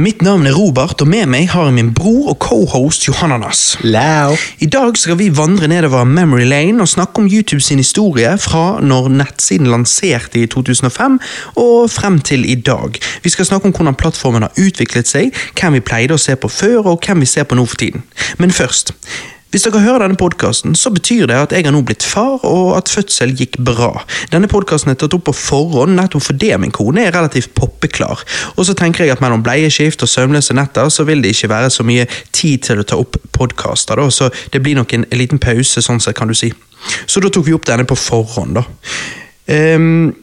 Mitt navn er Robert, og med meg har jeg min bror og cohost Johananas. Lau. I dag skal vi vandre nedover memory lane og snakke om YouTube sin historie fra når nettsiden lanserte i 2005 og frem til i dag. Vi skal snakke om hvordan plattformen har utviklet seg, hvem vi pleide å se på før og hvem vi ser på nå for tiden. Men først. Hvis dere hører denne podkasten, så betyr det at jeg har nå blitt far, og at fødsel gikk bra. Denne podkasten er tatt opp på forhånd nettopp fordi min kone er relativt poppeklar. Og så tenker jeg at mellom bleieskift og søvnløse netter, så vil det ikke være så mye tid til å ta opp podkaster, da, så det blir nok en liten pause, sånn sett, kan du si. Så da tok vi opp denne på forhånd, da. Ehm,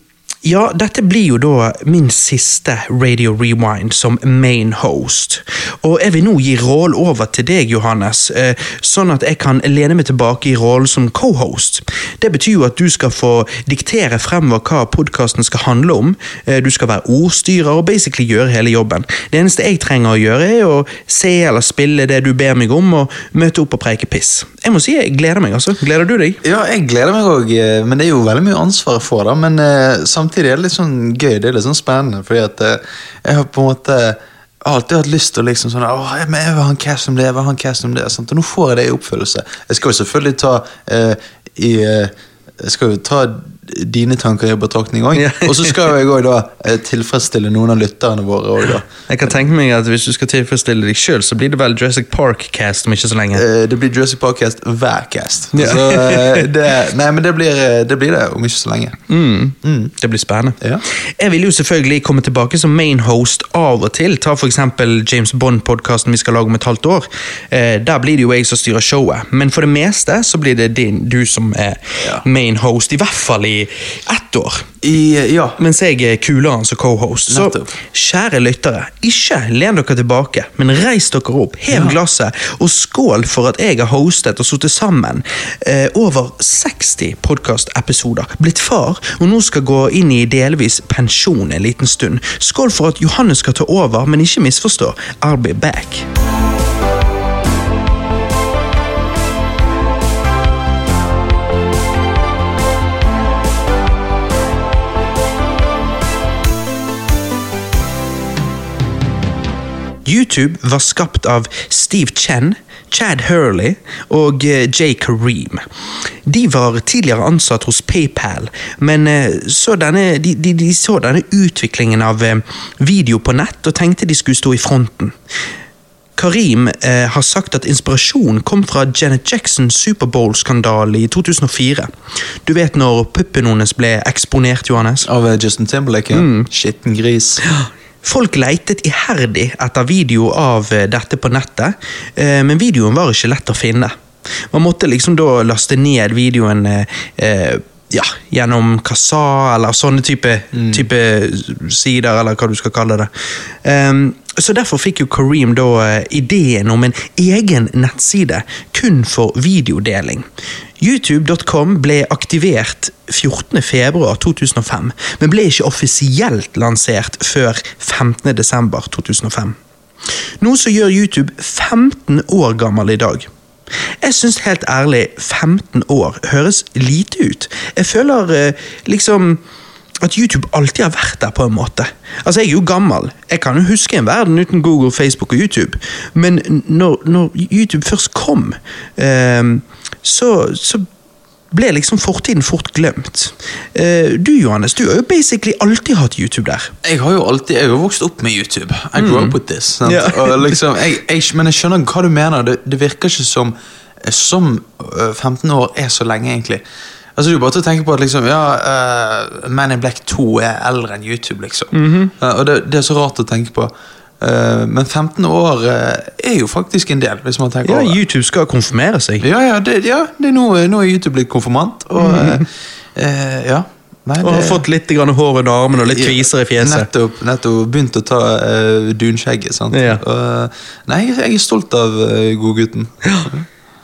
ja, dette blir jo da min siste Radio Rewind som main host. Og jeg vil nå gi rollen over til deg, Johannes, eh, sånn at jeg kan lene meg tilbake i rollen som co-host. Det betyr jo at du skal få diktere fremover hva podkasten skal handle om. Eh, Du skal være ordstyrer og basically gjøre hele jobben. Det eneste jeg trenger å gjøre, er å se eller spille det du ber meg om, og møte opp og preike piss. Jeg må si jeg gleder meg, altså. Gleder du deg? Ja, jeg gleder meg òg, men det er jo veldig mye ansvar jeg får. da, Men eh, samtidig er det litt sånn gøy, det er litt sånn spennende, fordi at eh, jeg har på en måte alltid hatt lyst til å liksom sånn Åh, jeg, men jeg vil ha en cast om det, jeg vil ha en cast om det. Sant? Og nå får jeg det i oppfyllelse. Jeg skal jo selvfølgelig ta eh, i eh, Jeg skal jo ta dine tanker i betraktning òg, Ja. og så skal jo jeg òg da eh, tilfredsstille noen av lytterne våre òg, da. Jeg kan tenke meg at Hvis du skal tilfredsstille deg sjøl, så blir det vel Jurassic Park-cast om ikke så lenge. Eh, Det blir Jurassic Podcast hver cast. Ja. Så, eh, det, nei, men det blir, eh, det blir det om ikke så lenge. Mm. Det blir spennende. Eh, Ja. Jeg vil jo selvfølgelig komme tilbake som main host av og til. Ta for eksempel James Bond-podkasten vi skal lage om et halvt år. Eh, der blir det jo jeg som styrer showet, men for det meste så blir det din, du som er Ja. main host, i hvert fall i ett år. I, ja, Mens jeg er kulere som co-host. Så Nettopp. kjære lyttere, ikke len dere tilbake, men reis dere opp, hev glasset, og skål for at jeg har hostet og sittet sammen eh, over 60 podkastepisoder, blitt far, og nå skal gå inn i delvis pensjon en liten stund. Skål for at Johannes skal ta over, men ikke misforstå. I'll be back. YouTube var skapt av Steve Chen, Chad Hurley og eh, Jay Kareem. De var tidligere ansatt hos PayPal, men eh, så denne, de, de, de så denne utviklingen av eh, video på nett og tenkte de skulle stå i fronten. Karim eh, har sagt at inspirasjonen kom fra Janet Jacksons Superbowl-skandale i 2004. Du vet når puppen hennes ble eksponert, Johannes? Av eh, Justin Timberlake, ja. Mm. Skitten gris. Folk leitet iherdig etter video av eh, dette på nettet, eh, men videoen var ikke lett å finne. Man måtte liksom da laste ned videoen eh, eh, ja, gjennom Kazaa eller sånne type, type sider, eller hva du skal kalle det. Ehm, så derfor fikk jo Kareem da eh, ideen om en egen nettside kun for videodeling. YouTube.com ble aktivert 14.2.2005, men ble ikke offisielt lansert før 15.12.2005. Noe som gjør YouTube 15 år gammel i dag. Jeg syns helt ærlig 15 år høres lite ut. Jeg føler eh, liksom at YouTube alltid har vært der, på en måte. Altså, Jeg er jo gammel. Jeg kan jo huske en verden uten Google, Facebook og YouTube. Men n- når, når YouTube først kom, eh, så, så ble liksom fortiden fort glemt. Eh, du, Johannes, du har jo basically alltid hatt YouTube der. Jeg har jo alltid, jeg har jo vokst opp med YouTube. I grew up with this. Sant? Mm. Ja. Og liksom, jeg, jeg, men jeg skjønner hva du mener. Det, det virker ikke som eh, som øh, 15 år er så lenge, egentlig. Altså, du bare til å tenke på at liksom, ja, øh, Man in Black 2 er eldre enn YouTube, liksom. Mhm. Ja, og det, det er så rart å tenke på. Eh, men 15 år eh, er jo faktisk en del, hvis man tenker Ja, over det. YouTube skal konfirmere seg. Ja, ja, det, ja det er nå, nå er YouTube blitt konfirmant, og eh, eh, ja. Nei, Mm. Og har det- fått litt grann hår under armen og litt kviser i fjeset. Nettopp, nettopp begynt å ta eh, dunskjegget. sant? Ja. Og, eh, nei, jeg, jeg er stolt av eh, godgutten.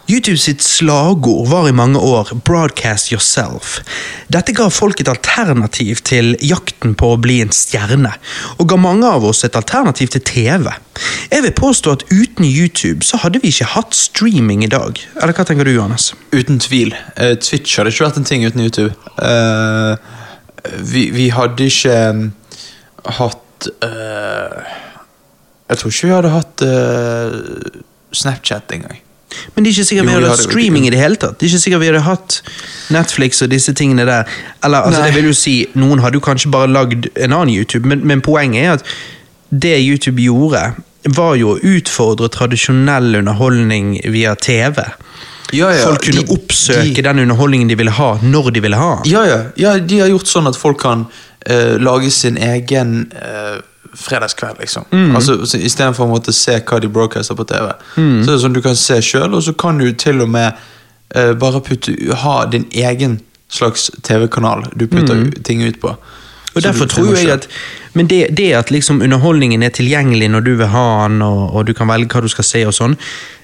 YouTube sitt slagord var i mange år 'broadcast yourself'. Dette ga folk et alternativ til jakten på å bli en stjerne, og ga mange av oss et alternativ til TV. Jeg vil påstå at uten YouTube så hadde vi ikke hatt streaming i dag. Eller hva tenker du, Johannes? Uten tvil. Eh, Twitch hadde ikke vært en ting uten YouTube. Eh, vi, vi hadde ikke eh, hatt eh, Jeg tror ikke vi hadde hatt eh, Snapchat engang. Men det er ikke sikkert vi Jo, vi hadde hadde hatt jo ikke streaming i det hele tatt. Det er ikke sikkert vi hadde hatt Netflix og disse tingene der. Eller altså, Nei. det vil jo si, noen hadde jo kanskje bare lagd en annen YouTube, men, men poenget er at det YouTube gjorde, var jo å utfordre tradisjonell underholdning via TV. Ja, ja, Folk kunne de- oppsøke de- den underholdningen de ville ha, når de ville ha. den. Ja, ja, ja, de har gjort sånn at folk kan eh, lage sin egen eh, fredagskveld, liksom. Mm. Altså, så Istedenfor å måtte se hva de broadcaster på TV. Mm. Så er det sånn Du kan se sjøl, og så kan du til og med eh, bare putte, ha din egen slags TV-kanal du putter ting ut på. Mm. Og Så derfor du tror trenger jeg ikke- at Men det, det at liksom underholdningen er tilgjengelig når du vil ha den, og, og du kan velge hva du skal se og sånn,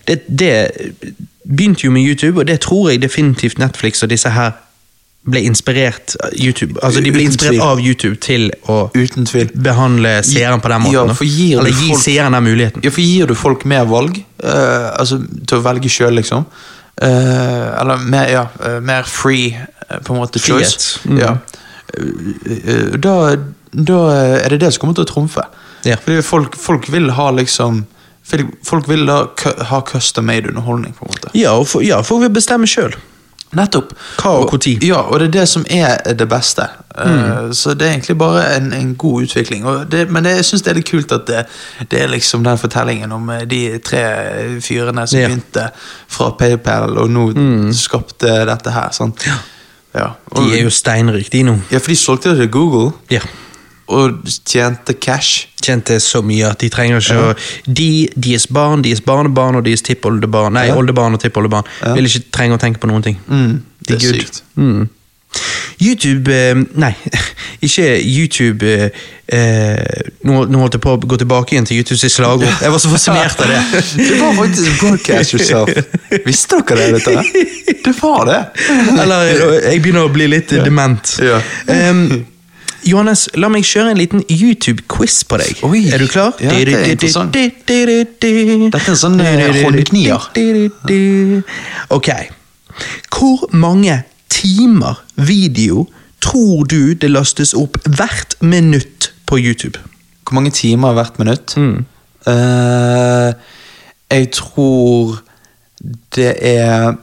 det, det begynte jo med YouTube, og det tror jeg definitivt Netflix og disse her ble inspirert av YouTube, altså De ble Uten inspirert tvil. av YouTube til å Uten tvil. behandle seeren på den måten. Ja, da. for gir du Eller gi folk- seeren den muligheten. Ja, for gir du folk mer valg, eh, altså til å velge sjøl, liksom. eh, eller mer, ja, eh, mer free, eh, på en måte, Frihet. choice. Mm. Ja. Eh, eh, da, da er det det som kommer til å trumfe. Ja. Fordi folk, folk vil ha liksom folk- Folk vil da cu- ha custom made underholdning, på en måte. Ja, og for, ja, folk vil bestemme sjøl. Nettopp. Hva og hvor tid. Mm. Ja, og det er det som er det beste. Eh, Så det er egentlig bare en, en god utvikling. Og det, men det, jeg syns det er litt kult at det, det er liksom den fortellingen om eh, de tre fyrene som Ja. Mm. begynte fra PayPal og nå skapte dette her. Sant? Ja. Og, De er jo steinrike, de nå. ja, for de solgte det til Google Ja. og tjente cash. Tjente så mye at de trenger ikke å De, deres barn, deres barnebarn og deres tippoldebarn Nei, Ja. oldebarn og tippoldebarn Ja. vil ikke trenge å tenke på noen ting. Mm, De det er good. sykt. Mm. YouTube eh, Nei, ikke YouTube eh, eh, nå, nå holdt jeg på å gå tilbake igjen til YouTubes slagord. Jeg var så fascinert av det. det var faktisk broadcast yourself. Visste dere det? dette? her? Det var det. Eller jeg begynner å bli litt eh, dement. Ja. Em, Ehm, Johannes, la meg kjøre en liten YouTube-quiz på deg. Oi. Er du klar? Ja, det er interessant. Dette Dette er en sånn, eh, håndknier. Ok. Hvor mange timer video tror du det lastes opp hvert minutt på YouTube? Hvor mange timer hvert minutt? Mm. Eh, jeg tror det er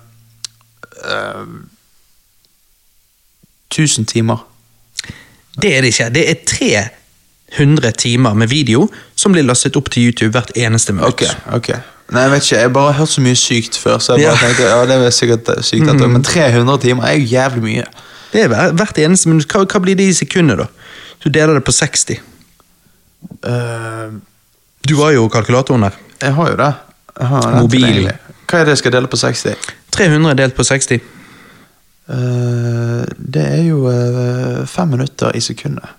eh, 1000 timer. Det er det ikke. Det er 300 timer med video som blir lastet opp til YouTube hvert eneste minutt. Ok, ok. Nei, jeg vet ikke, jeg bare har hørt så mye sykt før, så jeg Ja. bare tenkte, ja, det er sikkert sykt dette, men 300 timer er jo jævlig mye. Det er hver- hvert eneste minutt. Hva, hva blir det i sekundet, da? Du deler det på 60. Eh, Du har jo kalkulatoren der. jeg har jo det. Jeg har den Mobil. tilgjengelig. Hva er det jeg skal dele på 60? 300 delt på 60. Eh, det er jo eh, fem minutter i sekundet.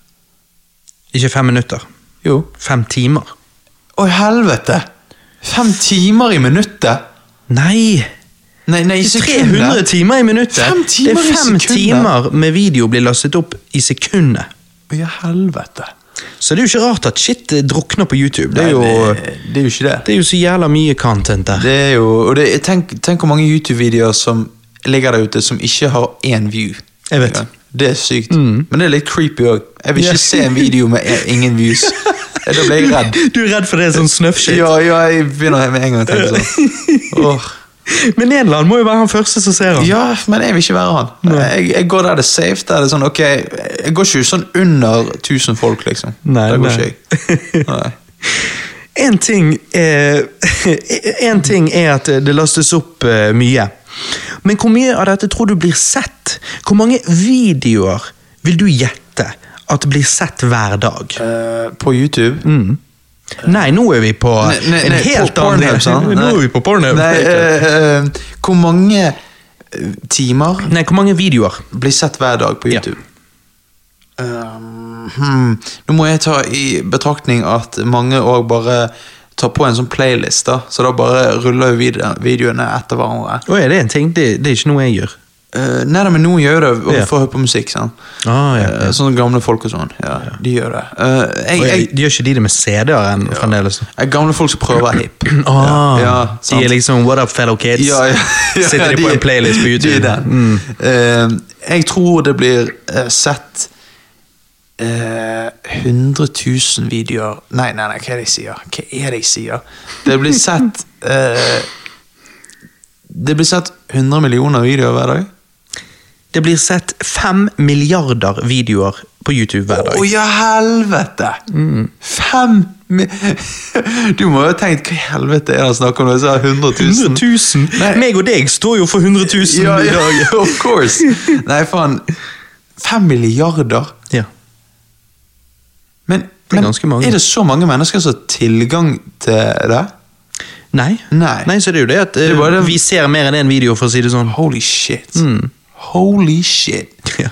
Ikke fem minutter. Jo. Fem timer. Å, helvete! Fem timer i minuttet! Nei! Nei, nei, Det i er sekundet. 300 timer i minuttet! Fem timer det i er fem sekundet. timer med video blir lastet opp i sekundet. Å, ja, helvete. Så det er jo ikke rart at shit eh, drukner på YouTube. Det er jo, det, det er jo ikke det. det er jo så jævla mye content der. Det er jo, og det, tenk, tenk hvor mange YouTube-videoer som ligger der ute som ikke har én view. Jeg vet. Det er sykt. Men det er litt creepy òg. Jeg vil Ja. ikke se en video med e- ingen views. Da blir jeg redd. Du er redd for det er sånn snøffshit? Ja, ja, jeg begynner med en gang å tenke sånn. Åh. Men en eller annen må jo være han første som ser han. Ja, men jeg vil ikke være han. Jeg, jeg går der det er safe. Der det er sånn, ok, Jeg går ikke sånn under 1000 folk, liksom. Nei, der går nei. ikke jeg. Nei. En ting, eh, en ting er at det lastes opp eh, mye. Men hvor mye av dette tror du blir sett? Hvor mange videoer vil du gjette at blir sett hver dag? Eh, på YouTube? Nei, nå er vi på Nei, nei, Mm. en nei, helt på annen Pornhub, sant? Nå Nei. er vi på Pornhub. Nei, eh, eh, hvor mange eh, timer Nei, hvor mange videoer? blir sett hver dag på Ja. YouTube? Um, hmm. Nå må jeg ta i betraktning at mange òg bare tar på en sånn playlist, da. Så da bare ruller jo vide- videoene etter hverandre. Å, er det en ting? Det, det er ikke noe jeg gjør. Eh, nei, nei, men noen gjør det og Ja. får høre på musikk. sant? Ah, ja, Eh, ja. sånne gamle folk og sånn. Ja, De gjør det. Eh, jeg, Å, ja, jeg, de- gjør ikke de det med CD-er enn fremdeles? jeg, gamle folk som prøver å være hip. Ah, ja, de sant. er liksom What up, fellow kids? Ja, ja, ja, Sitter de på en playlist på Mm. de er YouTube? den. Eh, jeg tror det blir eh, sett eh, 100 000 videoer Nei, nei, nei, hva er det jeg sier? Hva er det jeg sier? Det blir sett eh, Det blir sett 100 millioner videoer hver dag. Det blir sett fem milliarder videoer på YouTube hver dag. Mm. Å ja, helvete! Fem mi Du må jo ha tenkt hva i helvete er det han snakker om? når jeg sa 100 100 000? 000! Nei. Meg og deg står jo for 100 000 Ja, i dag. ja, of course! Nei, faen. Fem milliarder? Ja. Men, er men ganske mange. er det så mange mennesker som har tilgang til det? Nei. Nei. så det er jo det at eh, er bare det- vi ser mer enn én video, for å si det sånn. Holy shit. Mm. Holy shit. Ja.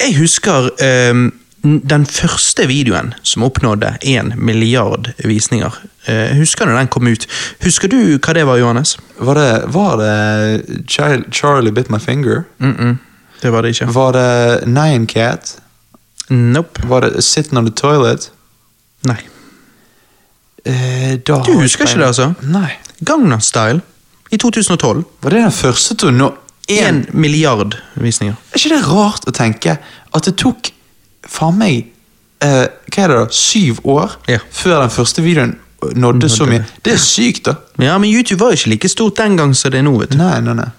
Jeg husker ehm, n- den første videoen som oppnådde én milliard visninger. Eh, husker du den kom ut? Husker du hva det var, Johannes? Var det, var det Chil- Charlie Bit My Finger? Mm. Det var det ikke. Var det Nine Cat? Nope. Var det Sitting on the Toilet? Nei. Eh, da Du har jeg husker ikke det, altså? feil. Nei. Gangnam Style i 2012. Var det den første til å nå én Én milliard visninger. Er ikke det rart å tenke at det tok faen meg eh, Hva er det, da? Syv år Ja. før den første videoen nådde så mye? Det er sykt, da. Ja, men YouTube var jo ikke like stort den gang som det er nå. vet du. Nei, nei, nei.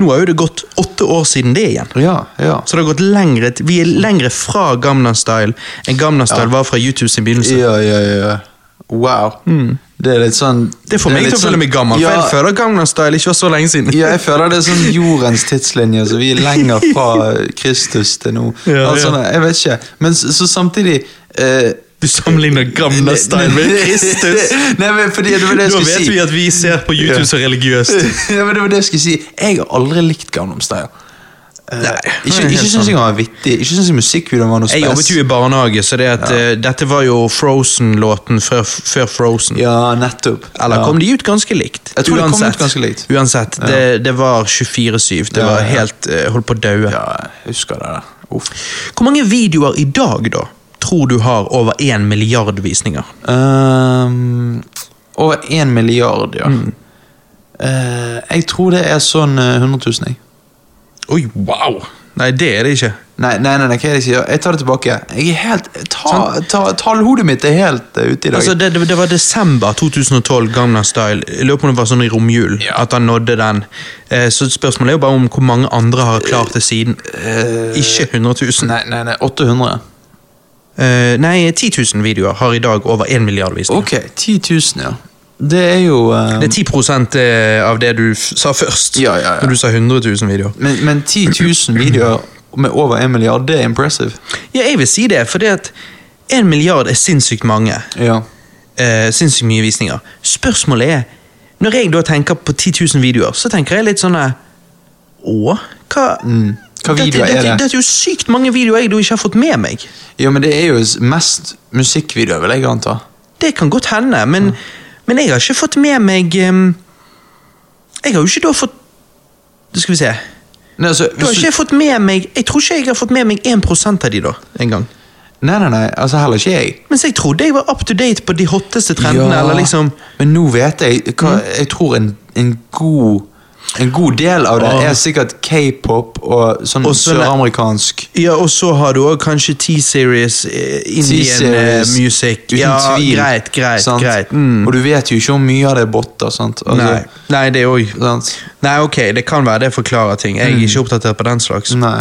Nå har jo det gått åtte år siden det igjen. Ja, ja. Så det har gått lengre, t- Vi er lengre fra Gamna Style enn Gamna Style var fra YouTube sin begynnelse. Ja, ja, ja. Wow. Det er litt sånn Mm. Det får meg litt til å sånn- føle meg gammel, ja, for jeg føler Gamna Style ikke var så lenge siden. ja, jeg føler det er sånn jordens tidslinje, så vi er lenger fra Kristus til nå. Ja, altså, ja. Jeg vet ikke. Men så, så samtidig eh, Du sammenligner Gamna Style med Kristus! Nei, men fordi det var det Da jeg skulle vet si. vi at vi ser på YouTube som religiøst. ja, men det var det jeg skulle si. Jeg har aldri likt Gamlom Style. Eh, ikke helt ikke syns jeg han var vittig. Ikke syns jeg musikkvideoen var noe Jeg jobbet spes. jo i barnehage, så det at, eh, dette var jo Frozen-låten før, før Frozen. Ja, nettopp. Eller ja. kom de ut ganske likt? Jeg tror de kom ut ganske likt. Uansett, det, det var 24-7. Det Ja, var ja. helt eh, Holdt på å daue. Ja, jeg husker det der. Uff. Hvor mange videoer i dag, da, tror du har over én milliard visninger? Ehm, over én milliard, ja. Mm. Eh, jeg tror det er sånn eh, 100 000, jeg. Oi, wow! Nei, det er det ikke. Nei, nei, nei, nei, hva er det jeg sier? Jeg tar det tilbake. Jeg er helt, ta, ta, Tallhodet mitt er helt eh, ute i Sånn. dag. Altså, det, det, det var desember 2012, Gamna Style. Jeg lurer på om det var sånn i romjulen Ja. at han nådde den. Eh, så spørsmålet er jo bare om hvor mange andre har klart det siden. Eh, Ikke 100 000. Nei, nei, nei, nei, 800. eh, nei 10 000 videoer har i dag over én milliard visninger. Ok, 10 000, ja. Det er jo eh, Det er 10 eh, av det du f sa først, Ja, ja, ja. når du sa 100 000 videoer. Men, men 10 000 videoer med over 1 milliard, det er impressive. Ja, jeg vil si det, fordi at én milliard er sinnssykt mange. Ja. Eh, sinnssykt mye visninger. Spørsmålet er Når jeg da tenker på 10 000 videoer, så tenker jeg litt sånn eh, Å? Mm. Hva, dette, Hva videoer er dette, det? Dette er jo sykt mange videoer jeg da ikke har fått med meg. ja, men det er jo s- mest musikkvideoer, vil jeg anta. Det kan godt hende, men, men jeg har ikke fått med meg em, Jeg har jo ikke da fått Skal vi se. Nei, altså, Da har hvis ikke du, jeg fått med meg Jeg tror ikke jeg har fått med meg 1 av de da, en gang. nei, nei, nei, altså heller ikke jeg. Mens jeg trodde jeg var up to date på de hotteste trendene. eller liksom... Mm. Men nå vet jeg hva Jeg tror en, en god en god del av det Åh. er sikkert k-pop og sånn Og sånne- søramerikansk Ja, og så har du òg kanskje T-series, eh, Indian eh, T-series, music Uten ja, tvil. Greit, greit, sant? greit. Mm. Og du vet jo ikke om mye av det er botter. Sant? Altså, Nei. Nei, det òg. Sant? Nei, ok, det kan være det forklarer ting. Jeg er ikke oppdatert på den slags. Mm. Nei.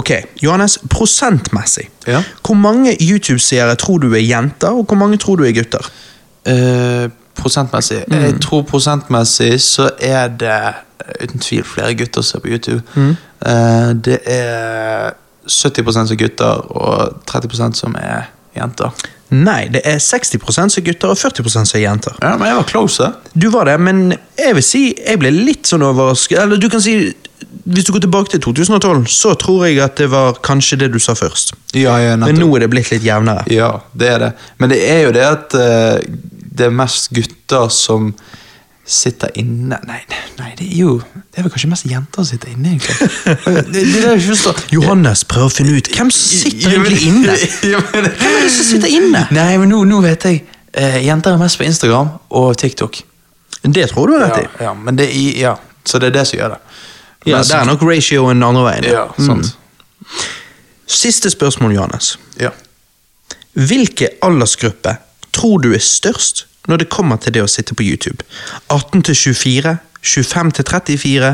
Ok, Johannes, prosentmessig. Ja. Hvor mange YouTube-seere tror du er jenter, og hvor mange tror du er gutter? Eh, prosentmessig. Jeg tror prosentmessig så er det eh, uten tvil flere gutter som ser på YouTube. Eh, det er 70 som er gutter, og 30 som er jenter. Nei, det er 60 som er gutter, og 40 som er jenter. Ja, men jeg var close, eh. da. Du var det, men jeg vil si jeg ble litt sånn overrasket. Eller du kan si Hvis du går tilbake til 2012, så tror jeg at det var kanskje det du sa først. Ja, ja, Men nettopp. nå er det blitt litt jevnere. Ja, det er det. Men det er jo det at eh, det er mest gutter som sitter inne Nei, nei, det er jo Det er vel kanskje mest jenter som sitter inne, egentlig. Det, det er det jeg ikke forstår. Johannes prøver å finne ut hvem som sitter egentlig inne. Ja, men- Hvem er det som sitter inne? Nei, men nå, nå vet jeg. Eh, jenter er mest på Instagram og TikTok. Det tror du er rett i. ja, men det er, ja. Så det er Mm. det som gjør det. Ja, Men så- det er nok ratioen andre veien. ja, sant. Mm. Siste spørsmål, Johannes. Ja. Hvilke aldersgruppe tror du er størst når det kommer til det å sitte på YouTube? 18 til 24, 25 til 34,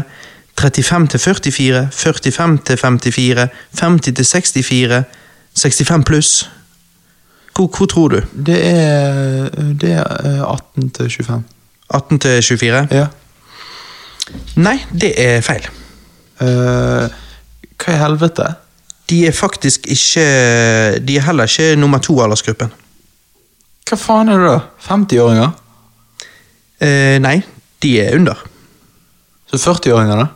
35 til 44, 45 til 54, 50 til 64, 65 pluss. Hvor, hvor tror du? Det er, det er eh, 18 til 25. 18 til 24? Ja. Nei, det er feil. Eh, hva i helvete? De er faktisk ikke De er heller ikke nummer to i aldersgruppen. Hva faen er det da? 50-åringer? Eh, nei, de er under. Så 40-åringer, da?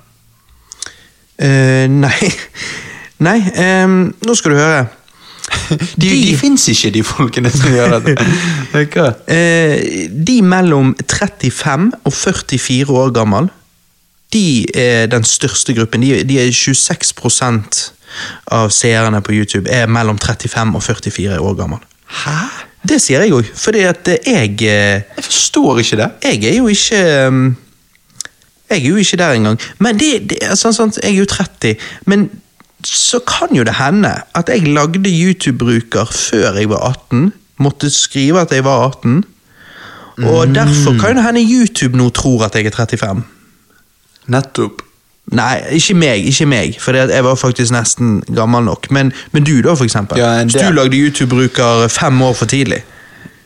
Eh, nei Nei, ehm, nå skal du høre. De, de, De- fins ikke, de folkene som gjør dette. Hva? Eh, de mellom 35 og 44 år gammel, de er den største gruppen. De, de er 26 av seerne på YouTube er mellom 35 og 44 år gammel. Hæ? Det sier jeg òg, fordi at eh, jeg eh, Jeg forstår ikke det. jeg er jo ikke um, Jeg er jo ikke der engang. Men det, det er sånn, sånn, Jeg er jo 30, men så kan jo det hende at jeg lagde YouTube-bruker før jeg var 18. Måtte skrive at jeg var 18. Og Mm. derfor kan jo det hende YouTube nå tror at jeg er 35. Nettopp. Nei, ikke meg, ikke meg, for jeg var faktisk nesten gammel nok. Men, men du, da, for eksempel. Ja, en Hvis del. du lagde YouTube-bruker fem år for tidlig.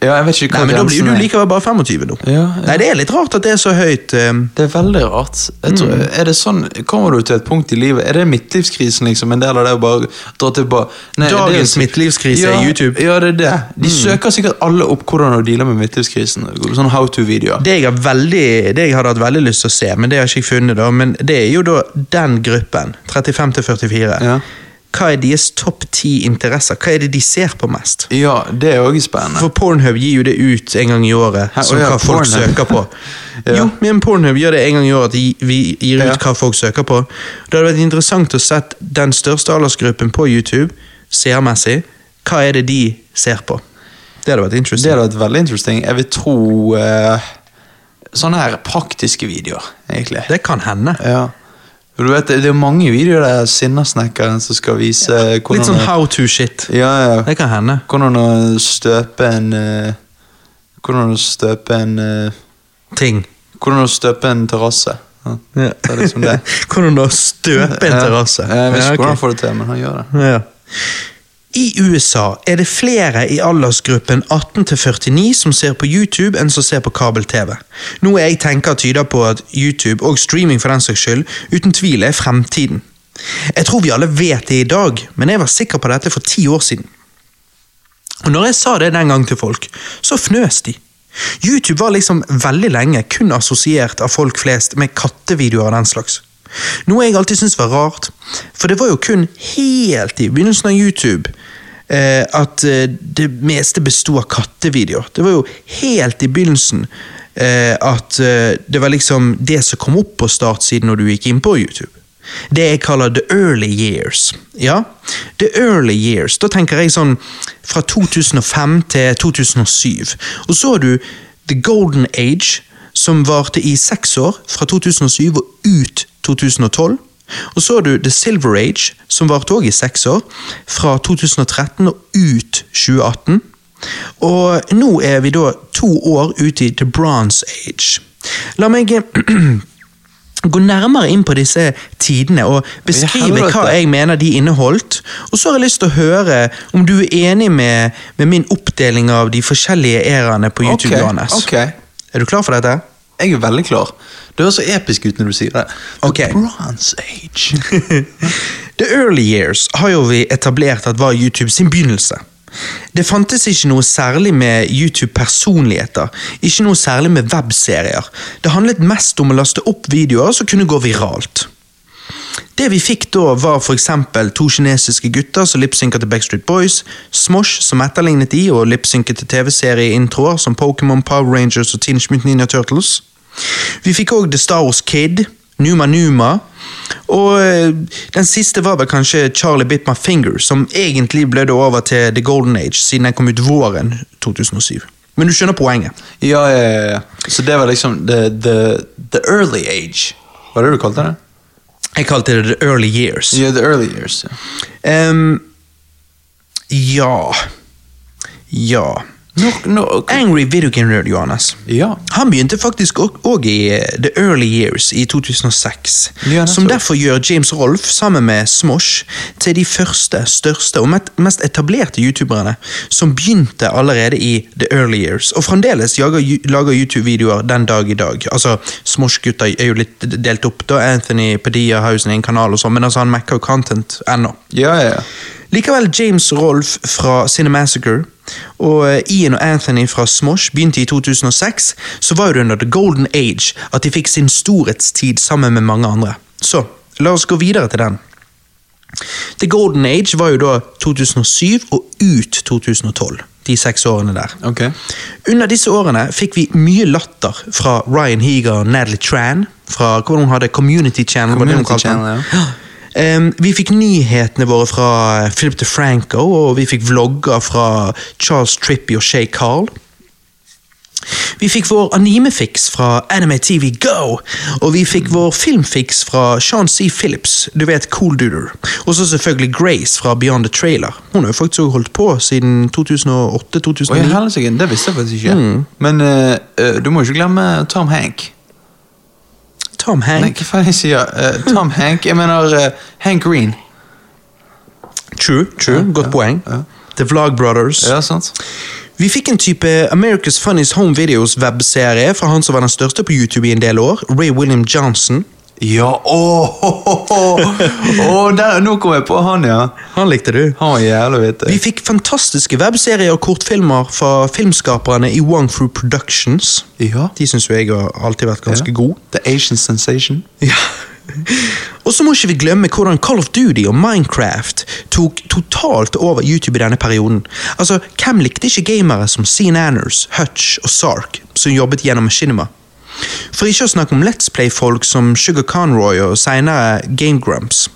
Ja, jeg vet Nei, ikke hva men Da blir jo grensen du er. likevel bare 25 nå. Ja, ja. Nei, Det er litt rart at det er så høyt. Um, Det er veldig rart. Jeg tror, Mm. er det sånn, Kommer du til et punkt i livet Er det midtlivskrisen liksom en del av det å bare dra tilbake Nei, det er Dagens liksom- midtlivskrise ja, er YouTube. Mm. Ja, det er det. De søker sikkert alle opp hvordan å deale med midtlivskrisen. Sånn how to-videoer. Det jeg, har veldig, det jeg hadde hatt veldig lyst til å se, men det har ikke jeg funnet, da, men det er jo da den gruppen, 35 til 44. Ja. Hva er deres topp ti interesser? Hva er det de ser på mest? Ja, det er òg spennende. For Pornhub gir jo det ut en gang i året, Hæ, som å ja, hva folk Pornhub. søker på. Ja. Jo, men Pornhub gjør det en gang i året at de- vi gir ut Ja. hva folk søker på. Det hadde vært interessant å sett den største aldersgruppen på YouTube, seermessig. Hva er det de ser på? Det hadde vært Det interessant. hadde vært veldig interesting. Jeg vil tro eh, sånne her praktiske videoer, egentlig. Det kan hende. Ja. Du vet, det det er mange videoer der sinnasnekkeren som skal vise hvordan Litt sånn å- how to shit. ja, ja. Det kan hende. Hvordan å støpe en eh, Hvordan å støpe en eh, ting. Hvordan å støpe en terrasse. Ja. Det er liksom det. Hvordan da støpe en terrasse? Jeg vet ikke Ja, ok. hvordan han får det til, men han gjør det. Ja. I USA er det flere i aldersgruppen 18-49 som ser på YouTube enn som ser på kabel-TV. Noe jeg tenker tyder på at YouTube, og streaming for den saks skyld, uten tvil er fremtiden. Jeg tror vi alle vet det i dag, men jeg var sikker på dette for ti år siden. Og når jeg sa det den gang til folk, så fnøs de. YouTube var liksom veldig lenge kun assosiert av folk flest med kattevideoer og den slags. Noe jeg alltid syntes var rart, for det var jo kun helt i begynnelsen av YouTube eh, at eh, det meste besto av kattevideoer. Det var jo helt i begynnelsen eh, at eh, det var liksom det som kom opp på startsiden når du gikk inn på YouTube. Det jeg kaller the early years. Ja, the early years. Da tenker jeg sånn fra 2005 til 2007. Og så har du the golden age, som varte i seks år, fra 2007 og ut 2012. Og så har du The Silver Age, som varte òg i seks år, fra 2013 og ut 2018. Og nå er vi da to år ute i The Bronze Age. La meg gå nærmere inn på disse tidene og beskrive helvete. hva jeg mener de inneholdt. Og så har jeg lyst til å høre om du er enig med, med min oppdeling av de forskjellige eraene på YouTube. Ok, Johannes. ok. Er du klar for dette? Jeg er veldig klar. Du høres så episk ut når du sier det. Ok. The Bronze Age. The early years har jo vi etablert at var YouTube sin begynnelse. Det fantes ikke noe særlig med YouTube-personligheter, ikke noe særlig med webserier. Det handlet mest om å laste opp videoer som kunne gå viralt. Det vi fikk da var for eksempel to kinesiske gutter som lipsynker til Backstreet Boys, Smosh som etterlignet de og lipsynket til tv-serieintroer som Pokémon, Power Rangers og Teenage Mutant Ninja Turtles. Vi fikk òg The Star Wars Kid, Numa Numa, og eh, den siste var vel kanskje Charlie Bit My Finger, som egentlig blødde over til The Golden Age siden den kom ut våren 2007. Men du skjønner poenget. ja, ja, ja, ja. Så det var liksom the, the, the Early Age. Var det det du kalte det? Jeg kalte det The Early Years. Ja, The Early Years. ja. Ehm, Ja. Ja. Når, når, Angry Video Game Nerd, Johannes. ja. Han begynte faktisk òg i eh, The Early Years i 2006, Ja, nettopp. som derfor gjør James Rolf sammen med Smosh til de første, største og met- mest etablerte youtuberne som begynte allerede i The Early Years, og fremdeles jager, ju- lager YouTube-videoer den dag i dag. Altså, Smosh-gutta er jo litt delt opp, da. Anthony Padilla har jo sin egen kanal og sånn, men altså, han mekker jo content ennå. Ja, ja, ja. Likevel James Rolf fra Cinemassacre og eh, Ian og Anthony fra Smosh begynte i 2006, så var det under The Golden Age at de fikk sin storhetstid sammen med mange andre. Så, la oss gå videre til den. The Golden Age var jo da 2007 og ut 2012, de seks årene der. Ok. Under disse årene fikk vi mye latter fra Ryan Heager og Natalie Tran. Fra hva hun hadde Community Channel. var det hun Community kalte den. Channel, Ja. Em, vi fikk nyhetene våre fra Philip DeFranco, og vi fikk vlogger fra Charles Trippy og Shay Carl. Vi fikk vår animefix fra Anime TV Go, og vi fikk vår filmfix fra Sean C. Phillips, du vet Cool Duder. Og så selvfølgelig Grace fra Beyond the Trailer. Hun har jo faktisk også holdt på siden 2008-2009. Oi, helsike, det visste jeg faktisk ikke. Men eh, eh, du må ikke glemme Tom Hank. Tom Hanks. Nei, hva faen jeg sier? Eh, Tom Hank, jeg mener eh, Hank Green. True, true. Ja, Godt ja, poeng. ja. The Vlog Brothers. Ja, sant? Vi fikk en type America's Funniest Home Videos-webserie fra han som var den største på YouTube i en del år, Ray William Johnson. Ja, åh! der, nå kom jeg på han, ja. Han likte du. Han var jævlig Vi vittig. fikk fantastiske webserier og kortfilmer fra filmskaperne i Wong Fu Productions. Ja. De syns jo jeg har alltid vært ganske Ja. god. The Asian Sensation. Ja. Og så må ikke vi glemme hvordan Call of Duty og Minecraft tok totalt over YouTube i denne perioden. Altså, Hvem likte ikke gamere som Sean Anners, Hutch og Sark, som jobbet gjennom Machinima? For ikke å snakke om Let's Play-folk som Sugar Conroy og senere Game Grumps.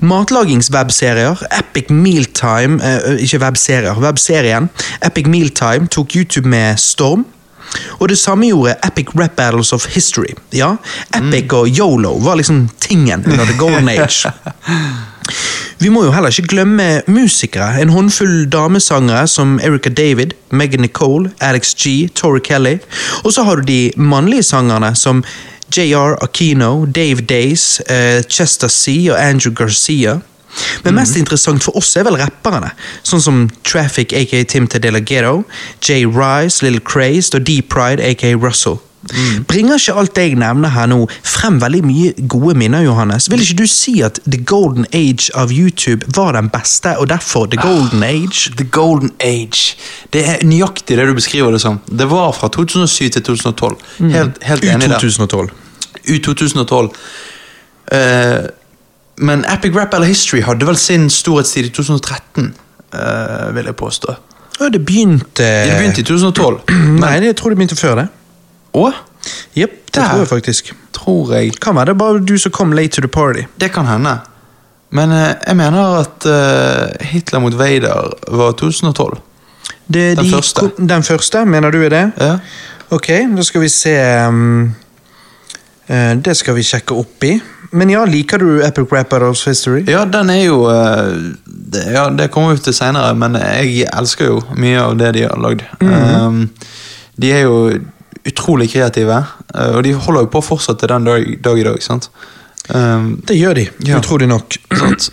Matlagingswebserier, Epic Mealtime eh, Ikke webserier, webserien. Epic Mealtime tok YouTube med storm. Og det samme gjorde Epic Rap Battles of History. Ja, Epic og Yolo var liksom tingen under the golden age. Vi må jo heller ikke glemme musikere. En håndfull damesangere som Erika David, Megan Nicole, Alex G, Tori Kelly. Og så har du de mannlige sangerne som JR Aquino, Dave Days, eh, Chester C og Andrew Garcia. Men mest interessant for oss er vel rapperne, sånn som Traffic aka Tim Tadela Ghetto, Jay Rice, Little Crazed og D-Pride aka Russell. Bringer ikke alt det jeg nevner her nå frem veldig mye gode minner, Johannes? Vil ikke du si at The Golden Age av YouTube var den beste, og derfor The Golden Age? The Golden Age. Det er nøyaktig det du beskriver det som. Det var fra 2007 til 2012. Helt, helt enig der. U2012. Ut 2012. Eh, men Epic Rap eller History hadde vel sin storhetstid i 2013, eh, vil jeg påstå. Ja, det begynte Mm, Det begynte i 2012. Nei, det- jeg tror det begynte før det. Og Jepp, det Der. tror jeg faktisk. tror jeg Kan være det er bare du som kom late to the party. Det kan hende. Men eh, jeg mener at eh, Hitler mot Vader var 2012. Det, Den de- første. ko- Den første, mener du er det? Ja. Ok, da skal vi se um, eh, Det skal vi sjekke opp i. Men ja, liker du Epic Rap Battles History? Ja, den er jo eh, det, ja, det kommer vi til seinere, men jeg elsker jo mye av det de har lagd. Mhm. Um, de er jo utrolig kreative, eh, og de holder jo på fortsatt til den dag, dag i dag. sant? Um, Det gjør de, Ja. utrolig nok. sant?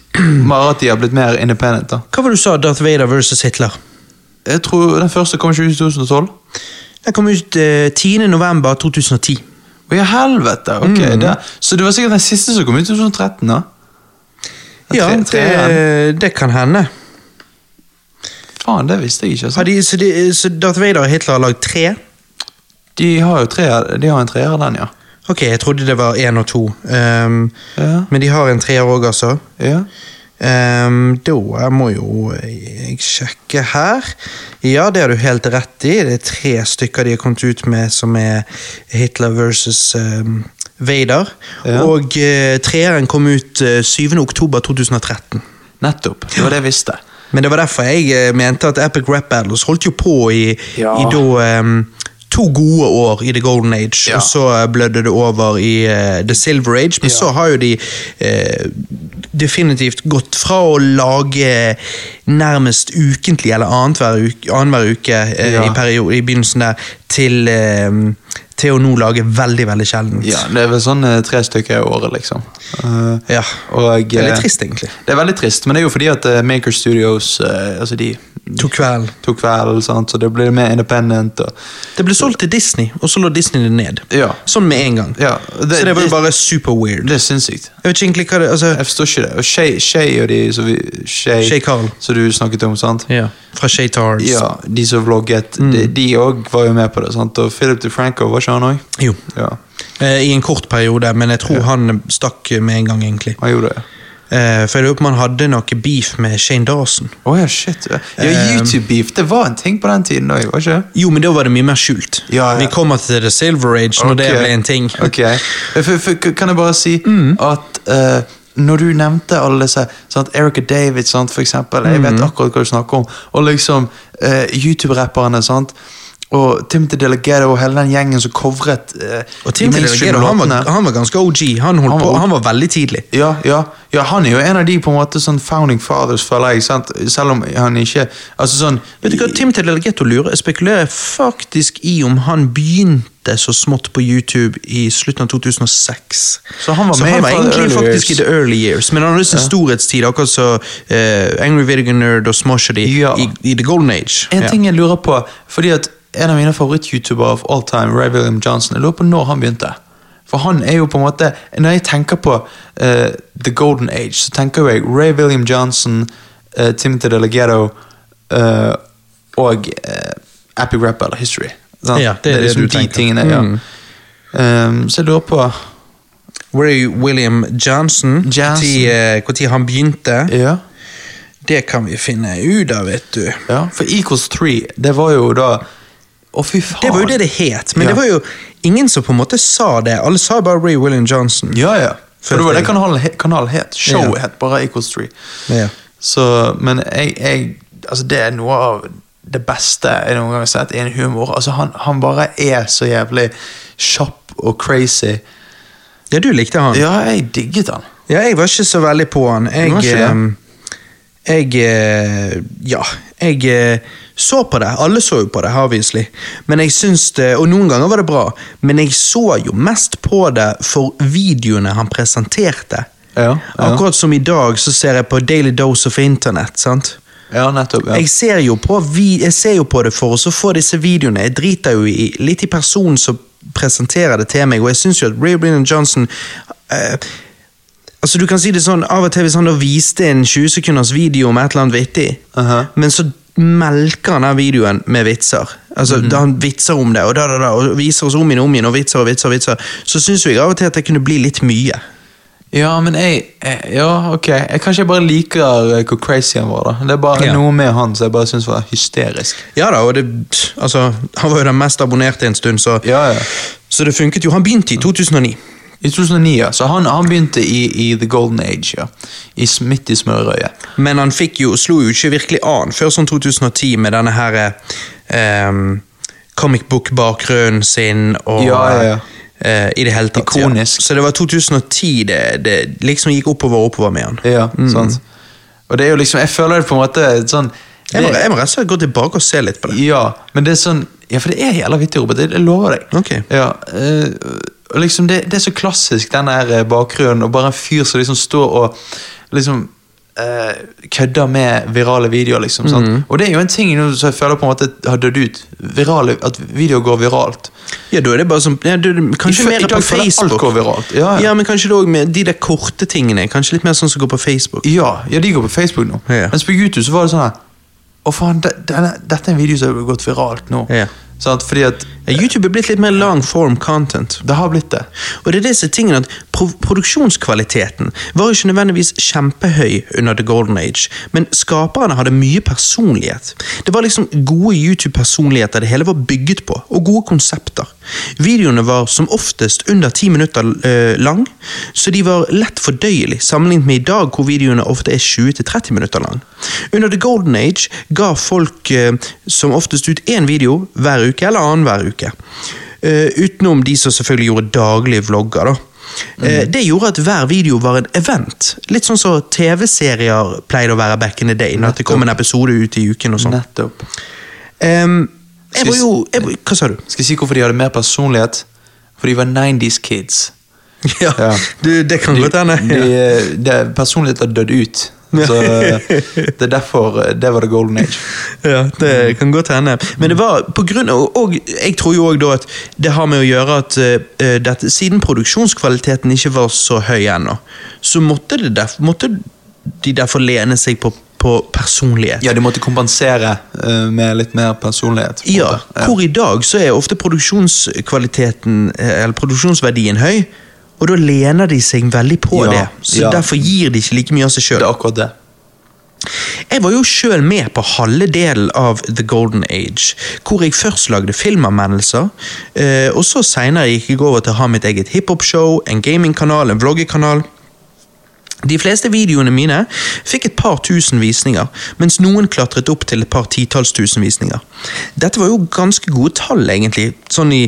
Bare at de har blitt mer independent. da. Hva var det du sa, Darth Vader versus Hitler? Jeg tror Den første kom ikke ut i 2012. Den kom ut eh, 10. november 2010. Å ja, helvete! ok. Mhm. Det, så det var sikkert den siste som kom ut i 2013, da? Den Ja, tre- treeren. det, det kan hende. Faen, det visste jeg ikke. altså. Har de, så, de, så Darth Vader og Hitler har lagd tre? De har jo tre, de har en treer, den, ja. Ok, jeg trodde det var én og to. Ehm, Ja. Men de har en treer òg, altså. ja. Ehm, da må jo jeg sjekke her. Ja, det har du helt rett i. Det er tre stykker de har kommet ut med som er Hitler versus ehm, Vader. Ja. Og uh, treeren kom ut eh, 7. oktober 2013. Nettopp. Det var det jeg visste. Men det var derfor jeg eh, mente at Epic Rap Battles holdt jo på i, Ja. i da ehm, to gode år i The Golden Age, Ja. og så eh, blødde det over i eh, The Silver Age, men Ja. så har jo de eh, definitivt gått fra å lage eh, nærmest ukentlig eller annenhver uke, annenhver uke eh, Ja. i, period, i begynnelsen der, til, eh, til å nå lage veldig, veldig sjeldent. Ja, det er vel sånn eh, tre stykker i året, liksom. Eh, Ja. og, Det er eh, litt trist, egentlig. Det er veldig trist, men det er jo fordi at eh, Maker Studios eh, altså de To kveld. tok kvelden, sant? så det blir mer independent. Og, Det ble solgt til Disney, og så lå Disney det ned. ja, Sånn med en gang. ja, det, så det var jo det, bare super weird. det er sinnssykt. Jeg vet ikke egentlig hva det altså, Jeg forstår ikke det. Og Shay, Shay og de som vi, Shay, Shay Carl. som du snakket om, sant? ja. Mm. Fra Shaytards. Ja, de som vlogget, de- de òg var jo med på det. sant? Og Philip DeFranco, var ikke han òg? Jo. Ja, Eh, I en kort periode, men jeg tror han stakk med en gang, egentlig. han gjorde det. Eh, for jeg lurer på om han hadde noe beef med Shane Dawson. Å ja, shit. Ja, Eh, YouTube-beef, det var en ting på den tiden òg, var ikke det? Jo, men da var det mye mer skjult. Ja, ja. Vi kommer til The Silver Age når det Ok. ble en ting. Ok. For, for, k- kan jeg bare si Mm. at eh, når du nevnte alle disse sant, Erica David, sant, for eksempel. Jeg Mm. vet akkurat hva du snakker om. Og liksom eh, YouTube-rapperne. sant, Og Timothy Delegato og hele den gjengen som covret eh, Og de Tim mainstream Delgado, han, var- låtene. han var ganske OG. Han, holdt Han var på, OG. han var veldig tidlig. ja, ja, ja, han er jo en av de på en måte sånn founding fathers, føler jeg. sant, Selv om han ikke altså sånn, Vet du hva, Tim Delgado lurer, jeg spekulerer faktisk i om han begynte så smått på YouTube i slutten av 2006. Så han var med fra the egentlig early faktisk years. i the early years, men han hadde sin storhetstid, akkurat som eh, Angry Video Nerd og Smosh og de Ja. i, i The Golden Age. En Ja. ting jeg lurer på, fordi at en av mine favoritt-youtubere of all time, Ray William Johnson, jeg lurer på når han begynte. For han er jo på en måte Når jeg tenker på eh, The Golden Age, så tenker jeg Ray William Johnson, eh, Timothy Delegato eh, og eh, Epic Rap eller History. Sant? Ja, det er det liksom du de tenker. Tingene, ja. Mm. Ehm, så jeg lurer på Where are you, William Johnson? Johnson. Når han begynte? Ja, Det kan vi finne ut av, vet du. ja. For Equals 3, det var jo da Å, fy faen! Det var jo det det het, men Ja. det var jo ingen som på en måte sa det. Alle sa bare Ray William Johnson. Ja, ja. For det var det Følte kanalen, he- kanalen het. Showet Ja. het bare Equals 3. Ja. Så, men jeg, jeg Altså, det er noe av det beste jeg noen gang har sett innen humor. Altså, han, han bare er så jævlig kjapp og crazy. Ja, du likte han. Ja, jeg digget han. Ja, jeg var ikke så veldig på han. Jeg, Du var ikke det? ehm, jeg eh, Ja, jeg eh, så på det. Alle så jo på det, obviously. Men jeg syns det, Og noen ganger var det bra, men jeg så jo mest på det for videoene han presenterte. Ja, ja. Akkurat som i dag, så ser jeg på Daily Dose of Internet. sant? Ja, nettopp. Ja. Jeg ser, jo på, vi- jeg ser jo på det for å få disse videoene. Jeg driter jo i, litt i personen som presenterer det til meg, og jeg syns jo at Ray Brennan Johnson eh, Altså du kan si det sånn, Av og til hvis han da viste en 20 sekunders video med et eller annet vittig, Aha. men så melker han den videoen med vitser. Altså, Mhm. da Han vitser om det, og da, da, da, og viser oss om igjen og om igjen, og vitser og vitser, og vitser. så syns jo jeg av og til at det kunne bli litt mye. ja, men jeg, jeg Ja, ok. Jeg kanskje jeg bare liker eh, hvor crazy han var, da. Det er bare Ja. noe med han som jeg bare syns var hysterisk. Ja da, og det, altså, han var jo den mest abonnerte en stund, så, Ja, ja. så det funket jo. Han begynte i 2009. I 2009, ja. Så han, han begynte i, i The Golden Age, ja. I, s- midt i smørøyet. Men han fikk jo, slo jo ikke virkelig an før sånn 2010 med denne her ehm, comic book-bakgrunnen sin og Ja, ja, ja. eh, I det hele tatt. Ikonisk. Ja. Så det var 2010 det, det liksom gikk oppover og oppover med han. Ja, sant. Og det er jo liksom, jeg føler det på en måte sånn Jeg må, det- jeg må rett og slett gå tilbake og se litt på det. Ja, men det er sånn Ja, for det er jævla vittig, Robert. Jeg jeg lover deg. Ok. Ja, eh, og liksom det, det er så klassisk, den der eh, bakgrunnen, og bare en fyr som liksom står og liksom eh, kødder med virale videoer, liksom. Sant? Mm. Og det er jo en ting nå som jeg føler på en måte har dødd ut. Virale, at videoer går viralt. Ja, da er det bare som, ja, da er det, I Kanskje fø- mer i dag på føler jeg alt Facebook. går viralt. Ja, ja. men kanskje det også med de der korte tingene. Kanskje litt mer sånn som går på Facebook. Ja, ja de går på Facebook nå. Ja. Mens på YouTube så var det sånn her Å, faen, de, denne, dette er en video som har gått viralt nå. Ja. Sant? Fordi at Ja, YouTube er blitt litt mer long form content. det har blitt det. Og det er disse tingene at pro Produksjonskvaliteten var ikke nødvendigvis kjempehøy under The Golden Age, men skaperne hadde mye personlighet. Det var liksom gode YouTube-personligheter det hele var bygget på, og gode konsepter. Videoene var som oftest under ti minutter eh, lang, så de var lett fordøyelig sammenlignet med i dag, hvor videoene ofte er 20-30 minutter lang. Under The Golden Age ga folk eh, som oftest ut én video hver uke eller annenhver uke. Eh, utenom de som selvfølgelig gjorde daglige vlogger. da. Mm. Eh, Det gjorde at hver video var en event. Litt sånn som TV-serier pleide å være back in the day. Når det kom en episode ut i uken og sånn. Nettopp. Em, jeg Skal var vi s- jo jeg, var- Hva sa du? Skal jeg si hvorfor de hadde mer personlighet? For de var 90's kids. Ja, Ja. Du, det kan godt hende. De, de- personlighet har dødd ut. Så eh, det er derfor eh, det var the golden age. Ja, det kan godt hende. Men det var på grunn av, og jeg tror jo òg da at det har med å gjøre at eh, dette, siden produksjonskvaliteten ikke var så høy ennå, så måtte, det derf, måtte de derfor lene seg på, på personlighet. Ja, de måtte kompensere eh, med litt mer personlighet. på en Ja, måte. hvor i dag så er ofte produksjonskvaliteten, eh, eller produksjonsverdien høy, og da lener de seg veldig på Ja, det. Så ja. derfor gir de ikke like mye av seg Det sjøl. er akkurat det. Jeg var jo sjøl med på halve delen av The Golden Age, hvor jeg først lagde filmanmeldelser, eh, og så seinere gikk jeg over til å ha mitt eget hiphop-show, en gamingkanal, en vloggekanal. De fleste videoene mine fikk et par tusen visninger, mens noen klatret opp til et par titalls tusen visninger. Dette var jo ganske gode tall, egentlig, sånn i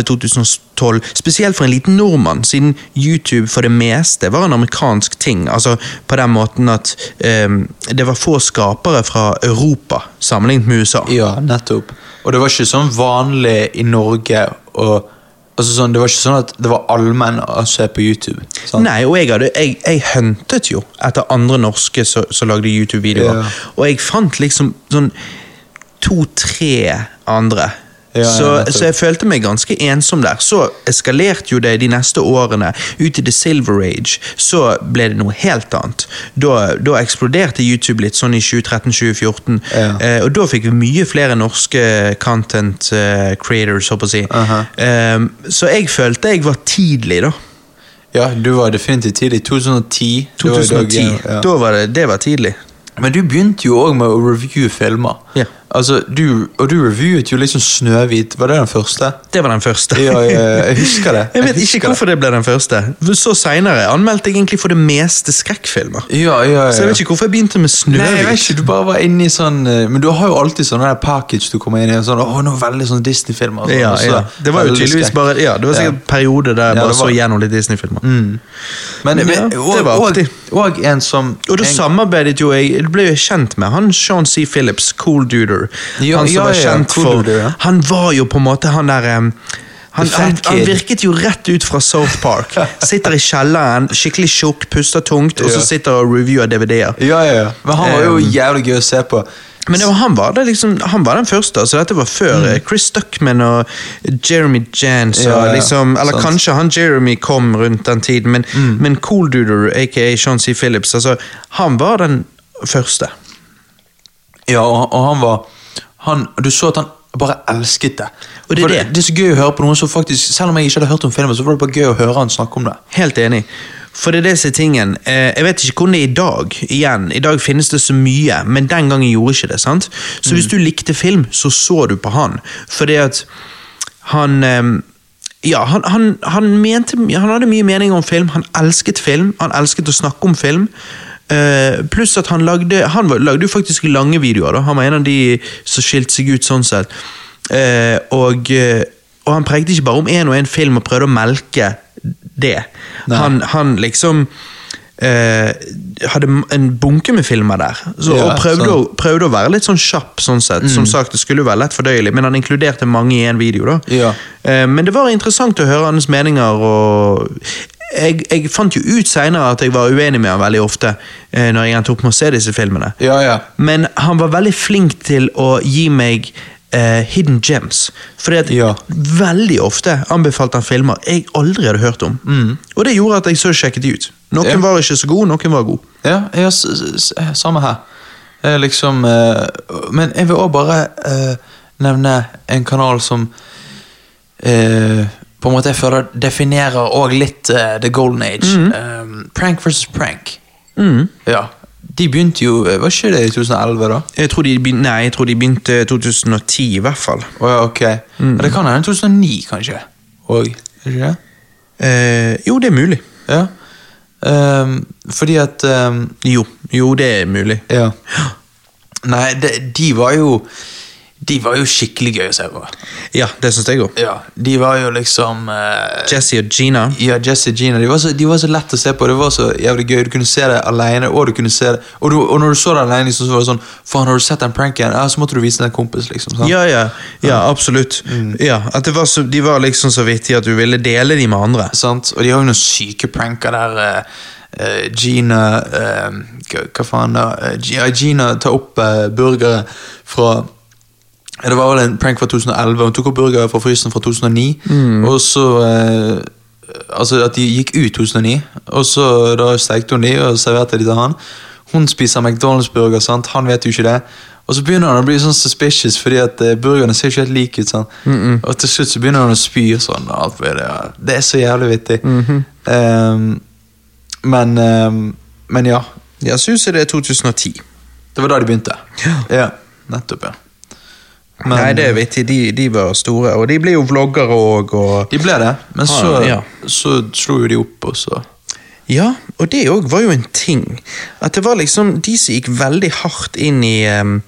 2011-2012, spesielt for en liten nordmann, siden YouTube for det meste var en amerikansk ting, altså på den måten at ehm, det var få skapere fra Europa sammenlignet med USA. Ja, nettopp. Og det var ikke sånn vanlig i Norge å altså sånn, Det var ikke sånn at det var allmenn å se på YouTube. Sant? Nei, og jeg, hadde, jeg, jeg huntet jo etter andre norske som som lagde YouTube-videoer. Ja. Og jeg fant liksom sånn to-tre andre. Ja, ja, så, nettopp. så jeg følte meg ganske ensom der. Så eskalerte jo det de neste årene. Ut i The Silver Age så ble det noe helt annet. Da, da eksploderte YouTube litt sånn i 2013-2014. Ja. Eh, og da fikk vi mye flere norske content eh, creators, håper jeg å si. Aha. Eh, så jeg følte jeg var tidlig, da. Ja, du var definitivt tidlig. 2010. det var i dag, 2010. ja. Da var det, det var tidlig. Men du begynte jo òg med å reviewe filmer. Ja. Altså, du, og du reviewet jo liksom Snøhvit. Var det den første? Det var den første. Ja, jeg, jeg husker det. Jeg vet husker ikke hvorfor det ble den første. Så seinere anmeldte jeg egentlig for det meste skrekkfilmer. det. Ja, ja, ja. Så jeg vet ikke hvorfor jeg begynte med Nei, jeg vet Snøhvit. ikke, du bare var inne i sånn eh, Men du har jo alltid sånn der package du kommer inn i. og Sånn, Åh, nå er veldig sånn Disney-filmer. og sånn, Ja, og så- ja. Det var jo veldig tydeligvis skrekk. bare Ja, det var sikkert en periode der jeg Ja, bare det var- Mm. så gjennom litt Disney-filmer. Men, men Ja, det og, var og, artig. og en som Og da en- samarbeidet jo jeg jeg ble jo kjent med han Sean C. Phillips, Cool Duder. Ja, han som ja, var ja, kjent Cool for Duder, ja. Han var jo på en måte han der em, han, The fat han, han kid. virket jo rett ut fra South Park. Sitter i kjelleren, skikkelig tjukk, puster tungt, og så Ja. sitter og reviewer DVD-er. Ja, ja, ja. Men han var jo Eh, jævlig gøy å se på. Men det var, han, var det liksom, han var den første, altså dette var før eh, Chris Stuckman og Jeremy Jans. Mm. Ja, og ja, liksom, eller sant. Mm. kanskje han Jeremy kom rundt den tiden, men, men Cool Duder, aka Sean C. Phillips, altså, han var den første. Ja, og, og han var han, Du så at han bare elsket det. Og det er For det. det er så gøy å høre på noen som faktisk Selv om jeg ikke hadde hørt om filmen, så var det bare gøy å høre han snakke om det. Helt enig. For det er det som er tingen. Eh, Jeg vet ikke hvordan det er i dag. Igjen, I dag finnes det så mye, men den gangen gjorde ikke det. sant? Så hvis du likte film, så så du på han. Fordi at han eh, Ja, han, han, han, mente, han hadde mye mening om film. Han elsket film. Han elsket å snakke om film. Eh, Pluss at han lagde Han var- lagde jo faktisk lange videoer. da Han var en av de som skilte seg ut sånn sett. Eh, og, eh, og han prekte ikke bare om én og én film og prøvde å melke det. Nei. Han, han liksom eh, hadde m- en bunke med filmer der, så, Ja, og prøvde sant. Mm. å, prøvde å være litt sånn kjapp. sånn sett. Som sagt, Det skulle jo være lett fordøyelig, men han inkluderte mange i én video. da. Ja. Eh, men det var interessant å høre hans meninger. og... Jeg, jeg fant jo ut senere at jeg var uenig med han veldig ofte. eh, når jeg endte opp med å se disse filmene. Ja, ja. Men han var veldig flink til å gi meg eh, hidden gems. Fordi at Ja. veldig ofte anbefalte han filmer jeg aldri hadde hørt om. Og det gjorde at jeg så sjekket de ut. Noen Ja. var ikke så gode, noen var gode. Ja, ja s s s- samme her. Jeg liksom eh, Men jeg vil òg bare eh, nevne en kanal som eh, på en måte jeg føler definerer òg litt eh, the golden age. Mhm. Eh, prank versus prank. Mm. Ja. De begynte jo eh, Var ikke det i 2011, da? Jeg tror de, begyn- nei, jeg tror de begynte 2010 i hvert fall. Å ja, ok. Ja, Det kan hende 2009, kanskje. Og, er det ikke det? Eh, jo, det er mulig. Ja. Ehm, fordi at ehm, Jo, jo, det er mulig. Ja. Nei, det, de var jo De var jo skikkelig gøye å se på. Ja, det syns jeg òg. Ja, de var jo liksom eh, Jesse og Gina. Ja, Jesse og Gina, de var, så, de var så lett å se på. Det var så jævlig gøy. Du kunne se det alene, og du kunne se det Og, du, og når du så det alene, liksom, så var det sånn Faen, har du sett den pranken? Ja, så måtte du vise den en kompis, liksom. Sant? Ja, ja, ja, Mm. absolutt. Ja, at det var så, De var liksom så vittige at du ville dele de med andre. Sant? Og de har jo noen syke pranker der. eh, eh, Gina eh, hva, hva faen da? Eh, Gi- ja, Gina tar opp eh, burgere fra Ja, Det var vel en prank fra 2011. Hun tok opp burgere fra frysen fra 2009. Mm. Og så eh, Altså at de gikk ut 2009, og så da stekte hun de og serverte de til han. Hun spiser McDonald's-burger, sant? han vet jo ikke det. Og så begynner han å bli sånn suspicious, fordi at eh, burgerne ser ikke helt like ut. sant? Og til slutt så begynner han å spy og sånn. og alt mulig, ja. Det er så jævlig vittig. Mm-hmm. Ehm, men, ehm, men ja. Ja, så husker jeg det er 2010. Det var da de begynte. Ja. nettopp, ja. Nei, det er vittig. De, de var store, og de ble jo vloggere òg. Og... De ble det, men så, Ah, ja. så slo jo de opp, og så Ja, og det òg var jo en ting. At det var liksom de som gikk veldig hardt inn i em,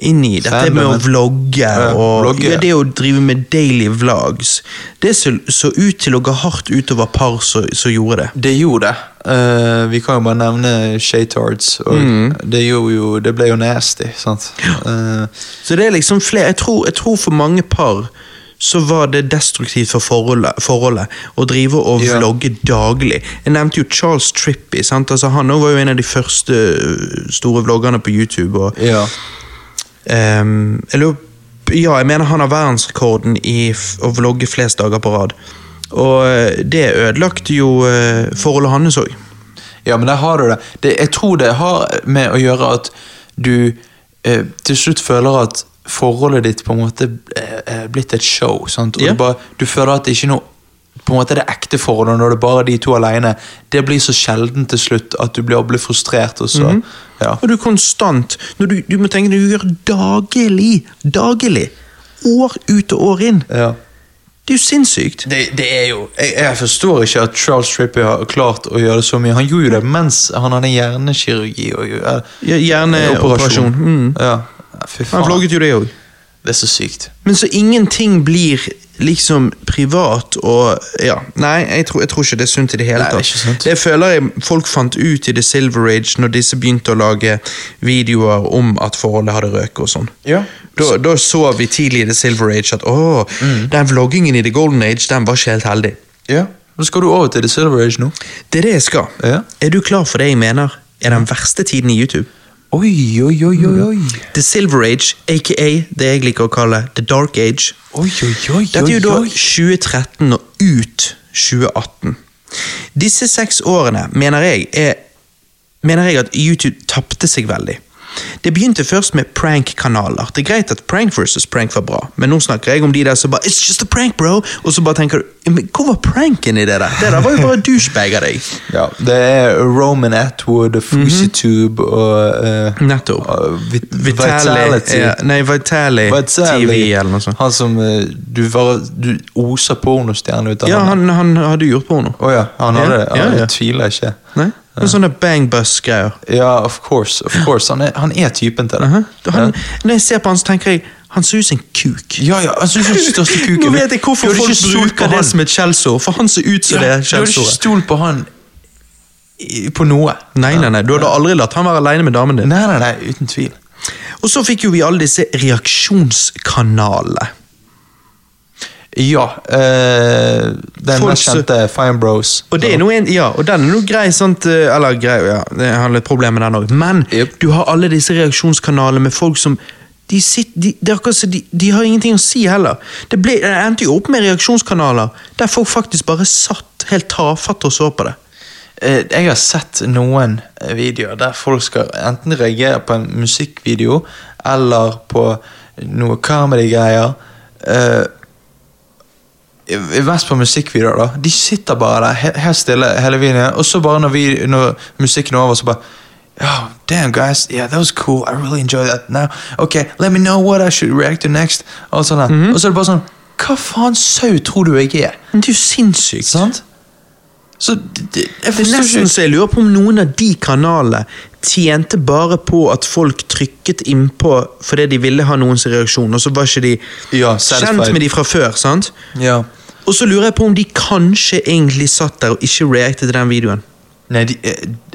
inn i dette med å Fandomen. vlogge Ja, og vlogge, ja, ja. det å drive med daily vlogs. Det så, så ut til å gå hardt utover par som som gjorde det. Det gjorde det. Eh, vi kan jo bare nevne Shaytards. Og Mm. det, gjorde jo, det ble jo nasty, sant. Eh, Så det er liksom flere jeg tror, jeg tror for mange par så var det destruktivt for forholdet, forholdet å drive og Ja. vlogge daglig. Jeg nevnte jo Charles Trippy. sant? Altså, han også var jo en av de første øh, store vloggerne på YouTube. og ja. ehm, jeg lurer, Ja, jeg mener han har verdensrekorden i f å vlogge flest dager på rad. Og øh, det ødelagte jo øh, forholdet hans òg. ja, men der har du det. det. Jeg tror det har med å gjøre at du eh, til slutt føler at forholdet ditt på en måte eh, er blitt et show. sant? Og Ja. du, bare, du føler at det ikke er noe på en måte det ekte forholdet når det er bare de to alene. Det blir så sjelden til slutt at du blir, blir frustrert. og så... Mhm. ja. Og du er konstant når du, du må tenke deg, du gjør daglig. Daglig. År ut og år inn. ja. Det er jo sinnssykt. Det, det er jo jeg, jeg forstår ikke at Charles Trippie har klart å gjøre så mye. Han gjorde jo det mens han hadde hjernekirurgi. Og, eh, Ja, Hjerneoperasjon. Mm. Ja, fy Han faen. vlogget jo det òg. Det er så sykt. Men så ingenting blir liksom privat og ja, Nei, jeg tror, jeg tror ikke det er sunt i det hele Nei, det er tatt. ikke sant. Det føler jeg folk fant ut i The Silver Age, når disse begynte å lage videoer om at forholdet hadde røket og sånn. Ja. Da, da så vi tidlig i The Silver Age at å, Mm. den vloggingen i The Golden Age, den var ikke helt heldig. Ja. Nå skal du over til The Silver Age nå. Det er det jeg skal. Ja. Er du klar for det jeg mener er den verste tiden i YouTube? Oi, oi, oi, oi, oi. The Silver Age, aka det jeg liker å kalle The Dark Age. Oi, oi, oi, Dette er jo da oi, oi. 2013 og ut 2018. Disse seks årene mener jeg, er, mener jeg at YouTube tapte seg veldig. Det begynte først med prank-kanaler. Det er greit at prank versus prank var bra, men nå snakker jeg om de der som bare It's just a prank, bro! Og så bare tenker du Men hvor var pranken i det der? Det der var jo bare douchebag av deg. Ja, det er Roman Atwood og Fusitube og eh, Nettopp. og Vit- Vitality. Ja, nei, Vitali Vitality. TV eller noe sånt. Han som eh, du, var, du oser pornostjerne ut av. Ja, han, han hadde gjort porno. Å ja, han hadde Ja, det. ja, Ja, ja. Jeg tviler ikke. Nei? Noen sånne bang bus-greier. Ja, of course. of course. Han er, han er typen til det. Aha. Da Uh-huh. Han, Når jeg ser på han, så tenker jeg han ser ut som en kuk. Ja, ja, han synes han er den største kuken. Nå vet jeg hvorfor Du hadde folk ikke stolt på bruker det han. som et skjellsord, for han ser ut som det Ja, er Du hadde ikke skjellsordet. stolt på han i- på noe. Nei, nei, nei, du hadde aldri latt han være aleine med damen din. Nei, nei, nei, uten tvil. Og så fikk jo vi alle disse reaksjonskanalene. Ja. eh, den Folk mest så- kjente Fine Bros. Og det er noe en, ja, og den er noe grei, sant, eh, eller grei, ja, det har litt problemer med den òg, men Jep. du har alle disse reaksjonskanalene med folk som de, sitter, de, det er akkurat som de, de har ingenting å si heller. Det, ble, det endte jo opp med reaksjonskanaler der folk faktisk bare satt helt tafatt og så på det. Eh, Jeg har sett noen eh, videoer der folk skal enten reagere på en musikkvideo eller på noe comedy-greier. Eh, i- i- Mest på musikkvideoer, da. De sitter bare der he- helt stille hele videoen, og så bare når, vi, når musikken er over, så bare Oh, damn, guys. Yeah, that was cool. I really enjoyed that. Now, okay, let me know what I should react to next. Og, sånn der. Mhm. og så er det bare sånn Hva faen sau tror du jeg er? Men det er jo sinnssykt. Sant? Så det, det, jeg Det er forstår ikke nesten så jeg lurer på om noen av de kanalene tjente bare på at folk trykket innpå fordi de ville ha noens reaksjon, og så var ikke de Ja, satisfied. kjent med de fra før. sant? Ja. Og så lurer jeg på om de kanskje egentlig satt der og ikke reacte til den videoen. Nei, de, eh,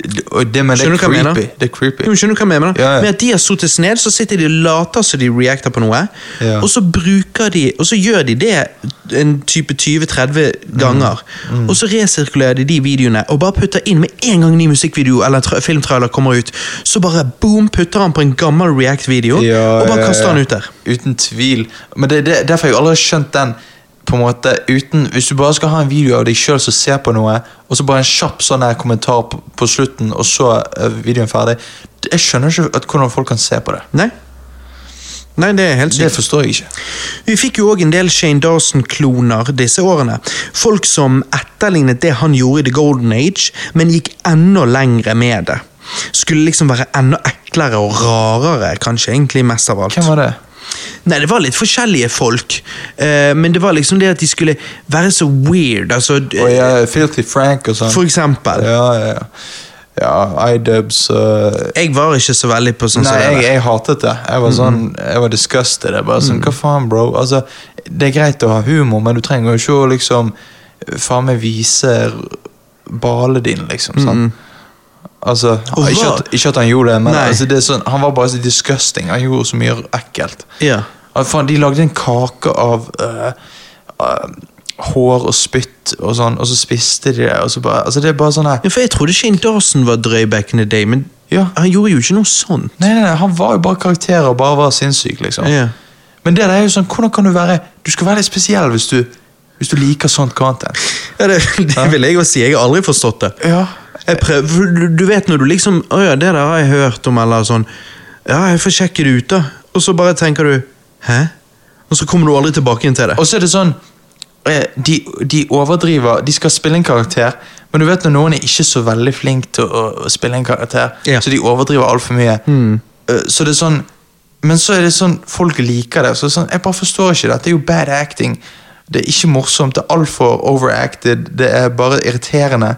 d- og det, men det er Skjønner du hva jeg creepy. mener? Det er creepy. Jo, men skjønner du hva jeg mener? Ja, ja. Med at de har sottes ned, så sitter de og later som de reacter på noe, Ja. og så bruker de, og så gjør de det en type 20-30 ganger, Mm, og så resirkulerer de de videoene, og bare putter inn med en gang ny musikkvideo eller tra filmtrailer kommer ut, så bare boom, putter han på en gammel react-video, Ja, og ja, bare ja, kaster ja. han ut der. Uten tvil. Men det, det, derfor har jeg aldri skjønt den. på en måte, uten, Hvis du bare skal ha en video av deg sjøl som ser på noe, og så bare en kjapp sånn her kommentar på, på slutten, og så er videoen ferdig Jeg skjønner ikke at, hvordan folk kan se på det. Nei? Nei, det er helt sykt. Det forstår jeg ikke. Vi fikk jo òg en del Shane Dawson-kloner disse årene. Folk som etterlignet det han gjorde i The Golden Age, men gikk enda lengre med det. Skulle liksom være enda eklere og rarere, kanskje egentlig mest av alt. Hvem var det? Nei, det var litt forskjellige folk, eh, men det var liksom det at de skulle være så weird, altså d- Og jeg, Filthy Frank og sånn. For eksempel. Ja, ja, ja. ja iDubs eh, Jeg var ikke så veldig på sånn som Nei, det Mhm. jeg, der. jeg hatet det. Jeg var sånn, jeg var disgusted. Jeg bare sånn, Hva faen, bro? Altså, det er greit å ha humor, men du trenger jo ikke å liksom faen meg vise bale din, liksom. sant? Altså, Og ikke Mhm. hva- at, ikke at han gjorde det, men Nei. altså, det er sånn, han var bare så disgusting. Han gjorde så mye ekkelt. Ja. Ja, faen, de lagde en kake av øh, øh, hår og spytt og sånn, og så spiste de det. Og så bare, altså, det er bare sånn her Ja, for jeg trodde Shane Dawson var drøy back in the day, men Ja. han gjorde jo ikke noe sånt. Nei, nei, nei, han var jo bare karakterer og bare var sinnssyk, liksom. Ja. Men det der er jo sånn, hvordan kan du være Du skal være litt spesiell hvis du, hvis du liker sånt content. Ja, det, det vil jeg jo si. Jeg har aldri forstått det. Ja. Jeg prøver, for du- du vet når du liksom Å ja, det der har jeg hørt om, eller sånn. Ja, jeg får sjekke det ut, da. Og så bare tenker du Hæ? Og så kommer du aldri tilbake igjen til det. Og så er det sånn eh, de, de overdriver De skal spille en karakter, men du vet når noen er ikke så veldig flink til å, å spille en karakter, Ja. så de overdriver altfor mye. Eh, Så det er sånn Men så er det sånn Folk liker det. Så det er sånn, jeg bare forstår ikke det. Det er jo bad acting. Det er ikke morsomt. Det er altfor overacted. Det er bare irriterende.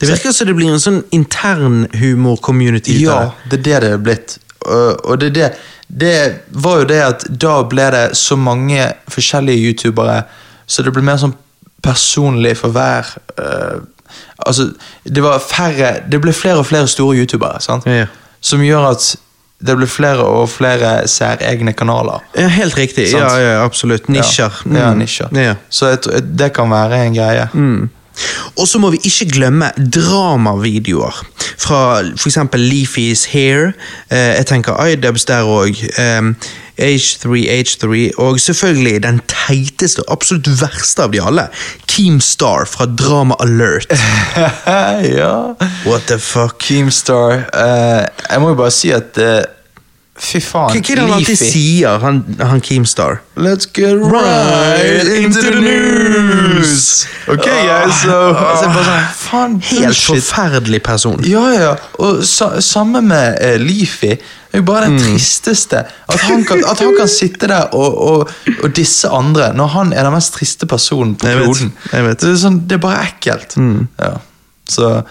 Det virker som det blir en sånn intern humor-community. ut av Ja, det er det det er blitt. Og og det, er det, det var jo det at da ble det så mange forskjellige youtubere, så det ble mer sånn personlig for hver eh, Altså, det var færre Det ble flere og flere store youtubere, sant? Ja, ja. Som gjør at det ble flere og flere særegne kanaler. det. Ja, helt riktig. Sant. Ja, ja, absolutt. Nisjer. Ja, ja, Mm. nisjer. Ja. Mm. Så jeg, tror- det kan være en greie. Og så må vi ikke glemme dramavideoer. Fra f.eks. Leafy is here. Eh, jeg tenker iDubs der Ehm, òg. H3, H3. Og selvfølgelig den teiteste og absolutt verste av de alle. Keemstar fra Drama Alert. ja. What the fuck? Keemstar eh, Jeg må jo bare si at eh, Fy Hva faen, hva er det han alltid sier, han, han Keemstar? Let's get right into the news. Ah. Ok, guys, so altså, bare sånn, faen, Helt bullshit. forferdelig person. Ja, ja, og sa, samme med eh, Leafy. Det er jo bare den Mm. tristeste. At han kan, at han kan sitte der og, og, og disse andre, når han er den mest triste personen på Jeg vet, kloden. jeg vet. Mm. Det, er sånn, det er bare ekkelt. Ja. Så eh,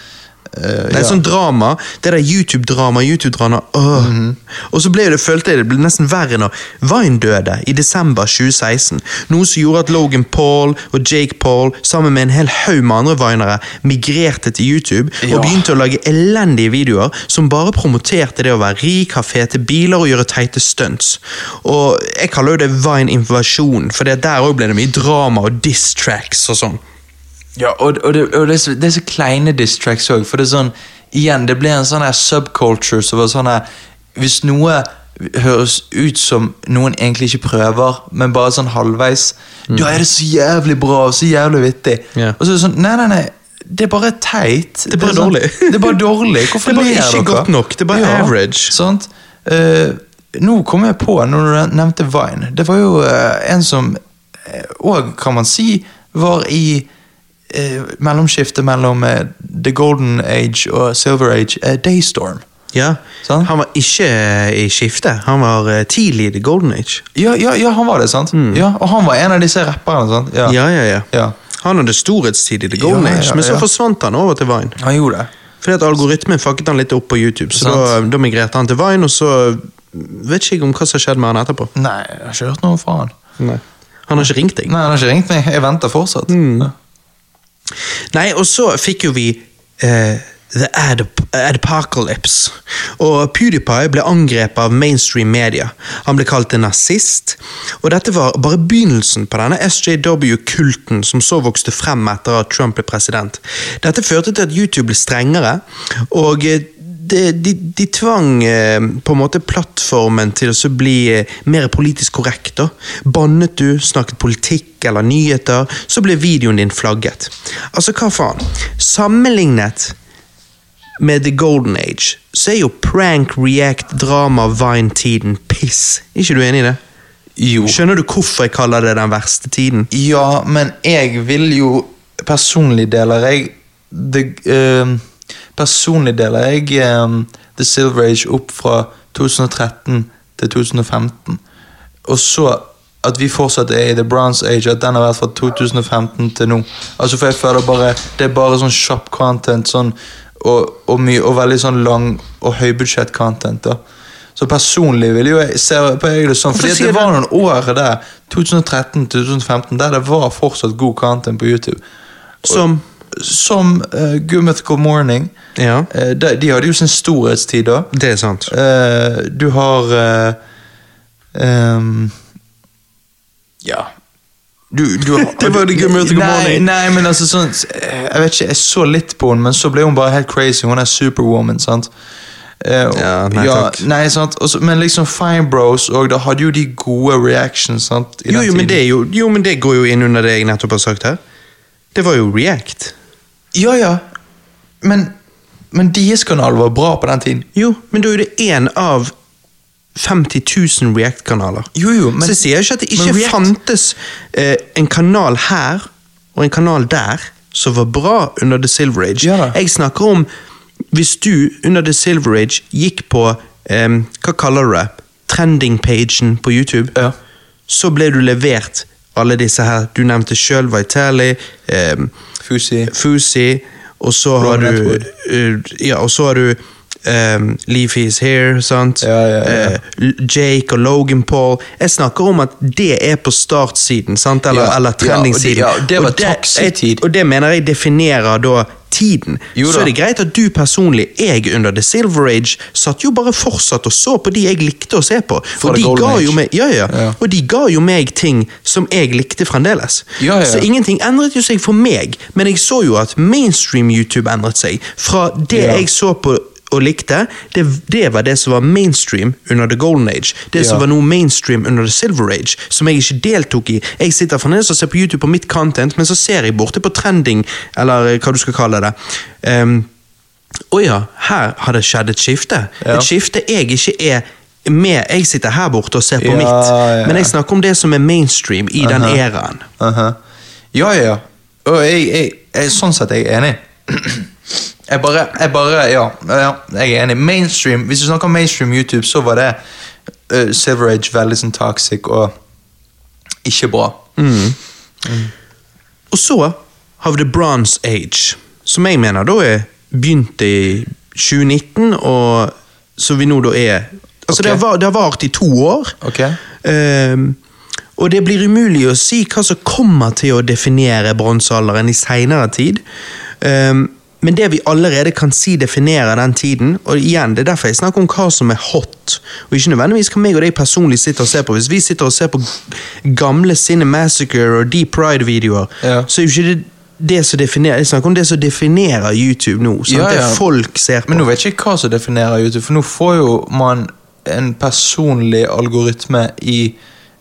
Nei, ja. sånn drama. Det der YouTube-drama, YouTube-drama. åh. Mhm. Og så ble jo det, følte jeg det ble nesten verre når Vine døde i desember 2016. Noe som gjorde at Logan Paul og Jake Paul sammen med en hel haug med andre vinere migrerte til YouTube Ja. og begynte å lage elendige videoer som bare promoterte det å være rik, ha fete biler og gjøre teite stunts. Og jeg kaller jo det Vine-invasjon, for det der òg ble det mye drama og diss-tracks og sånn. Ja, og, og, det, og det, er så, det er så kleine distracts òg, for det er sånn Igjen, det ble en sånn her subculture som var sånn her Hvis noe høres ut som noen egentlig ikke prøver, men bare sånn halvveis, da er det så jævlig bra og så jævlig vittig. Mm. Ja. Og så er det sånn Nei, nei, nei. Det er bare teit. Det er bare sånn- dårlig. Det er bare dårlig. Hvorfor Det er bare ler dere? ikke godt nok. Det er bare average. Sant? Eh, nå kom jeg på, når du nevnte Vine Det var jo eh, en som òg, kan man si, var i eh, mellomskiftet mellom eh, The Golden Age og Silver Age, eh, Daystorm. Ja, Sant? Han var ikke eh, i skiftet. Han var eh, tidlig i The Golden Age. Ja, ja, ja, han var det, sant? Ja, og han var en av disse rapperne. sant? Mm. Ja, ja, ja. Ja. Han hadde storhetstid i The Golden Ja, ja, Age, men så ja. forsvant han over til Vine. Han gjorde det. Fordi at algoritmen fucket han litt opp på YouTube, så da, da migrerte han til Vine, og så mm, vet ikke jeg om hva som har skjedd med han etterpå. Nei, jeg har ikke hørt noe fra han. Han har ikke ringt deg. Nei, han har ikke ringt meg. Jeg venter fortsatt. Mm. Ja. Nei, og så fikk jo vi eh, The Adap Adpocalypse. Og PewDiePie ble angrepet av mainstream media. Han ble kalt en nazist, og dette var bare begynnelsen på denne SJW-kulten som så vokste frem etter at Trump ble president. Dette førte til at YouTube ble strengere, og eh, de, de, de tvang eh, på en måte plattformen til å så bli eh, mer politisk korrekt. da. Bannet du, snakket politikk eller nyheter, så ble videoen din flagget. Altså, hva faen? Sammenlignet med The Golden Age, så er jo prank, react, drama, vine-tiden piss. Er ikke du enig i det? Jo. Skjønner du hvorfor jeg kaller det den verste tiden? Ja, men jeg vil jo Personlig deler jeg det, ehm, Personlig deler jeg ehm, The Silver Age opp fra 2013 til 2015. Og så at vi fortsatt er i The Bronze Age, at den har vært fra 2015 til nå. Altså for jeg føler bare Det er bare sånn kjapp content sånn, og, og, mye, og veldig sånn lang og høybudsjett content. da så personlig vil jo jeg se på jeg det sånn, fordi at sier det du- var noen år der, 2013-2015, der det var fortsatt god content på YouTube. Som Som eh, Good Mythical Morning. Ja, Eh, de, de hadde jo sin storhetstid da. det er sant. Eh, du har eh, ehm, Ja. Du, du har, Det var det Good Mythical nei, Morning. Nei, men altså sånn eh, Jeg vet ikke, jeg så litt på henne, men så ble hun bare helt crazy. Hun er superwoman, sant? Eh, og- Ja, nei, takk. Nei, sant? Og så- men liksom Fine Bros og da hadde jo de gode reactions, sant? i Jo, den jo, men tiden. det er jo, jo, men det går jo inn under det jeg nettopp har sagt her. Det var jo react. Ja, ja. Men, men deres kanal var bra på den tiden. Jo, men da er det én av 50 000 React-kanaler. Jo, jo, men- Så jeg sier ikke at det ikke men React- fantes eh, en kanal her og en kanal der som var bra under The Silver Age. Ja da. jeg snakker om hvis du under The Silver Age gikk på em, Hva kaller du det? Trending-pagen på YouTube. Ja. Så ble du levert alle disse her. Du nevnte sjøl Vitali. Um, Fusi. Fusi, og så har Robin du Atwood. eh, Ja, og så har du um, Leafy is here, sant? Ja, ja, ja. Eh, L- Jake og Logan Paul. Jeg snakker om at det er på startsiden, sant? Eller, Ja, eller ja, trendingsiden. og det- ja, det var Og taxitid. Og det mener jeg definerer da tiden. Jo Så da. er det greit at du personlig, jeg under The Silver Age, satt jo bare fortsatt og så på de jeg likte å se på. Fra og The de Golden ga Age. jo meg, ja, ja, Ja. Og de ga jo meg ting som jeg likte fremdeles. Ja, ja, ja. Så ingenting endret jo seg for meg, men jeg så jo at mainstream YouTube endret seg. Fra det Ja. jeg så på og likte, det, det var det som var mainstream under The Golden Age. Det Ja. som var noe mainstream under The Silver Age, som jeg ikke deltok i. Jeg sitter fremdeles og ser på YouTube på mitt content, men så ser jeg borte på trending, eller eh, hva du skal kalle det. Um, å ja, her har det skjedd et skifte. Ja. Et skifte jeg ikke er med. Jeg sitter her borte og ser på Ja, mitt, ja, men ja. jeg snakker om det som er mainstream i den Aha. æraen. Aha. Ja, ja, ja. Og jeg, jeg, jeg, sånn sett er jeg enig. Jeg bare, jeg bare ja, ja, jeg er enig. Mainstream, Hvis du snakker om mainstream YouTube, så var det uh, Silver Age veldig sånn toxic og ikke bra. Og så har vi The Bronze Age, som jeg mener da er begynt i 2019, og så vi nå da er Altså, Ok. det har var- det har vart i to år. Ok. Ehm, og det blir umulig å si hva som kommer til å definere bronsealderen i seinere tid. Ehm, men det vi allerede kan si definerer den tiden, og igjen, det er derfor jeg snakker om hva som er hot, og ikke nødvendigvis hva meg og deg personlig sitter og ser på. Hvis vi sitter og ser på gamle Cine Massacre og Deep Pride-videoer, Ja. så er jo ikke det det som definerer, Jeg snakker om det som definerer YouTube nå. Sant? Ja, ja. Det folk ser på. Men nå vet jeg ikke hva som definerer YouTube, for nå får jo man en personlig algoritme i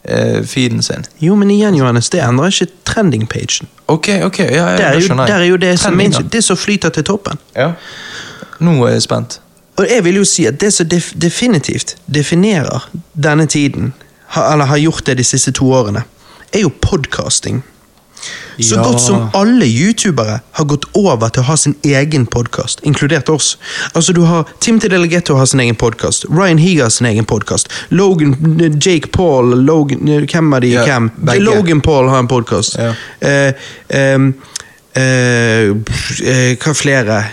eh, feeden sin. Jo, men igjen, Johannes, det endrer ikke trending-pagen. Ok, ok, ja, ja, Der er, Eh, det jo, skjønner jeg. der er jo det som, Trending, mainstream- det som flyter til toppen. da. Ja. Nå er jeg spent. Og jeg vil jo si at det som def definitivt definerer denne tiden, ha, eller har gjort det de siste to årene, er jo podcasting. Så Ja. godt som alle youtubere har gått over til å ha sin egen podkast, inkludert oss. Altså Du har Tim til Delegato har sin egen podkast, Ryan Higa har sin egen podkast, Logan, Jake Paul Logan, Hvem er de? Ja, hvem? begge. Logan Paul har en podkast. Ja. Eh, ehm, eh, eh, Hva flere?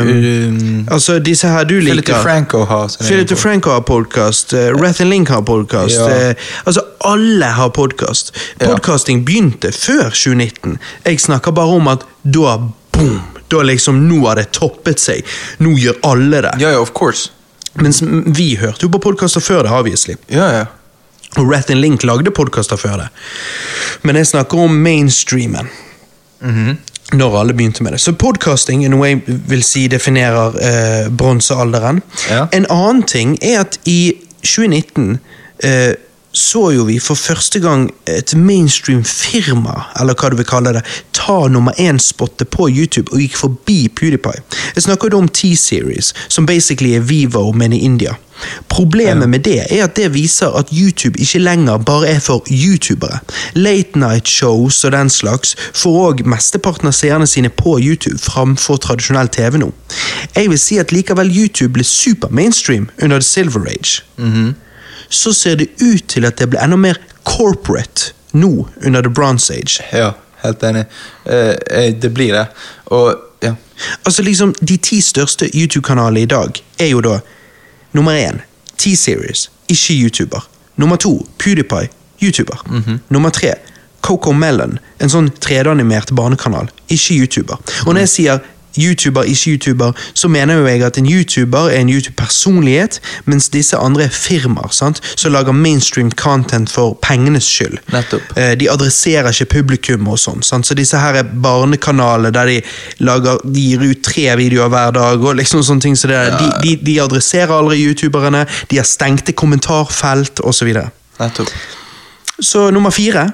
Eh, um, altså, disse her du Philip liker. DeFranco har sin Philip egen DeFranco har podkast, uh, Rathan Link har podkast. Ja. altså, alle har podkast. Ja. Podkasting begynte før 2019. Jeg snakker bare om at da boom! Da liksom, nå har det toppet seg. Nå gjør alle det. pod- Ja, ja, of course. Mens vi hørte jo på podkaster før det, obviously. Ja, ja. Og Rat and Link lagde podkaster før det. Men jeg snakker om mainstreamen. Når alle begynte med det. Så podcasting in a way, vil si definerer eh, bronsealderen. Ja. En annen ting er at i 2019 eh, så jo vi for første gang et mainstream firma, eller hva du vil kalle det, ta nummer én-spottet på YouTube og gikk forbi PewDiePie. Jeg snakker da om T-series, som basically er Vivo, men i India. Problemet med det er at det viser at YouTube ikke lenger bare er for youtubere. Late night shows og den slags får òg mesteparten av seerne sine på YouTube framfor tradisjonell TV nå. Jeg vil si at likevel YouTube ble super mainstream under The Silver Age. Så ser det ut til at det ble enda mer corporate nå under The Bronze Age. ja helt enig. Eh, eh, det blir det. Og ja. Altså liksom, De ti største YouTube-kanalene i dag er jo da nummer én T-Series, ikke YouTuber. Nummer to PewDiePie, YouTuber. Nummer tre Coco Melon, en sånn 3D-animert barnekanal, ikke YouTuber. Og når jeg sier YouTuber, ikke YouTuber, så mener jo jeg at en YouTuber er en YouTube-personlighet, mens disse andre er firmaer sant? som lager mainstream content for pengenes skyld. Nettopp. Eh, De adresserer ikke publikum og sånn. sant? Så disse her er barnekanaler der de, lager, de gir ut tre videoer hver dag. og liksom sånne ting. Så det er, de, de, de adresserer aldri youtuberne, de har stengte kommentarfelt osv. Så, videre. Nettopp. så nummer fire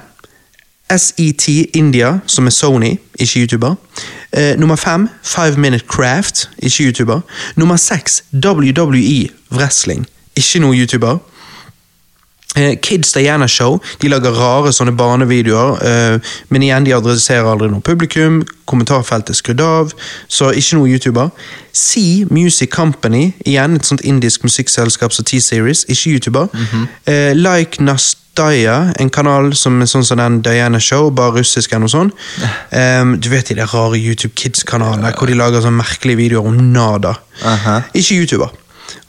SET India, som er Sony, ikke youtuber. Eh, nummer fem Five Minute Craft, ikke youtuber. Nummer seks WWE Wrestling, ikke noe youtuber. Eh, Kids Diana Show de lager rare sånne barnevideoer, eh, men igjen, de adresserer aldri noe publikum. Kommentarfeltet er skrudd av, så ikke noe YouTuber. Sea Music Company, igjen et sånt indisk musikkselskap som T-Series, ikke YouTuber. eh, like Nastaya, en kanal som er sånn som den Diana Show, bare russisk eller noe sånt. Em, du vet de der rare YouTube Kids-kanalene hvor de lager sånne merkelige videoer om Nada. Aha. Ikke YouTuber.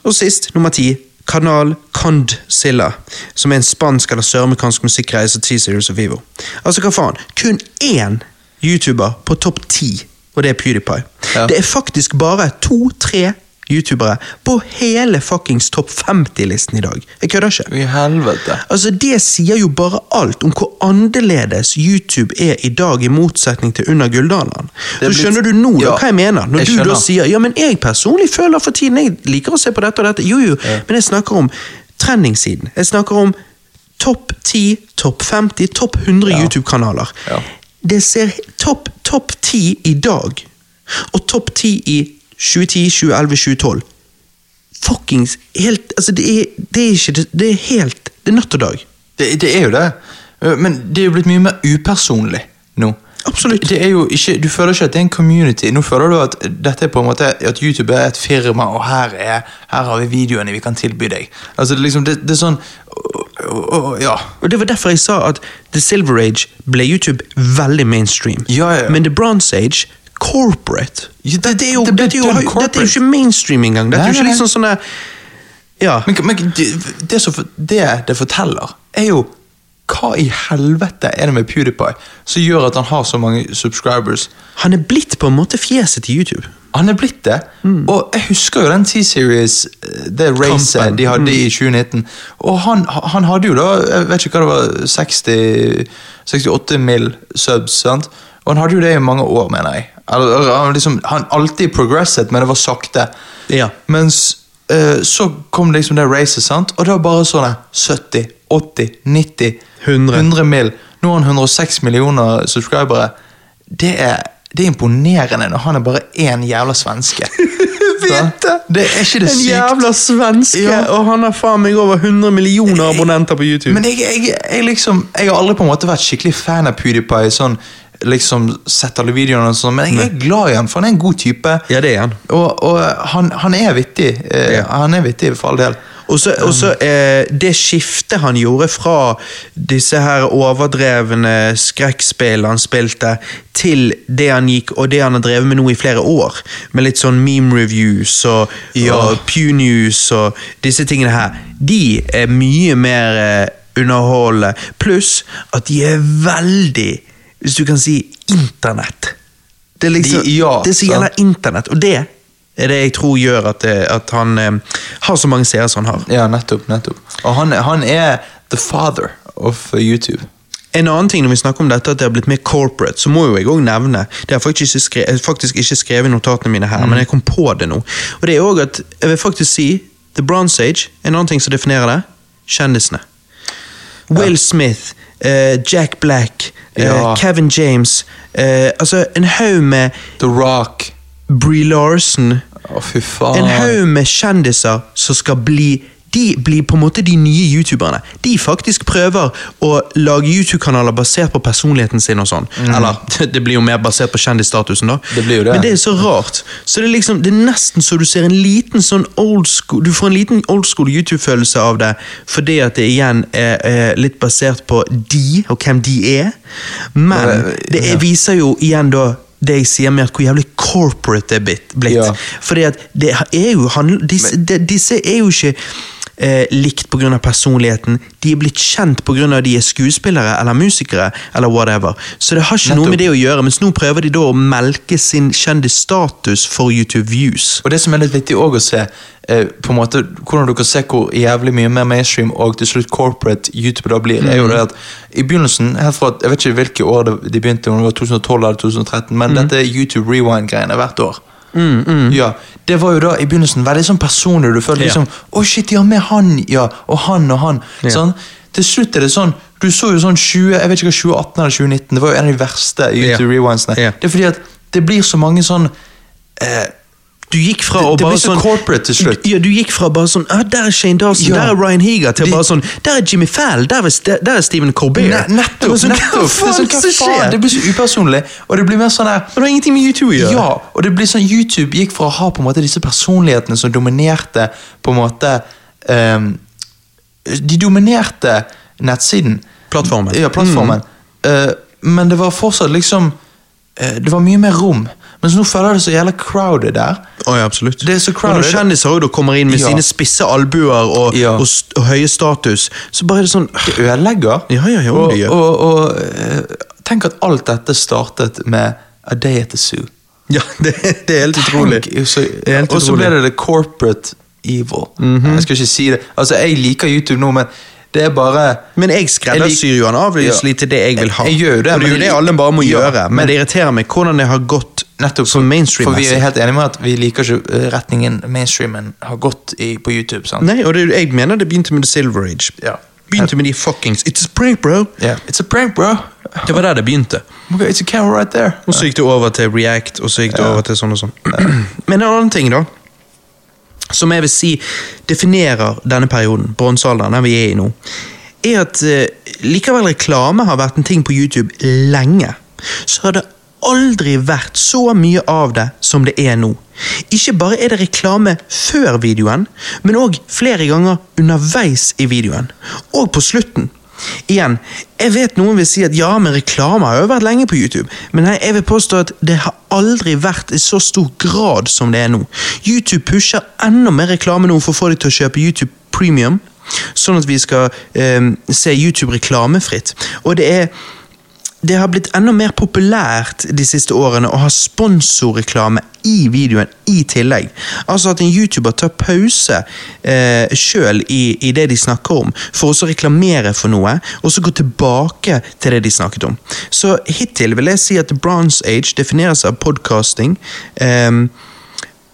Og sist, nummer ti, kanal Condzilla, som er en spansk eller sørmekransk musikkreise som T-Series og Vivo. Altså, hva faen? Kun én YouTuber på topp ti, og det er PewDiePie. Ja. Det er faktisk bare to-tre YouTubere på hele fuckings topp 50-listen i dag. Jeg kødder ikke. I helvete. Altså, Det sier jo bare alt om hvor annerledes YouTube er i dag, i motsetning til under gullalderen. Så Det er blitt- skjønner du nå da, Ja, hva jeg mener, når jeg du da skjønner. sier ja, men jeg personlig føler for tiden jeg liker å se på dette og dette. Jo, jo, men jeg snakker om trendingsiden. Jeg snakker om topp 10, topp 50, topp 100 Ja. YouTube-kanaler. Ja. Det ser topp topp 10 i dag, og topp 10 i 2010, 2011, 2012 fuckings helt Altså, det er, det er ikke det, det er helt Det er natt og dag. Det, det er jo det. Eh, Men det er jo blitt mye mer upersonlig nå. Absolutt. Det er jo ikke, du føler ikke at det er en community. Nå føler du at dette er på en måte At YouTube er et firma, og her, er, her har vi videoene vi kan tilby deg. Altså det er liksom, det, det er sånn å, å, å, Ja. Og Det var derfor jeg sa at The Silver Age ble YouTube veldig mainstream. Ja, ja, ja. Men The Bronze Age corporate. Ja, det- er jo, det ble dette, er jo, dønn dette er jo corporate. ikke mainstream engang. Dette er jo Nei, ikke nei, liksom sånne Ja. Men, men det, det, som, det det forteller, er jo Hva i helvete er det med PewDiePie som gjør at han har så mange subscribers? Han er blitt på en måte fjeset til YouTube. Han er blitt det. Mm. Og jeg husker jo den T-series, eh, det racet Kampen. Mm. de hadde i 2019. Og han, han hadde jo da, jeg vet ikke hva det var, 60, 68 mill. subs, sant? Og han hadde jo det i mange år, mener jeg. Eller, eller han, liksom, han alltid progresset, men det var sakte. Ja. Mens eh, så kom liksom det racet, sant? Og det var bare sånn eh, 70, 80, 90, 100. 100 mill. Nå har han 106 millioner subscribere. Det er, det er imponerende når han er bare én jævla svenske. vet det. det! er ikke det En sykt. jævla svenske, Ja. og han har faen meg over 100 millioner abonnenter på YouTube. Men jeg, jeg, jeg, liksom, jeg har aldri på en måte vært skikkelig fan av PewDiePie. Sånn, liksom Sett alle videoene og sånn, men jeg er glad i han, for han er en god type. ja, det er han. Og, og han, han er vittig. Eh, Ja. Han er vittig, for all del. Og så, og så eh, Det skiftet han gjorde fra disse her overdrevne skrekkspillene han spilte, til det han gikk og det han har drevet med nå i flere år, med litt sånn meme reviews og, og pew news og disse tingene her, de er mye mer eh, underholdende. Pluss at de er veldig, hvis du kan si, internett. Det er liksom, De- ja, det som sant. gjelder internett, og det er det jeg tror gjør at, det, at han eh, har så mange seere som han har. Ja, nettopp. nettopp. Og han, han er the father of YouTube. En annen ting når vi snakker om dette, at det har blitt mer corporate, så må jo jeg òg nevne Det har jeg faktisk ikke skrevet, faktisk ikke skrevet i notatene mine her, men jeg kom på det nå. Og det er òg at Jeg vil faktisk si The Bronze Age. En annen ting som definerer det, kjendisene. Will Smith, eh, Jack Black, eh, Ja. Kevin James eh, Altså, en haug med The Rock. Bree Larson. Å, fy faen. En haug med kjendiser som skal bli de blir på en måte de nye youtuberne. De faktisk prøver å lage YouTube-kanaler basert på personligheten sin. og sånn. Eller, det blir jo mer basert på kjendisstatusen, da. Mhm. Det blir jo det. Men det er så rart. Så det er liksom, det er nesten så du ser en liten sånn old school, Du får en liten old school YouTube-følelse av det, fordi at det igjen er, er litt basert på de, og hvem de er. Men Det- det er, ja. viser jo igjen da det jeg sier med at hvor jævlig corporate det er blitt. blitt. Ja. Fordi at det er jo handl- disse, de, disse er jo ikke eh, likt pga. personligheten. De er blitt kjent pga. de er skuespillere eller musikere. eller whatever. Så det har ikke noe Nettopp. med det å gjøre, mens nå prøver de da å melke sin kjendisstatus for YouTube Views. Og det som er litt viktig også å se, eh, på en måte, hvordan du kan se hvor jævlig mye mer mainstream og til slutt corporate YouTube da blir, Mm. er jo det at i begynnelsen, helt fra, jeg vet ikke hvilke år det- de begynte, om det var 2012 eller 2013, Mm. men dette er YouTube Rewind-greiene hvert år. Ja, Det var jo da i begynnelsen veldig sånn personlig. Du følte Ja. liksom Å, shit, ja, med han, ja, og han og han. Ja. Sånn? Til slutt er det sånn Du så jo sånn 20, jeg vet ikke hva 2018 eller 2019, det var jo en av de verste YouTube Ja. Rewindsene. Ja. Det er fordi at det blir så mange sånn eh, Du gikk fra Det- å det bare blir så sånn corporate til slutt. Ja, du gikk fra bare sånn ah, 'Der er Shane Dawson, Ja. der er Ryan Heager', til De- bare sånn 'Der er Jimmy Fallon, der, er Ste- der er Stephen Colbert'. Ne- Det var nettopp! sånn, nettopp. Hva faen det, er sånn, hva som skjer? faen? det blir så upersonlig, og det blir mer sånn der Og det har ingenting med YouTube å gjøre. Ja, og det blir sånn YouTube gikk fra å ha på en måte disse personlighetene som dominerte på en måte ehm, De dominerte nettsiden. Plattformen. Mm. Ja, plattformen. Eh, men det var fortsatt liksom eh, Det var mye mer rom. Mens nå føler jeg det så jævla crowded der. Oh, ja, absolutt. Det er så Og crowded. når kjendiser også da kommer inn med Ja. sine spisse albuer og, Ja. og, st- og høye status, så bare er det sånn Det ødelegger. Ja, ja, ja, og, det gjør. og, og eh, tenk at alt dette startet med A Day at the Zoo. Ja, det, det er helt utrolig. Tenk, så, Det er helt og så utrolig. ble det the corporate evil. Jeg skal ikke si det. Altså, jeg liker YouTube nå, men det er bare Men jeg skreddersyr jo han avlyselig Ja. til det jeg vil ha. Jeg- jeg gjør jo det, og det er jo men- det alle bare må Ja, gjøre, men men- det irriterer meg hvordan det har gått Nettopp. som For vi er mainstream-messig. helt enige med at vi liker ikke eh, retningen mainstreamen har gått i på YouTube. sant? Nei, og det, jeg mener det begynte med The Silver Age. Ja. Begynte med de fuckings It's a prank, bro! Ja. It's a prank, bro. Det var der det begynte. Okay, it's a camera right there. Og så gikk det over til React, og så gikk det over til sånn og sånn. Men en annen ting, da, som jeg vil si definerer denne perioden, bronsealderen, den vi er i nå, er at eh, likevel reklame har vært en ting på YouTube lenge, så har det aldri vært så mye av det som det er nå. Ikke bare er det reklame før videoen, men òg flere ganger underveis i videoen, og på slutten. Igjen, jeg vet noen vil si at ja, men reklame har jo vært lenge på YouTube. Men nei, jeg vil påstå at det har aldri vært i så stor grad som det er nå. YouTube pusher enda mer reklame nå for å få deg til å kjøpe YouTube Premium, sånn at vi skal eh, se YouTube reklamefritt. Og det er det har blitt enda mer populært de siste årene å ha sponsorreklame i videoen i tillegg. Altså at en YouTuber tar pause eh, sjøl i, i det de snakker om, for å så reklamere for noe, og så gå tilbake til det de snakket om. Så hittil vil jeg si at The Bronze Age defineres av podcasting. ehm,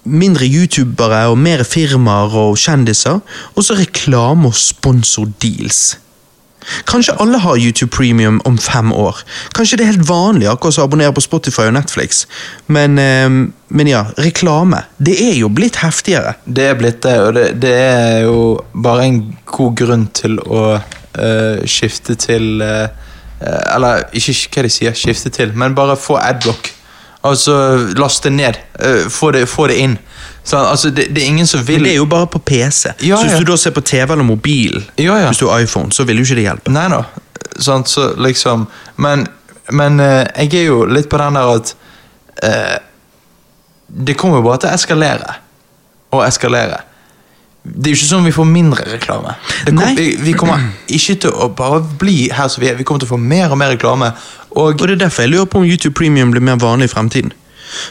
mindre youtubere og mer firmaer og kjendiser, og så reklame og sponsordeals. Kanskje alle har YouTube Premium om fem år. Kanskje det er helt vanlig akkurat som å abonnere på Spotify og Netflix. Men, ehm, men ja, reklame. Det er jo blitt heftigere. Det er blitt det, og det, det er jo bare en god grunn til å eh, skifte til eh, eh, Eller ikke sk- hva de sier, skifte til, men bare få adblock. Altså laste ned. eh, få, det, få det inn. Sant? altså, det, det er ingen som vil Men det er jo bare på PC. Ja, så hvis ja. du da ser på TV eller mobil, Ja, ja. hvis du har iPhone, så vil jo ikke det hjelpe. Nei da. Sant, så liksom Men, men eh, jeg er jo litt på den der at eh, Det kommer jo bare til å eskalere. Og eskalere. Det er jo ikke sånn vi får mindre reklame. Det kom, Nei. vi, vi kommer ikke til å bare bli her som vi er. Vi kommer til å få mer og mer reklame. Og, Og det er derfor jeg lurer på om YouTube Premium blir mer vanlig i fremtiden.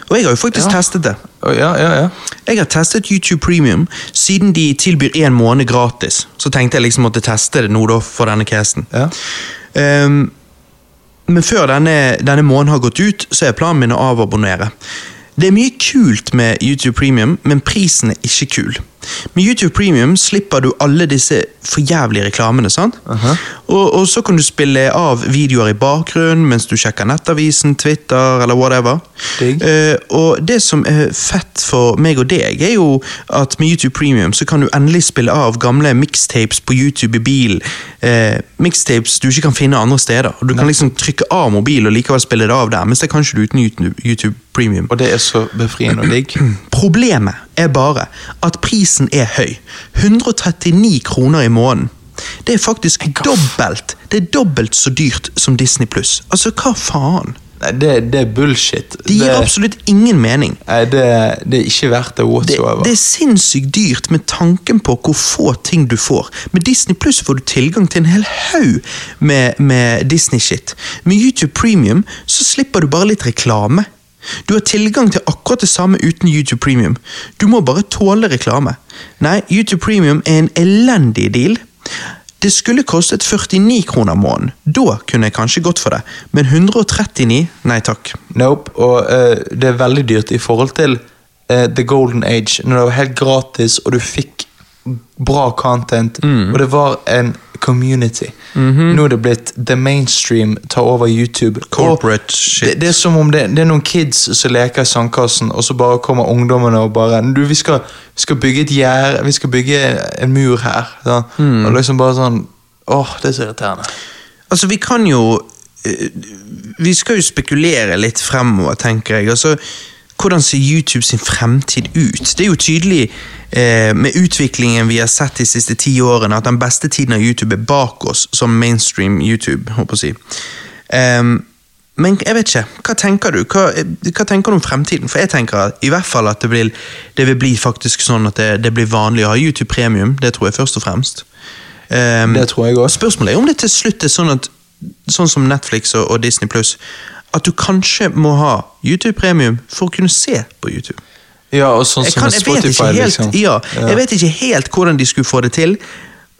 Og jeg har jo faktisk Ja. testet det. og ja, ja, ja. Jeg har testet YouTube Premium siden de tilbyr en måned gratis. Så tenkte jeg liksom måtte teste det nå da for denne casten. Ja. Ehm, men før denne, denne måneden har gått ut, så er planen min å avabonnere. Det er mye kult med YouTube Premium, men prisen er ikke kul. Med YouTube Premium slipper du alle disse forjævlige reklamene. sant? og, og så kan du spille av videoer i bakgrunnen mens du sjekker Nettavisen, Twitter eller whatever. Digg. Eh, og det som er fett for meg og deg, er jo at med YouTube Premium så kan du endelig spille av gamle mixtapes på YouTube i bilen. Eh, mixtapes du ikke kan finne andre steder. Du kan liksom trykke av mobil og likevel spille det av der, mens det kan ikke du uten YouTube- YouTube Premium. og det er så befriende og digg. Problemet er bare at prisen er høy. 139 kroner i måneden. Det er faktisk dobbelt Det er dobbelt så dyrt som Disney pluss. Altså, hva faen? Nei, det, det er bullshit. Det gir det, absolutt ingen mening. nei, det, det er ikke verdt det Det, whatsoever. det er sinnssykt dyrt med tanken på hvor få ting du får. Med Disney Pluss får du tilgang til en hel haug med, med Disney-shit. Med YouTube Premium så slipper du bare litt reklame. Du har tilgang til akkurat det samme uten YouTube Premium. Du må bare tåle reklame. Nei, YouTube Premium er en elendig deal. Det skulle kostet 49 kroner måneden. Da kunne jeg kanskje gått for det, men 139? Nei takk. Nope, og eh, det er veldig dyrt i forhold til eh, The Golden Age, når det var helt gratis, og du fikk bra content, og det var en community. Nå er det blitt the mainstream, tar over YouTube. Corporate og shit. Det, det er som om det, det er noen kids som leker i sandkassen, og så bare kommer ungdommene og bare du, vi, skal, vi skal bygge et gjerde, vi skal bygge en mur her. Sånn. Og liksom bare sånn Åh, det er så irriterende. Altså, vi kan jo eh, Vi skal jo spekulere litt fremover, tenker jeg. Altså, hvordan ser YouTube sin fremtid ut? Det er jo tydelig eh, med utviklingen vi har sett de siste ti årene, at den beste tiden av YouTube er bak oss som mainstream YouTube. håper jeg å si. Ehm, men jeg vet ikke. Hva tenker du Hva, eh, hva tenker du om fremtiden? For jeg tenker at, i hvert fall at det, blir, det vil bli faktisk sånn at det, det blir vanlig å ha YouTube-premium. Det tror jeg først og fremst. Ehm, Det tror jeg også. Spørsmålet er om det til slutt er sånn at Sånn som Netflix og, og Disney Pluss, at du kanskje må ha YouTube-premium for å kunne se på YouTube. Ja, og sånn Jeg, som kan, med jeg, vet, Spotify, ikke helt, liksom. ja, jeg vet ikke helt hvordan de skulle få det til,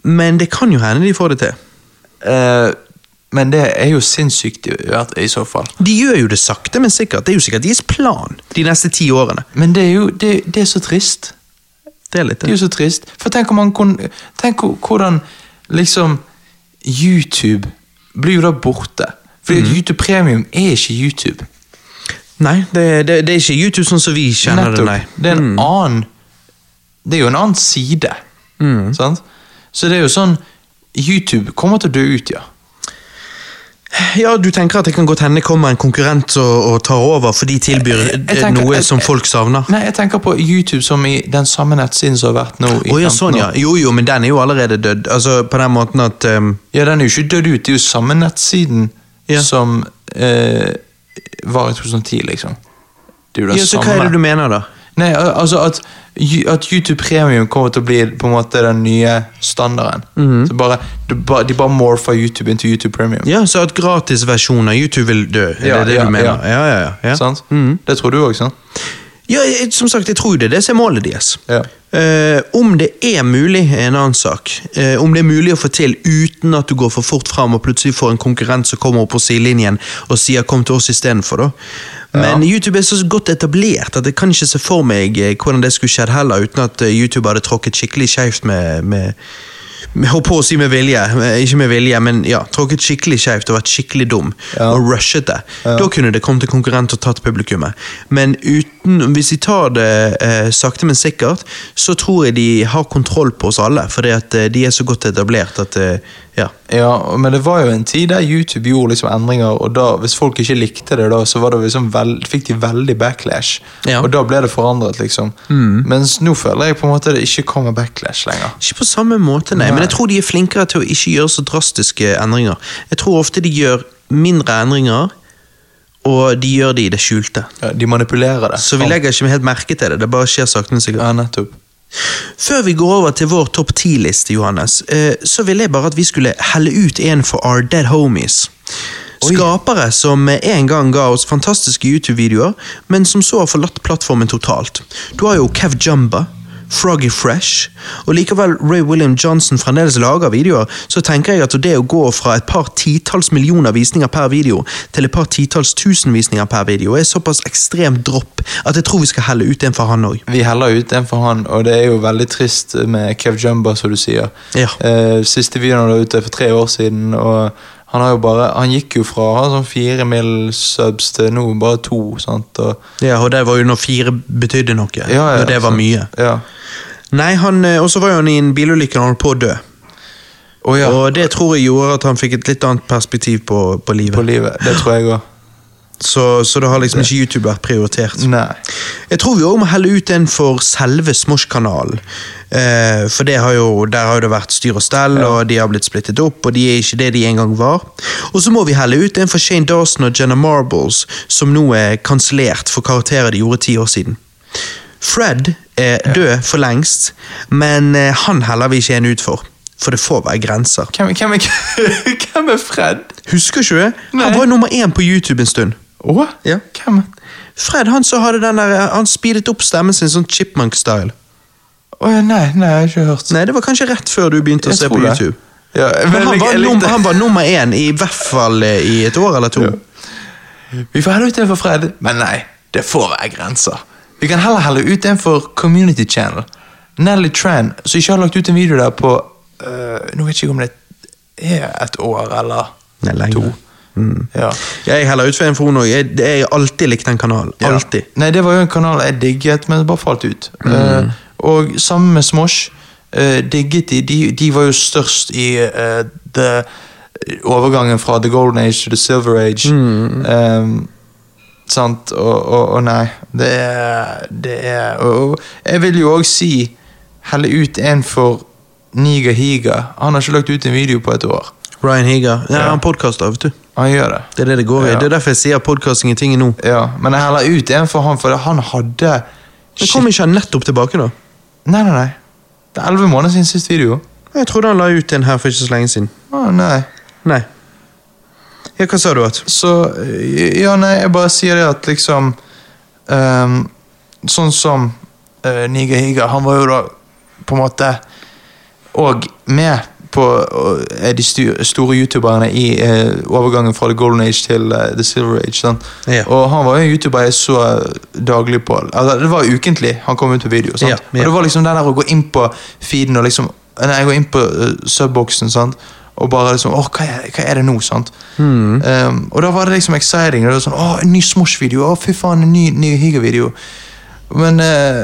men det kan jo hende de får det til. Eh, men det er jo sinnssykt i, i så fall. De gjør jo det sakte, men sikkert. Det er jo sikkert deres plan de neste ti årene. Men det er jo det, det er så trist. Det er litt Det er det. jo så trist. For tenk om man kunne Tenk hvor- hvordan liksom YouTube blir jo da borte. Fordi Mm. at YouTube Premium er ikke YouTube. Nei, det, det, det er ikke YouTube sånn som vi kjenner det, nei. Mm. Det er en annen Det er jo en annen side. Mm. Sant? Så det er jo sånn YouTube kommer til å dø ut, ja. Ja, du tenker at det kan godt hende kommer en konkurrent og, og tar over, for de tilbyr eh, tenker- noe jeg- som folk savner? Nei, jeg tenker på YouTube som i den samme nettsiden som har vært nå i Å ja, 15 sånn, år. ja. Jo, jo, men den er jo allerede død. Altså, På den måten at ehm, Ja, den er jo ikke dødd ut. Det er jo samme nettsiden Ja. som eh, var i 2010, liksom. Det er jo det Ja, så hva samme. er det du mener, da? Nei, al- altså at, Ju- at YouTube Premium kommer til å bli på en måte den nye standarden. så bare, de, bare, de bare morfer YouTube into YouTube Premium. Mhm. Ja, Så at gratisversjonen av YouTube vil dø? Er Ja, det det ja, du mener? ja. Ja, ja, ja. Mhm. ja. Sant? Det tror du òg, sant? ja jeg, som sagt, jeg tror det er det som er målet deres. Ja. Eh, om det er mulig, er en annen sak. Eh, om det er mulig å få til uten at du går for fort fram og plutselig får en konkurrent som kommer opp på sidelinjen og sier 'kom til oss' istedenfor, da. Men YouTube er så godt etablert at jeg kan ikke se for meg eh, hvordan det skulle skjedd heller, uten at eh, YouTube hadde tråkket skikkelig skjevt med, med med- Holdt på å si med vilje, eh, ikke med vilje, men ja, tråkket skikkelig skjevt og vært skikkelig dum. Og rushet det. Da kunne det kommet en konkurrent og tatt publikummet. Men ut, uten, hvis de tar det eh, sakte, men sikkert, så tror jeg de har kontroll på oss alle. Fordi at eh, de er så godt etablert at eh, Ja. Ja, men det var jo en tid der YouTube gjorde liksom endringer, og da, hvis folk ikke likte det, da, så var det liksom vel- fikk de veldig backlash. Ja. Mhm. Og da ble det forandret, liksom. Mens nå føler jeg på en måte det ikke kommer backlash lenger. Ikke på samme måte, nei. Men jeg tror de er flinkere til å ikke gjøre så drastiske endringer. Jeg tror ofte de gjør mindre endringer, og de gjør det i det skjulte. Ja, de manipulerer det. Så vi legger ikke helt merke til det. Det bare skjer sakte, men sikkert. Ja, nettopp. Før vi går over til vår topp 10-liste, Johannes, eh, så ville jeg bare at vi skulle helle ut en for Our Dead Homies. Skapere som eh, en gang ga oss fantastiske YouTube-videoer, men som så har forlatt plattformen totalt. Du har jo Kev Jumba, Froggy Fresh, og likevel Ray William Johnson fremdeles lager videoer, så tenker jeg at det å gå fra et par titalls millioner visninger per video til et par titalls tusen visninger per video er såpass ekstremt dropp at jeg tror vi skal helle ut en for han òg. Vi heller ut en for han, og det er jo veldig trist med Kev Jumba, som du sier. Ja. Eh, siste videoen han la ute er for tre år siden, og han har jo bare Han gikk jo fra å ha sånn fire mil subs til nå bare to, sant, og Ja, og det var jo når fire betydde noe. Ja, ja, når det var så- mye. Ja. Nei, han, eh, Og så var jo han i en bilulykke og holdt på å dø. Å ja, Og det tror jeg gjorde at han fikk et litt annet perspektiv på, på livet. på livet. Det tror jeg òg. så, så det har liksom ikke YouTube vært prioritert. Nei. Jeg tror vi òg må helle ut en for selve Smosh-kanalen. Eh, for det har jo, der har jo det vært styr og stell, og de har blitt splittet opp. Og de er ikke det de en gang var. Og så må vi helle ut en for Shane Dawson og Jenna Marbles, som nå er kansellert for karakterer de gjorde ti år siden. Fred er død for lengst, men eh, han heller vi ikke en ut for. For det får være grenser. Hvem, hvem, er, hvem er Fred? Husker ikke du det? Han Nei. var nummer én på YouTube en stund. Å? Ja. Hvem? Fred han som hadde den der, eh, han speedet opp stemmen sin sånn chipmunk-style. Å ja, nei, nei, jeg har ikke hørt. Nei, det var kanskje rett før du begynte å Jeg se tror på det. YouTube. Ja, Men han, jeg- var jeg likte- nummer, han var nummer én i hvert fall eh, i et år eller to. Vi får helle ut en for Fred, men nei, det får være grenser. Vi kan heller helle ut en for Community Channel. Nelly Tran, som ikke har lagt ut en video der på øh, Nå vet jeg ikke om det er et år eller Nei, lenger. to. Ja. Jeg heller ut for en for henne òg. Jeg, jeg har alltid likt den kanalen. Ja. Alltid. Mm. Nei, det var jo en kanal jeg digget, men det bare falt ut. Eh, og sammen med Smosh eh, digget de, de. De var jo størst i eh, the, overgangen fra The Golden Age til The Silver Age. Mm. Eh, sant? Og, og, og nei, det er, det er og, og Jeg vil jo òg si helle ut en for Niga Higa. Han har ikke lagt ut en video på et år. Ryan Higer. Ja, Han podkaster, vet du. Han gjør det. Det er det det går i. Ja. Det er derfor jeg sier podcasting i tinget nå. Ja, men jeg heller ut en for han, for han hadde Men kom ikke han nettopp tilbake, da? Nei, nei, nei. Det er elleve måneder siden sist video. Jeg trodde han la ut en her for ikke så lenge siden. Å, nei. Nei. Ja, hva sa du? at? Så øh, Ja, nei, jeg bare sier det at liksom ehm, Sånn som øh, Niga Higa, han var jo da på en måte òg med på øh, er de stu, store youtuberne i øh, overgangen fra The Golden Age til øh, The Silver Age. Sant? Ja. Og han var jo en youtuber jeg så øh, daglig på. Altså, det var ukentlig han kom ut på video. Sant? Ja, ja. Og det var liksom den der å gå inn på feeden og liksom Nei, jeg går inn på øh, subboksen, sant. Og bare liksom Åh, hva er, hva er det nå, sant? Hmm. Um, og da var det liksom exciting. Og det var sånn, Åh, en ny Smosh-video! Åh, fy faen, en ny, ny Higa-video! Men eh,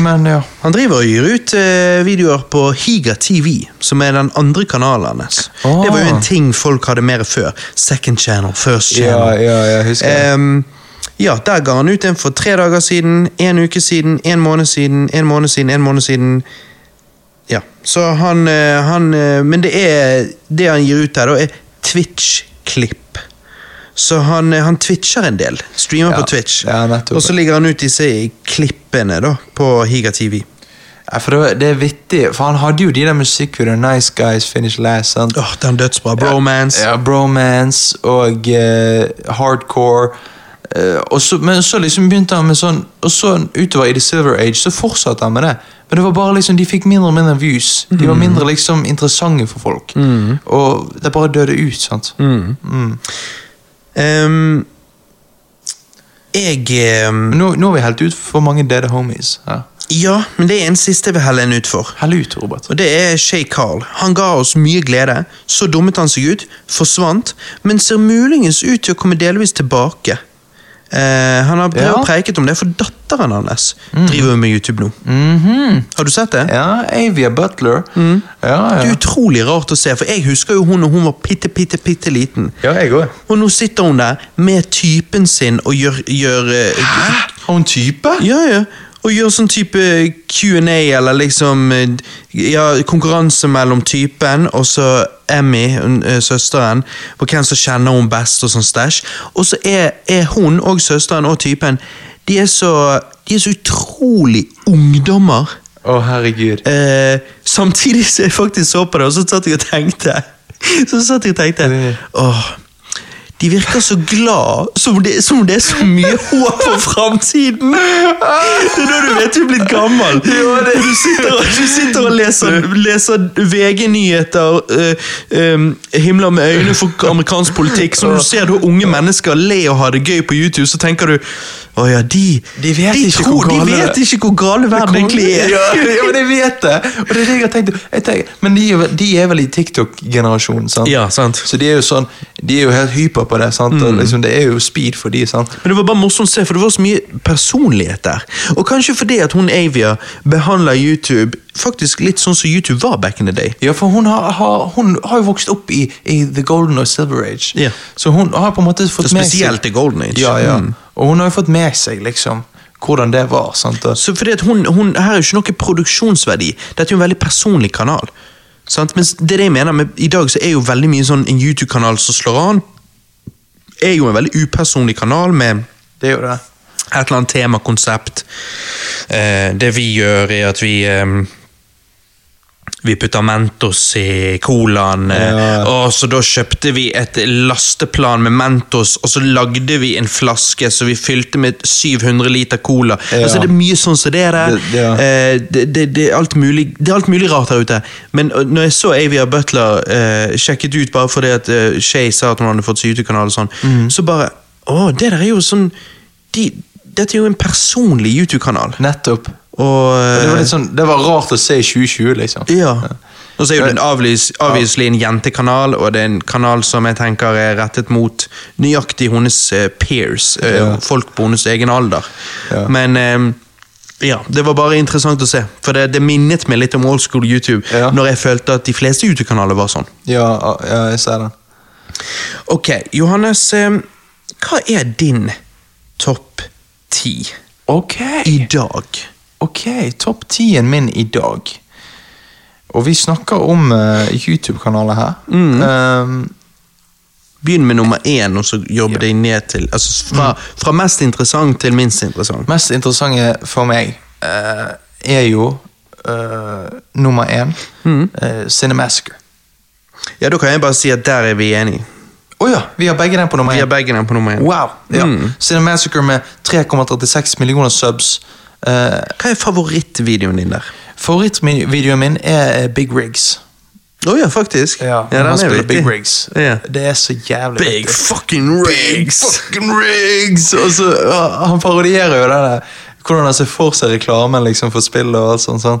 Men, ja. Han driver og gir ut eh, videoer på Higa TV, som er den andre kanalen hans. Ah. Det var jo en ting folk hadde mer før. Second channel, first channel. jeg Ehm, ja, der ga han ut en for tre dager siden, en uke siden, en måned siden, en måned siden, en måned siden. Ja, så han, eh, han eh, Men det er Det han gir ut der, da, er Twitch-klipp. Så han, eh, han twitcher en del. Streamer Ja, på Twitch. ja, nettopp. og så ligger han ut disse klippene da, på Higa TV. Ja, for det, var- det er vittig, for han hadde jo de der musikkvideoene. Nice Guys, Finish Last. Sant? Åh, den dødsbra. Bromance. Ja, bromance og eh, hardcore. Eh, og så, men så liksom begynte han med sånn Og så utover i The Silver Age så fortsatte han med det. Men det var bare liksom, de fikk mindre og mindre views. De var mindre liksom interessante for folk. Og det bare døde ut. sant? Mm. Ehm, jeg ehm, Men nå, nå er vi helt ut for mange dead homies. Ja. Ja, men det er en siste jeg vil helle en ut for. Hell ut, Robert. Og det er Shay Carl. Han ga oss mye glede. Så dummet han seg ut, forsvant, men ser muligens ut til å komme delvis tilbake. Eh, han har prøvd Ja. Mm. å preiket om det, for datteren hans driver med YouTube nå. Har du sett det? Mhm. Ja, Avia Butler. Ja, Det er ja. utrolig rart å se, for jeg husker jo hun når hun var bitte, bitte, bitte liten. ja, jeg òg. Og nå sitter hun der med typen sin og gjør, gjør eh, Har hun type? Ja, ja. Og gjør sånn type Q&A, eller liksom eh, ja, konkurranse mellom typen og så Emmy, hun, eh, søsteren, på hvem som kjenner hun best og sånn stæsj. Og så er, er hun og søsteren og typen De er så, de er så utrolig ungdommer. Å, herregud. Eh, samtidig så jeg faktisk så på det, og så satt jeg og tenkte Så satt jeg og tenkte Åh, de virker så glad som det, som det er så mye håp for framtiden! Det er da du vet du er blitt gammel. Du sitter, og- du sitter og leser, leser VG-nyheter, eh, em, himler med øynene for amerikansk politikk, så når du ser da unge mennesker le og ha det gøy på YouTube, så tenker du Å ja, de De vet ikke hvor de gale- vet ikke hvor gale verden egentlig er. Ja, ja, men jeg vet det! Og det er det jeg har tenkt. Jeg tenker, men de, er vel- de er vel i TikTok-generasjonen, sant? Ja, sant. Mm. Så de er jo sånn, de er jo helt hyper på det. sant? Og liksom, det er jo speed for de, sant? Men det var bare morsomt å se, for det var så mye personlighet der. Og kanskje fordi at hun Avia behandler YouTube faktisk litt sånn som YouTube var back in the day. Ja, for hun har, har, hun har jo vokst opp i, i The Golden og Silver Age. Ja. Så hun har på en måte fått Så med seg spesielt i Golden Age. Ja, ja. Mm. Og hun har jo fått med seg liksom hvordan det var. sant? Og, Så fordi at hun, hun, Her er jo ikke noe produksjonsverdi. Dette er jo en veldig personlig kanal. Sant? Mens det er det jeg mener med, I dag så er jo veldig mye sånn en YouTube-kanal som slår an, er jo en veldig upersonlig kanal med det er jo det. et eller annet temakonsept. Eh, det vi gjør, er at vi eh, vi putta Mentos i colaen, eh, Ja. og så da kjøpte vi et lasteplan med Mentos, og så lagde vi en flaske så vi fylte med 700 liter cola. Ja. Altså Det er mye sånn som det er der. Det- ja. Eh, det, det, det, er alt mulig, det er alt mulig rart der ute. Men eh, når jeg så Avia Butler eh, sjekket ut bare fordi at eh, Shay sa at hun hadde fått seg YouTube-kanal, og sånn, Mhm. så bare Å, det der er jo sånn de, Dette er jo en personlig YouTube-kanal. Nettopp. Og Det var, eh, litt sånn, det var rart å se i 2020, liksom. ja. Og så er jo det Eh, en avlys, avviselig en jentekanal, og det er en kanal som jeg tenker er rettet mot nøyaktig hennes eh, peers, eh, Ja. folk på hennes egen alder. Ja. Men eh, ja, det var bare interessant å se, for det, det minnet meg litt om old school YouTube, Ja. når jeg følte at de fleste YouTube-kanaler var sånn. Ja, ja, jeg ser den. Ok, Johannes, eh, hva er din topp ti Ok, i dag? ok, topp 10-en min i dag. Og vi snakker om eh, YouTube-kanaler her. Mm. Um, Begynn med nummer én, og så jobb deg ned til altså fra, fra mest interessant til minst interessant. mest interessante for meg eh, er jo eh, nummer én, Mm. eh, Cinemassacre. Ja, da kan jeg bare si at der er vi enige. Å ja, vi har begge den på nummer Vi har én. begge den på nummer én. Wow! Ja. Mm. Cinemassacre med 3,36 millioner subs. Eh, Hva er favorittvideoen din der? Favorittvideoen min er eh, Big Rigs. Å ja, faktisk. når han den er spiller vittig. Big Rigs. Ja. Det er så jævlig Big vittig. fucking rigs! fucking rigs! Og så, ja, han parodierer jo det der, hvordan han ser for seg reklamen liksom, for spill og alt sånt. sånn.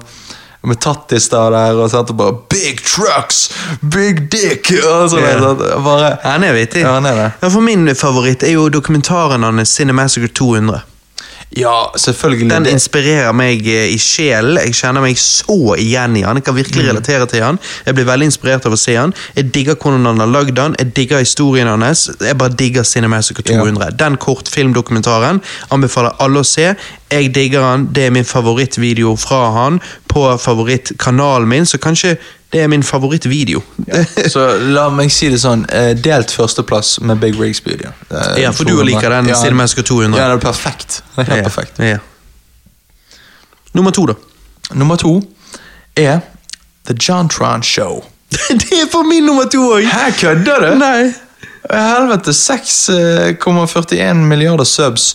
Med tattis der og der, og sånt, og bare 'Big trucks! Big dick!' Og sånn, Ja. sånn, bare, Han er vittig. Ja, han er det. Ja, for min favoritt er jo dokumentaren hans Cinemassacre 200. ja, selvfølgelig. Den det- inspirerer meg eh, i sjelen. Jeg kjenner meg så igjen i han. Jeg kan Mm. virkelig relatere til han. Jeg blir veldig inspirert av å se han. Jeg digger hvordan han har lagd han. Jeg digger historien hans. Jeg bare digger Cinemassacre 200. Den kortfilmdokumentaren anbefaler alle å se. Jeg digger han. Det er min favorittvideo fra han på favorittkanalen min, så kanskje det er min favorittvideo. så la meg si det sånn, eh, delt førsteplass med Big Rigs Studio. Eh, Ja, for du liker den ja, Cinemassacre 200. Ja, det er perfekt. Det er helt perfekt. Ja. Nummer to, da. Nummer to er The John Tron Show. det er for min nummer to òg! Her kødder du? Nei. Helvete, 6,41 milliarder subs.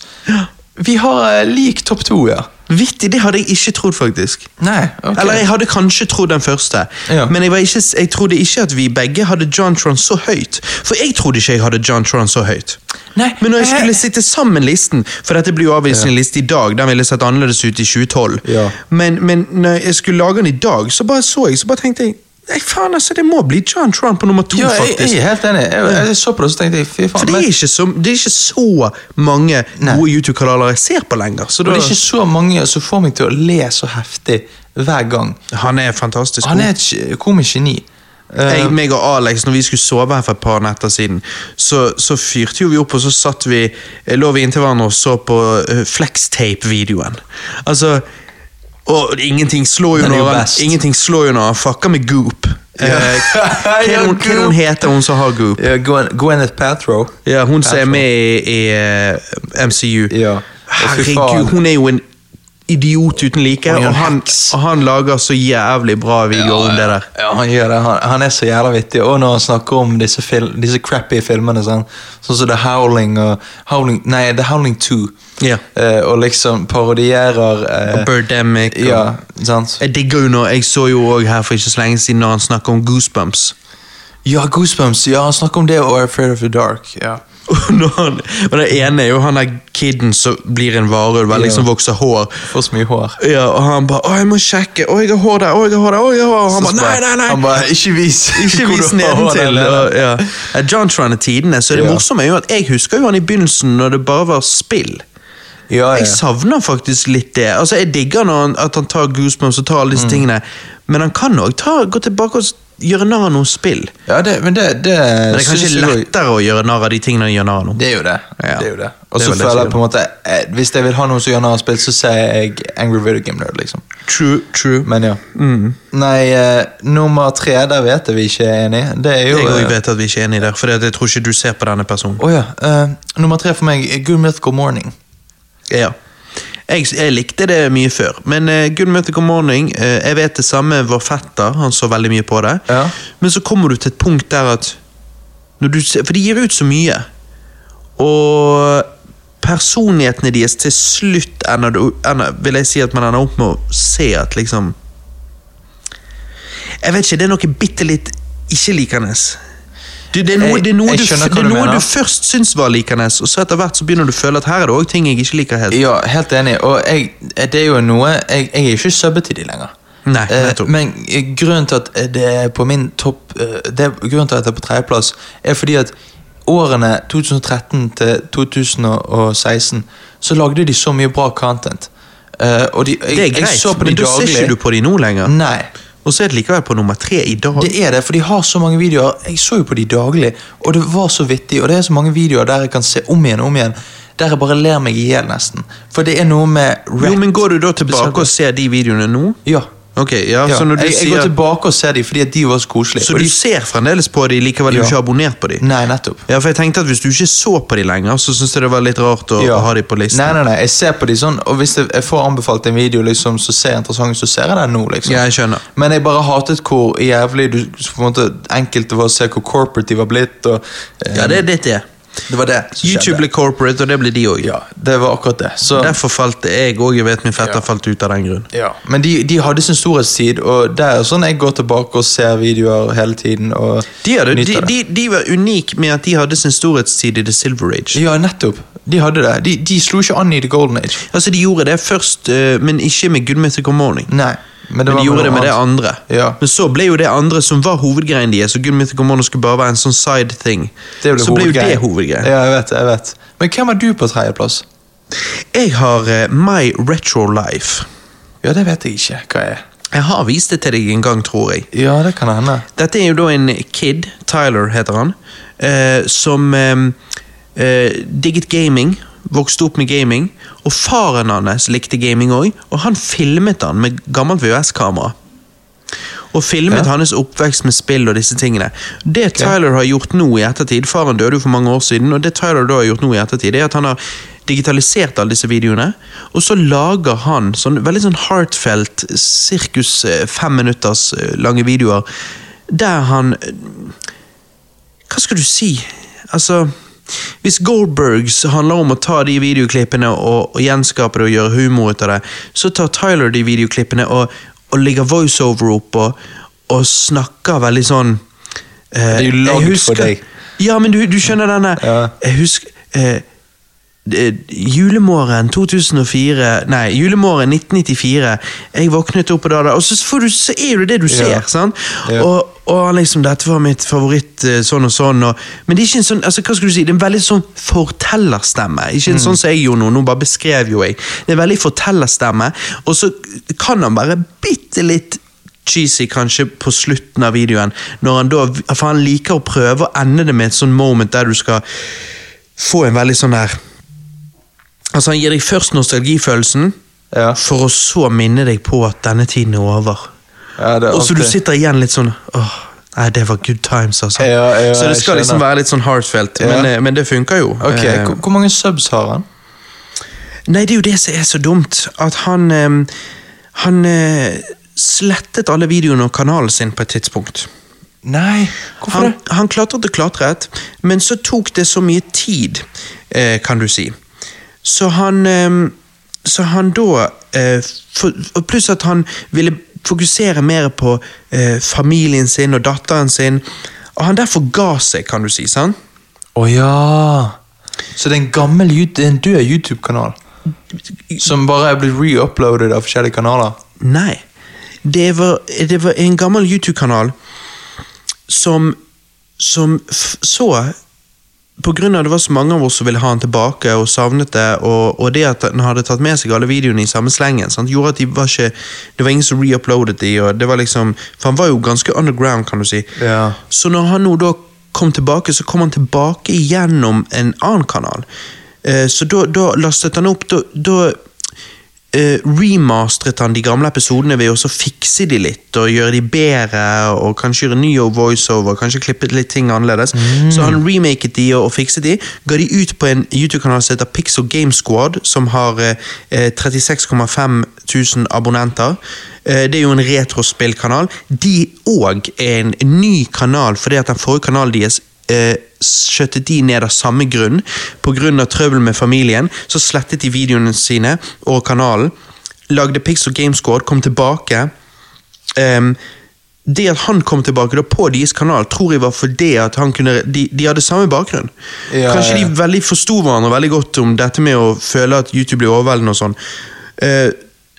Vi har eh, lik topp to, ja. Vittig, det hadde jeg ikke trodd, faktisk. Nei, ok. Eller jeg hadde kanskje trodd den første, Ja. men jeg, var ikke, jeg trodde ikke at vi begge hadde John Tron så høyt. For jeg trodde ikke jeg hadde John Tron så høyt. Nei, eh, Men når jeg jeg- skulle sitte sammen listen, for dette blir jo avvisende liste i dag, den ville sett annerledes ut i 2012, Ja. men, men når jeg skulle lage den i dag, så bare så jeg, så bare tenkte jeg Nei, faen altså, Det må bli John Trump på nummer to, Ja, jeg, faktisk. jeg er helt enig. Jeg, jeg så på det så tenkte jeg, fy For faen. det er, Men, ikke så, det er ikke så mange gode YouTube-kanaler jeg ser på lenger. Så og da, det er ikke så mange som får meg til å le så heftig hver gang. han er fantastisk Han god. er et ge- komisk geni. Eh, Jeg, meg og Alex, når vi skulle sove her for et par netter siden, så, så fyrte jo vi opp, og så satt vi, eh, lå vi inntil hverandre og så på eh, Flextape-videoen. Altså Og ingenting slår jo Den er jo når han best. Ingenting slår jo når han fucker med Goop. Eh, hva Ja, er hun- hva er Goop. hun heter hun som har Goop? ja, Eh, Gwen- Gwyneth Paltrow. Ja, hun som er med i, i eh, MCU. Ja. Og fy Herregud, faen. hun er jo en idiot uten like, Hun er jo og en han, heks. og han lager så jævlig bra videoer om det der. Ja, han gjør det. Han, han er så jævla vittig. Og når han snakker om disse, fil, disse crappy filmene, sånn, sånn som The Howling og Howling, Nei, The Howling 2. Ja. Eh, og liksom parodierer eh, Og Birdemic. Og, Ja, sant? Jeg digger jo når, jeg så jo også her for ikke så lenge siden når han snakker om Goosebumps. Ja, Goosebumps. Ja, han snakker om det og Afraid of the Dark. Ja. Og, når han, og det ene er jo han der kiden som blir en varulv, eller liksom Ja. vokser hår. Får så mye hår. Ja, og han bare 'Å, jeg må sjekke. Å, jeg har hår der. Å, jeg har hår der.' Å, jeg har hår. Og han Så bare 'Nei, nei, nei.' Han bare, ikke vis Ikke vis nedentil. og- Ja. Ja, John Tran er tidene, så det Ja. morsomme er jo at jeg husker jo han i begynnelsen når det bare var spill. Ja, ja. Jeg savner faktisk litt det. Altså, Jeg digger når han, at han tar goosebumps og tar alle disse Mm. tingene, men han kan òg gå tilbake og s- gjøre narr av noen spill. ja det, men det, Men det det er synes kanskje jeg jo- lettere å gjøre narr av de tingene han gjør narr av nå. Det er jo det. Ja. det, er jo det. Det Og er så vel det føler jeg som- på en måte eh, Hvis jeg vil ha noen som gjør narr av spill, så sier jeg Angry Video Game Nerd. liksom True, true. Men ja. Nei, eh, nummer tre, der vet jeg vi ikke er enige. Det er jo jeg eh, også vet at vi ikke er enige der, for jeg tror ikke du ser på denne personen. Å ja. eh, nummer tre for meg er Good Mythical Morning. Ja. Jeg, jeg likte det mye før, men uh, Good Mythical Morning eh, Jeg vet det samme var fetter, han så veldig mye på det. Ja. Men så kommer du til et punkt der at når du, ser- For de gir ut så mye. Og personlighetene deres til slutt ender, du- ender Vil jeg si at man ender opp med å se at liksom Jeg vet ikke, det er noe bitte litt ikke likende. Du, det er noe, Jeg- det er noe, jeg du, f- skjønner hva det er du noe mener. du først syns var likende, og så etter hvert så begynner du å føle at her er det òg ting jeg ikke liker helt. Ja, helt enig. Og jeg, eh, det er jo noe Jeg, jeg er ikke subbet til de lenger. Nei, Eh, nettopp. men eh, grunnen til at eh, det er på min topp eh, det, er- Grunnen til at det er på tredjeplass, er fordi at årene 2013 til 2016 så lagde de så mye bra content. Eh, og de, jeg, det er greit, jeg så på de men da daglig. ser ikke du på de nå lenger. Nei. Og så er det likevel på nummer tre i dag. Det er det, for de har så mange videoer. Jeg så jo på de daglig, og det var så vittig. Og det er så mange videoer der jeg kan se om igjen og om igjen. Der jeg bare ler meg i hjel, nesten. For det er noe med jo, rap- men går du da tilbake og ser de videoene nå? Ja. Ok, ja, ja. så Altså, når du jeg, jeg går sier... tilbake og ser de fordi at de var så koselige. Så Og du de- ser fremdeles på de, likevel du Ja. ikke har abonnert på de? Nei, nettopp. Ja, for jeg tenkte at hvis du ikke så på de lenger, så synes jeg det var litt rart å Ja. å ha de på listen. Nei, nei, nei, jeg ser på de sånn, og hvis jeg, jeg får anbefalt en video liksom, som ser interessant, så ser jeg den nå, liksom. Ja, jeg skjønner. Men jeg bare hatet hvor jævlig du, på en måte, enkelte var å se hvor corporate de var blitt, og eh, Ja, det er ditt det. det var det som YouTube skjedde. ble corporate, og det ble de også. Ja, det var akkurat det. Så, Derfor falt jeg også, jeg vet min fetter Ja. falt ut av den grunn. ja. Men de, de hadde sin storhetstid, og det er sånn jeg går tilbake og ser videoer hele tiden. Og De, hadde, de, nyter det. de, de var unik med at de hadde sin storhetstid i The Silver Age. Ja, nettopp. De hadde det. De, de slo ikke an i The Golden Age. Altså, de gjorde det først, eh, men ikke med Good Mythical Morning. Nei. Men, Men var de gjorde det med det noe annet. andre. Ja. Men så ble jo det andre som var hovedgreien deres, og Good Mythical Morning skulle bare være en sånn side thing. Det ble så ble jo hovedgreien. det hovedgreien. Ja, jeg vet, jeg vet. Men hvem er du på tredjeplass? Jeg har eh, My Retro Life. Ja, det vet jeg ikke hva jeg er. Jeg har vist det til deg en gang, tror jeg. Ja, det kan hende. Dette er jo da en kid, Tyler heter han, eh, som eh, eh, digget gaming, vokste opp med gaming, og faren hans likte gaming òg, og han filmet han med gammelt VHS-kamera. Og filmet Ja. hans oppvekst med spill og disse tingene. Det Tyler har gjort nå i ettertid, faren døde jo for mange år siden, og det Tyler da har gjort nå i ettertid, er at han har digitalisert alle disse videoene, og så lager han sånn, veldig sånn heartfelt, sirkus eh, fem minutters eh, lange videoer, der han eh, Hva skal du si? Altså hvis Goldbergs handler om å ta de videoklippene og, og gjenskape det og gjøre humor ut av det, så tar Tyler de videoklippene og, og legger voiceover opp og, og snakker veldig sånn eh, Det er jo lagd jeg for deg. Ja, men du, du skjønner denne Ja. Jeg husker eh, eh, Julemorgen 2004 Nei, julemorgen 1994. Jeg våknet opp, og da, da Og så, får du, så er det det du ser. sant? Ja. Og, og liksom, dette var mitt favoritt eh, sånn og sånn. Og, men det er ikke en sånn, altså, hva skal du si, det er en veldig sånn fortellerstemme. Ikke Mm. en sånn som jeg gjorde nå, nå bare beskrev jo jeg. Det er en veldig fortellerstemme, og så kan han være bitte litt cheesy kanskje på slutten av videoen, når han da, for han liker å prøve å ende det med et sånn moment der du skal få en veldig sånn der, altså han gir deg først nostalgifølelsen, Ja. for å så minne deg på at denne tiden er over. Ja, det er Og så du alltid- sitter igjen litt sånn Åh, nei, det var good times, altså. Ja, ja, så det jeg skal liksom skjønner. være litt sånn heartfelt, Ja. men, eh, men det funker jo. Ok, Eh, hvor, hvor mange subs har han? Nei, det er jo det som er så dumt, at han eh, Han eh, slettet alle videoene og kanalen sin på et tidspunkt. Nei, hvorfor Han, det? han klatret og klatret, men så tok det så mye tid, eh, kan du si. Så han eh, Så han da eh, for, og Pluss at han ville fokusere mer på eh, familien sin og datteren sin. Og han derfor ga seg, kan du si. sant? Å ja. Så det er en gammel, Yout- det er en død YouTube-kanal? Som bare er blitt reuploadet av forskjellige kanaler? Nei. Det var, det var en gammel YouTube-kanal som, som f så på grunn av det var så mange av oss som ville ha han tilbake og savnet det, og, og det at han hadde tatt med seg alle videoene i samme slengen, sant, gjorde at de var ikke, det var ingen som reuploadet de, og det var liksom, for han var jo ganske underground, kan du si. Ja. Så når han nå da kom tilbake, så kom han tilbake gjennom en annen kanal. Eh, så da, da lastet han opp, da, da eh, remasteret han de gamle episodene ved å så fikse de litt, og gjøre de bedre, og kanskje gjøre ny voiceover, kanskje klippet litt ting annerledes. Så han remaket de og, og fikset de, ga de ut på en YouTube-kanal som heter Pixel Game Squad, som har eh, eh, 36,5 tusen abonnenter. Eh, det er jo en retrospillkanal. De òg er en ny kanal, fordi at den forrige kanalen deres eh, skjøttet de ned av samme grunn. Pga. trøbbel med familien så slettet de videoene sine og kanalen. Lagde Pixel Game Squad, kom tilbake. Ehm, det at han kom tilbake da på deres kanal, tror jeg var fordi at han kunne, de, de hadde samme bakgrunn. Ja, Kanskje ja. de veldig forsto hverandre veldig godt om dette med å føle at YouTube blir overveldende og sånn. Eh,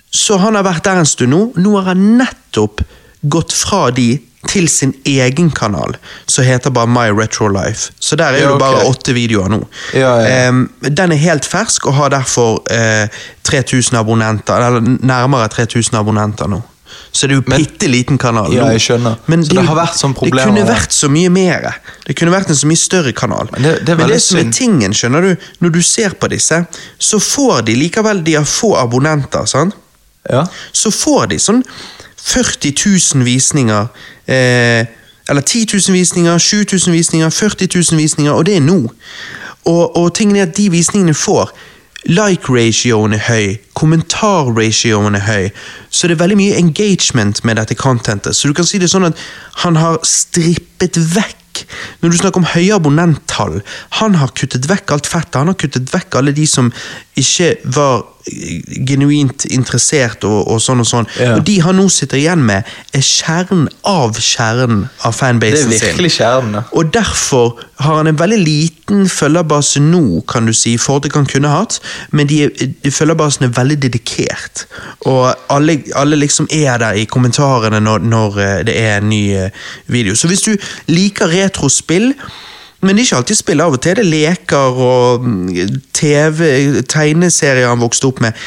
så han har vært der en stund nå. Nå har han nettopp gått fra de til sin egen kanal, som heter bare My Retro Life. Så der er det Ja, ok. bare åtte videoer nå. Ja, ja, ja. Em, den er helt fersk og har derfor eh, 3000 abonnenter, eller nærmere 3000 abonnenter nå. Så det er jo en bitte liten kanal. Ja, nå. jeg skjønner. Men Så er det jo- har vært sånn Det problemer kunne med- vært så mye mer. Det kunne vært en så mye større kanal. Men det- det er Men veldig det som er synd. tingen, skjønner du, når du ser på disse, så får de likevel de har få abonnenter. sant? Ja. så får de sånn 40 000 visninger. Eh, eller 10 000 visninger, 7000 visninger, 40 000 visninger, og det er nå. Og, og tingen er at de visningene får Like-ratioen er høy, kommentar-ratioen er høy, så det er veldig mye engagement med dette contentet. Så du kan si det sånn at han har strippet vekk når du snakker om høye abonnenttall, han har kuttet vekk alt fettet. Han har kuttet vekk alle de som ikke var eh, genuint interessert og, og sånn og sånn. Ja. Og de han nå sitter igjen med, er kjernen av kjernen av Det er fanbasen sin. virkelig kjernen, da. Og derfor har han en veldig liten følgerbase nå, kan du si, i forhold til hva han kunne hatt, men de, de følgerbasen er veldig dedikert. Og alle, alle liksom er der i kommentarene når, når eh, det er en ny eh, video. Så hvis du liker retrospill, men det er ikke alltid spill av og til, det er leker og mm, TV, tegneserier han vokste opp med.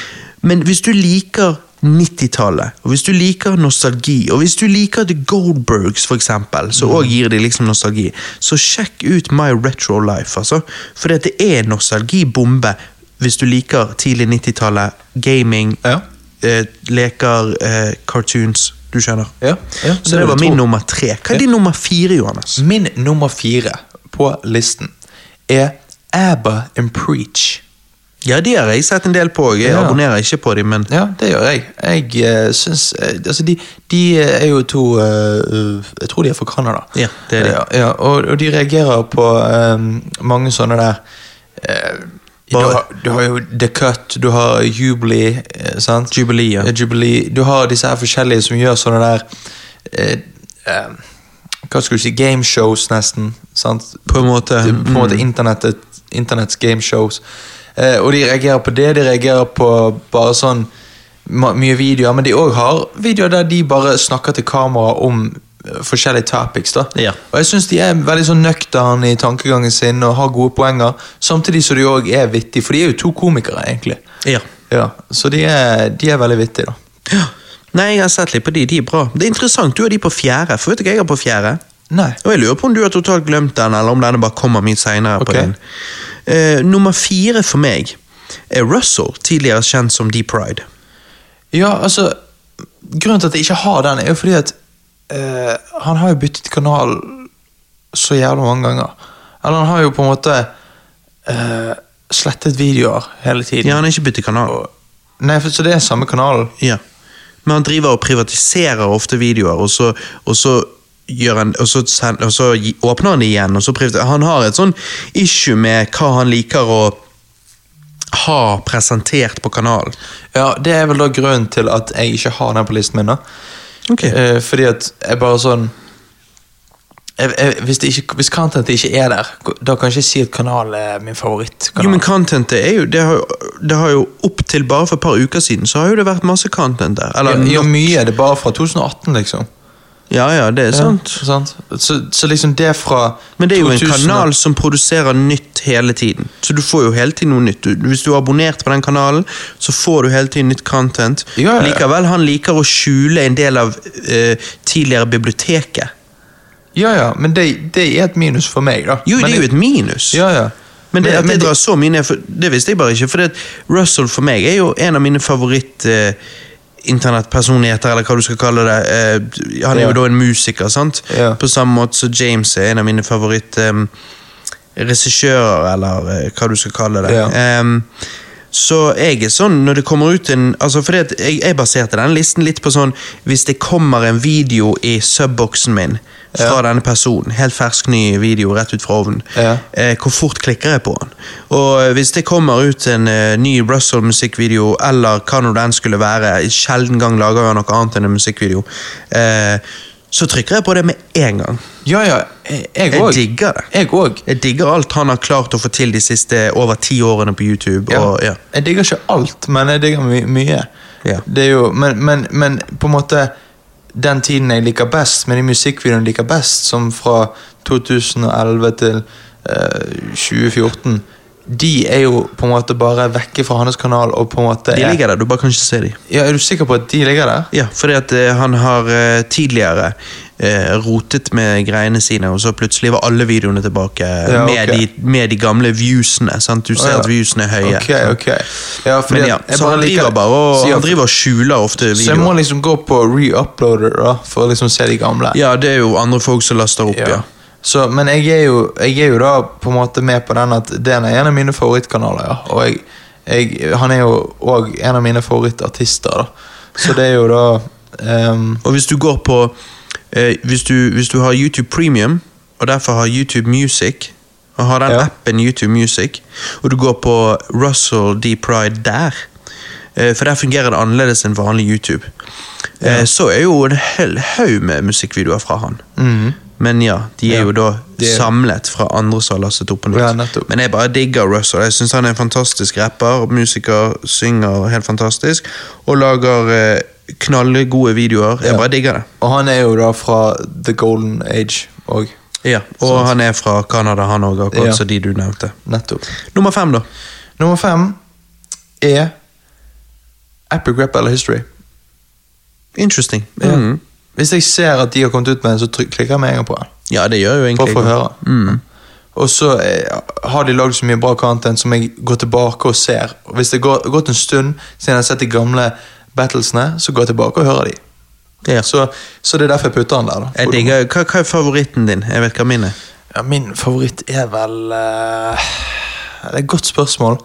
Men hvis du liker 90-tallet, og hvis du liker nostalgi, og hvis du liker The Goldbergs for eksempel, Mm. så også gir de liksom nostalgi, så sjekk ut My Retro Life, altså. For det er en nostalgibombe hvis du liker tidlig 90-tallet, gaming, Ja. eh, leker, eh, cartoons, du skjønner. Ja, ja, så det det vil var jeg min tro. nummer tre. Hva er din nummer fire, Johannes? Min nummer fire på listen er ABBA and Preach. Ja, de har jeg sett en del på. Jeg Ja. abonnerer ikke på dem, men Ja, det gjør jeg. Jeg uh, syns eh, Altså, de, de er jo to eh, eh, Jeg tror de er fra Canada. Eh, Ja, det er de. Ja, ja, og, og de reagerer på eh, mange sånne der eh, du, Bare- har, du har jo The Cut, du har Jubilee, eh, sant? Jubilee, ja. Eh, Jubilee. Du har disse her forskjellige som gjør sånne der eh, eh, Hva skal du si Gameshows, nesten. sant? på en måte på en måte internettet, internetts gameshows. Eh, og de reagerer på det. De reagerer på bare sånn ma- mye videoer, men de òg har videoer der de bare snakker til kamera om eh, forskjellige topics. da. Ja. Og jeg syns de er veldig sånn nøkterne i tankegangen sin og har gode poenger, samtidig som de òg er vittige, for de er jo to komikere, egentlig. Ja. Ja, Så de er, de er veldig vittige, da. Ja. Nei, jeg har sett litt på de, de er bra. Det er interessant, du har de på fjerde, for vet du hva jeg har på fjerde? Nei. Og jeg lurer på om du har totalt glemt den, eller om denne bare kommer mye senere Ok. på din. Eh, nummer fire for meg er Russell, tidligere kjent som Deep Pride. Ja, altså Grunnen til at jeg ikke har den, er jo fordi at eh, han har jo byttet kanal så jævla mange ganger. Eller han har jo på en måte eh, slettet videoer hele tiden. Ja, han er ikke byttet kanal. Og- Nei, for, Så det er samme kanalen? Ja. Men han driver og privatiserer ofte videoer, og så, og så gjør han, og så, send, og så gi- åpner han det igjen. Og så privat- han har et sånn issue med hva han liker å ha presentert på kanalen. Ja, Det er vel da grunnen til at jeg ikke har den på listen min. da Eh, Fordi at jeg bare sånn jeg, jeg, hvis, det ikke, hvis contentet ikke er der, da kan jeg ikke si at kanalen er min favorittkanal. Jo, men contentet er jo det, har, jo- det har jo opp til bare for et par uker siden, så har jo det vært masse content der. Eller, ja, ja, mye. Det er bare fra 2018, liksom. ja, ja, det er sant. Ja, sant. Så, så liksom det fra Men det er jo en 2000 kanal som produserer nytt hele tiden. Så du får jo hele tiden noe nytt. Du- Hvis du har abonnert på den kanalen, så får du hele tiden nytt content. Ja, ja, ja. Likevel, han liker å skjule en del av eh, tidligere biblioteket. Ja, ja, men det, det er et minus for meg, da. Jo, men det er jo et minus. Ja, ja. Men det, at men det drar så mye ned, for, det visste jeg bare ikke. For det, Russell for meg er jo en av mine favoritt... eh, Internettpersonligheter, eller hva du skal kalle det. Eh, han er Ja. jo da en musiker, sant? Ja. På samme måte som James er en av mine favoritt eh, regissører, eller eh, hva du skal kalle det. Ja. Em, så jeg er sånn, når det kommer ut en altså fordi at jeg, jeg baserte den listen litt på sånn Hvis det kommer en video i subboksen min fra denne personen, helt fersk ny video rett ut fra ovnen, Ja. eh, hvor fort klikker jeg på den? Og eh, hvis det kommer ut en eh, ny Russell-musikkvideo, eller hva nå den skulle være, sjelden gang lager jeg noe annet enn en musikkvideo, eh, så trykker jeg på det med en gang. Ja, ja. Jeg jeg Jeg òg. digger det. Jeg òg. Jeg digger alt han har klart å få til de siste over ti årene på YouTube. Og, ja. Jeg digger ikke alt, men jeg digger my mye. Ja. Det er jo, men, men, men på en måte Den tiden jeg liker best, med de musikkvideoene jeg liker best, som fra 2011 til eh, 2014 de er jo på en måte bare vekke fra hans kanal. og på en måte De er- ligger der, du bare kan ikke se dem. Ja, Er du sikker på at de ligger der? Ja, fordi at eh, han har eh, tidligere eh, rotet med greiene sine, og så plutselig var alle videoene tilbake Ja, med, ok. de, med de gamle viewsene. Sant? Du ser Å, ja. at viewsene er høye. Ok, ok. Ja, fordi Men ja, at jeg så bare han liker- driver bare og, Så ja, han driver og skjuler ofte Så jeg må videoer. liksom gå på re-uploader da, for å liksom se de gamle. Ja, det er jo andre folk som laster opp, ja. Så, men jeg er, jo, jeg er jo da på en måte med på den at den er en av mine favorittkanaler, ja. Og jeg, jeg, han er jo òg en av mine favorittartister, da. Så det er jo da ehm, Og hvis du går på eh, hvis, du, hvis du har YouTube Premium, og derfor har YouTube Music, og har den Ja. appen YouTube Music, og du går på Russell D. Pride der, eh, for der fungerer det annerledes enn vanlig YouTube, eh, så er jo en hel haug med musikkvideoer fra han. mhm. Men ja, de er Ja, jo da de er- samlet fra andre som har lastet opp på nytt. Ja, nettopp. Men jeg bare digger Russell. Jeg syns han er en fantastisk rapper, musiker, synger helt fantastisk, og lager eh, knallgode videoer. Jeg Ja. bare digger det. Og han er jo da fra The Golden Age òg. Ja, og han er fra Canada, han òg, akkurat Ja. som de du nevnte. Nettopp. Nummer fem, da. Nummer fem er Epic Rap eller History. Interesting. Ja. Mm. Hvis jeg ser at de har kommet ut med en, så tryk- klikker jeg med en gang på den. Ja, det gjør jo For egentlig å få høre. Mm. Og så eh, har de lagd så mye bra content som jeg går tilbake og ser. Og Hvis det har gått en stund siden jeg har sett de gamle battlesene, så går jeg tilbake og hører de. Ja. Så, så det er derfor jeg putter den der. da. Jeg digger, hva, hva er favoritten din? Jeg vet hva min er. Ja, min favoritt er vel eh, Det er et godt spørsmål.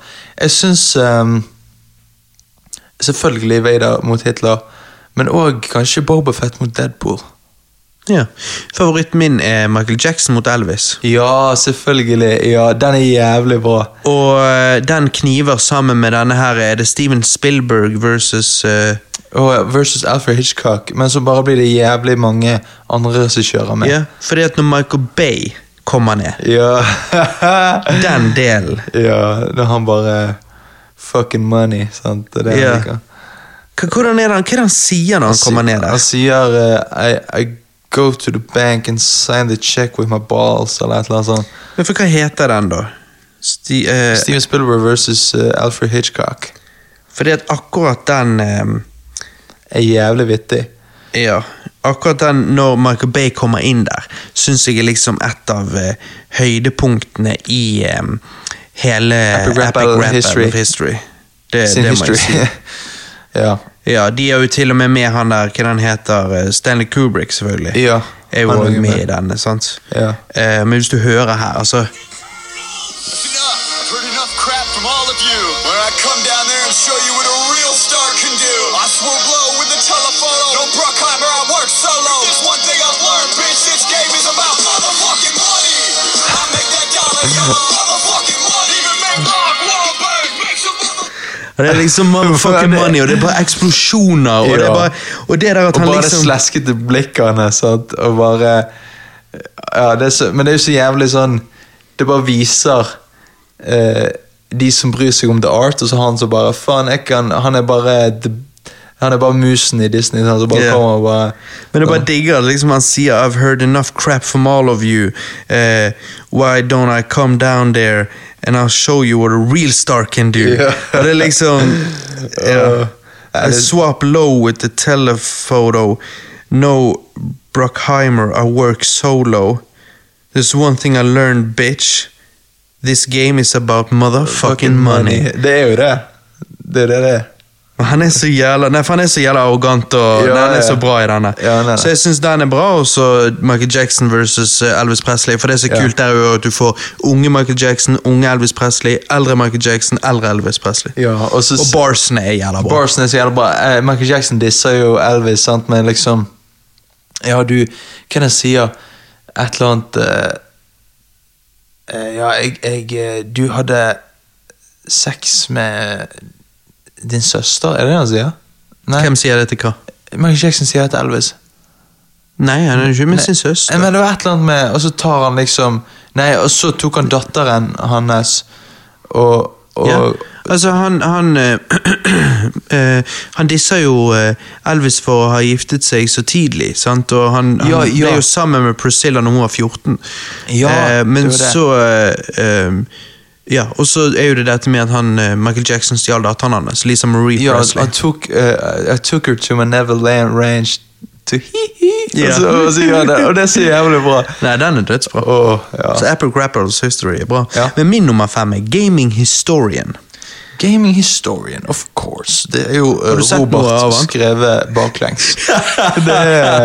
Jeg syns eh, Selvfølgelig Vader mot Hitler, men òg kanskje Bobafett mot Deadpool. Ja. Favoritten min er Michael Jackson mot Elvis. Ja, selvfølgelig. Ja, den er jævlig bra. Og eh, den kniver sammen med denne her. eh, Er det Steven Spilberg versus eh, Og versus Alfred Hitchcock, men så bare blir det jævlig mange andre regissører med. Ja, fordi at når Michael Bay kommer ned. Ja. Den delen. ja, når han bare Fucking money, sant? Det er det han Ja. liker. H- Hvordan er det, han- hva er det han sier når han kommer ned der? Han sier eh, I, I go to the bank and sign the check with my balls, eller et eller annet sånt. Men For hva heter den, da? Sti, eh, Steven Spielberg versus eh, Alfred Hitchcock. fordi at akkurat den eh, Er jævlig vittig. Ja. Akkurat den når Michael Bay kommer inn der, syns jeg er liksom et av eh, høydepunktene i eh, hele Epic Rap Battle of Battle History. of History. Det, Sin det må history. jeg si. ja. Ja, de er jo til og med med han der, hva den heter, eh, Stanley Kubrick selvfølgelig. Ja, Er jo han er også jo med med. i denne, sant? Ja. Eh, men hvis du hører her, altså, Enough. I've heard enough crap from all of you. When I come down there and show you what a real star can do, I swoop low with the telephoto. No Bruckheimer, I work solo. There's one thing I've learned, bitch. This game is about motherfucking money. I make that dollar, yellow motherfucking money. Even make Mark Wahlberg make some og motherfucking det er liksom motherfucking money, og det er bare eksplosjoner, og det er Ja. bare, og det der at Og han bare det liksom... sleskete blikket hans, sant? og bare ja, det er så, Men det er jo så jævlig sånn Det bare viser eh, de som bryr seg om the art, og så han som bare Faen, jeg kan Han er bare the, Han er bare musen i Disney, sant? som bare Ja. kommer og bare Men det er bare digger, liksom han sier, I've heard enough crap from all of you, Eh, why don't I come down there, and I'll show you what a real star can do. Ja. Og det er liksom... Ja. Ja. I swap low with the telephoto. No Brockheimer, I work solo. There's one thing I learned, bitch. This game is about motherfucking money. Det er jo det. Det er det det er. Men Han er så jævla Nei, for han er så jævla arrogant og Ja, nei, han er ja. så bra i denne. Ja, han er det. så jeg syns den er bra, og så Michael Jackson versus eh, Elvis Presley. For det er så Ja. kult der jo at du får unge Michael Jackson, unge Elvis Presley, eldre Michael Jackson, eldre Elvis Presley. Ja, og så Og barsene er jævla bra. Barsen er så jævlig bra. Eh, Michael Jackson disser jo Elvis, sant, men liksom Ja, du Hva er det han sier? Et eller annet eh, eh, Ja, jeg, jeg eh, Du hadde sex med din søster, er det det han sier? Nei, Hvem sier det til hva? Michael Jackson sier det til Elvis. Nei, han er jo ikke med sin Nei, søster. Men det var et eller annet med Og så tar han liksom Nei, og så tok han datteren hans og, og Ja. Altså, han han, eh, eh, han disser jo eh, Elvis for å ha giftet seg så tidlig, sant? og han, han Ja, ja. ble jo sammen med Priscilla når hun var 14. Ja, Eh, men det var det. så eh, eh, Ja, og så er jo det dette med at han, eh, Michael Jackson stjal datteren hans, Lisa Marie Ja, Presley. I took, uh, I took her to my Neverland ranch to hi-hi. Ja. Og, så, og så gjør han det, og det er så jævlig bra. Nei, den er dødsbra. Åh, Oh, ja. Så Apple Grapples History er bra. Ja. Men min nummer fem er Gaming Historian. Gaming Historian, of course. Det er jo uh, du sett Robert noe av han? skrevet baklengs. det er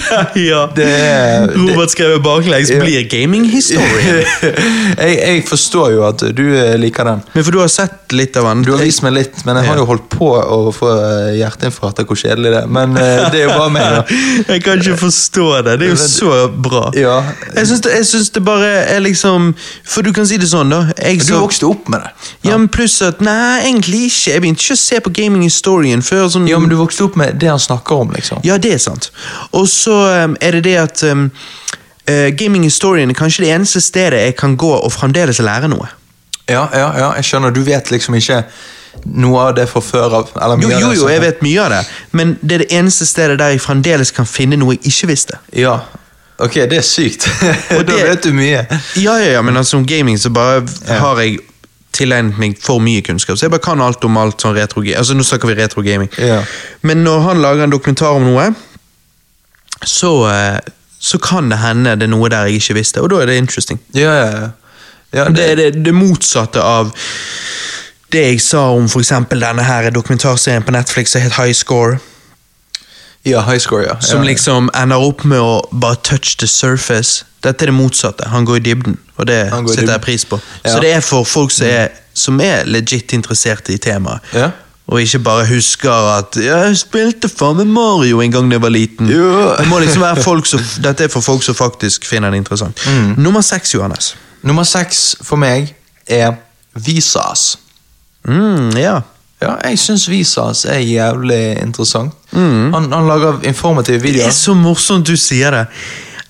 ja. er- det- Robert skrev baklengs Ja. blir Gaming Historian. jeg, jeg forstår jo at du eh, liker den. Men for du har sett litt av han. Du har vist meg litt, men jeg har jo holdt på å få eh, hjerteinfarkt av hvor kjedelig det er. Men eh, det er jo bare meg, da. Jeg kan ikke forstå det. Det er jo så bra. Ja. Jeg syns det, jeg syns det bare er liksom For du kan si det sånn, da. Jeg Du så- vokste opp med det. ja, men pluss at Nei, egentlig ikke. Jeg begynte ikke å se på Gaming Historian før sånn Ja, men du vokste opp med det han snakker om, liksom. Ja, det er sant. Og så um, er det det at um, eh, Gaming Historian er kanskje det eneste stedet jeg kan gå og fremdeles lære noe. Ja, ja, ja, jeg skjønner. Du vet liksom ikke noe av det fra før av? Eller Jo, mye av jo, det, jo, som- jeg vet mye av det, men det er det eneste stedet der jeg fremdeles kan finne noe jeg ikke visste. Ja. Ok, det er sykt. Og da det- vet du mye. Ja, ja, ja, men altså om gaming så bare har jeg tilegnet meg for mye kunnskap. Så jeg bare kan alt om alt sånn retro Altså nå snakker vi retro gaming. Ja. Men når han lager en dokumentar om noe, så, eh, så kan det hende det er noe der jeg ikke visste, og da er det interesting. Ja, ja, ja. ja Det er det, det motsatte av det jeg sa om for eksempel denne her dokumentarserien på Netflix som het High Score. ja, high score, ja. Som ja. liksom ender opp med å bare touch the surface. Dette er det motsatte. Han går i dybden, og det Han går i setter jeg dybden. pris på. Ja. Mm. Så det er for folk som er, som er legit interessert i temaet. Ja. Og ikke bare husker at «Ja, 'Jeg spilte faen meg Mario en gang da jeg var liten'. Jo. Det må liksom være folk som, Dette er for folk som faktisk finner det interessant. Mm. Nummer seks, Johannes. Nummer seks for meg er Visas. Mm, ja. Ja, jeg syns Visas er jævlig interessant. Han, han lager informative Mm. Det videoer. er så morsomt du sier det.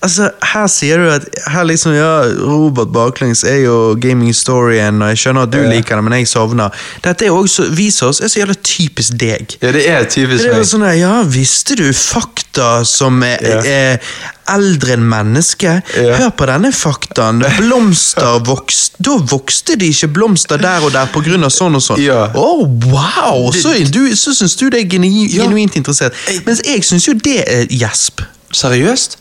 Altså, her sier du at her liksom, ja, Robert Baklengs er jo gaming storyen, og jeg skjønner at du liker det, men jeg sovner. Dette er også, viser oss er så jævla typisk deg. Ja, det er typisk Det er jo meg. sånn der, ja, visste du fakta som er, Ja. er eldre enn menneske? Ja. Hør på denne faktaen. Blomster vokst, Da vokste de ikke blomster der og der på grunn av sånn og sånn. Ja. Å, wow! Så, er du, så syns du det er geni, Ja. genuint interessert. Mens jeg syns jo det er gjesp. Seriøst?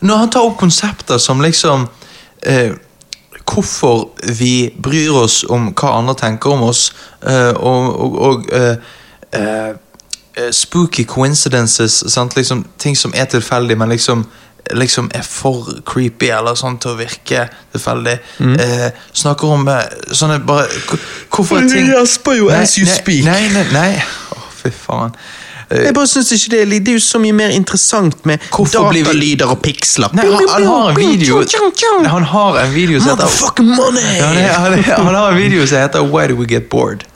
Når han tar opp konsepter som liksom eh, Hvorfor vi bryr oss om hva andre tenker om oss, eh, og, og, og eh, eh, eh, Spooky coincidences, sant? Liksom, ting som er tilfeldig, men liksom Liksom er for creepy eller sånn til å virke tilfeldig. Mm. Eh, snakker om eh, sånne bare hvor- Hvorfor Men er du ting gjesper jo as you nei, speak. Nei, nei, nei. Å, fy faen. Eh, Jeg bare synes ikke det er li- Det er jo så mye mer interessant med Hvorfor blir vi- datalyder og piksler. Nei, han, han har en video Han har en video som heter Motherfucking money! Ja, han, han, han har en video som heter Why do we get bored?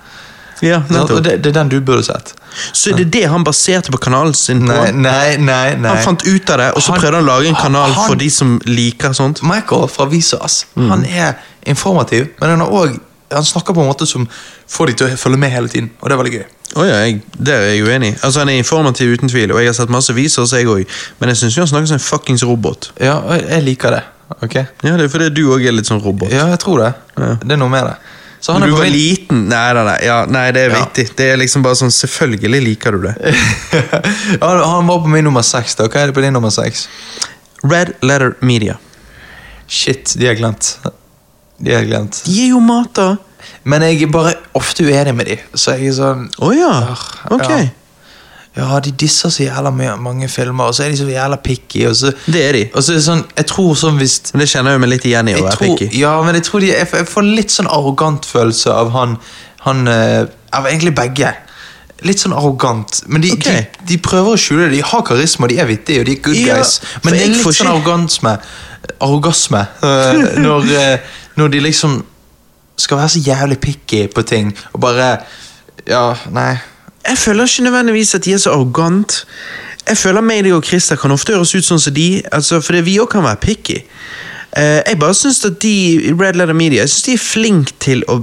Ja, nettopp. Og det, det er den du burde sett. Så er det det han baserte på kanalen sin på? Nei, nei, nei. nei. Han fant ut av det, og så Han- prøvde han å lage en kanal han- for de som liker sånt. Michael fra Visas Mm. Han er informativ, men han, er også, han snakker på en måte som får de til å følge med hele tiden. Og det er veldig gøy. Oh, ja, jeg, der er jeg uenig. Altså, Han er informativ uten tvil, og jeg har sett masse viser, så jeg òg. Men jeg syns han snakker som en fuckings robot. Ja, og jeg liker det. ok? Ja, det er fordi du òg er litt sånn robot. Ja, jeg tror det. Det er noe med det. Så han Når er du på var min- liten Nei, nei, nei, ja, nei det er Ja. viktig. Det er liksom bare sånn, Selvfølgelig liker du det. han, han var på min nummer seks. da. Hva er det på din nummer seks? Red Letter Media. Shit, de har glemt. De har glemt. De er jo mata. Men jeg er bare ofte uenig med de, så jeg er sånn Å ja. Ok. Ja. Ja, de disser så jævla mye, mange filmer, og så er de så jævla picky. Og så, Det er de. og så er det sånn, jeg tror sånn hvis Men Det kjenner jeg meg litt igjen i. å jeg være tror, picky. Ja, men jeg tror de Jeg, får- jeg får litt sånn arrogant følelse av han, han eh, Av egentlig begge. Litt sånn arrogant. Men de, Ok. de, de prøver å skjule det. De har karisma, de er vittige, og de er good Ja, guys. for Men det jeg er litt får sånn ikke- arrogansme. Arrogasme. eh, når, eh, når de liksom skal være så jævlig picky på ting, og bare Ja, nei. Jeg føler ikke nødvendigvis at de er så arrogant. Jeg føler meg og Christer kan ofte høres ut sånn som de, altså, for vi òg kan være picky. Eh, jeg bare syns at de i Red Letter Media jeg synes de er flinke til å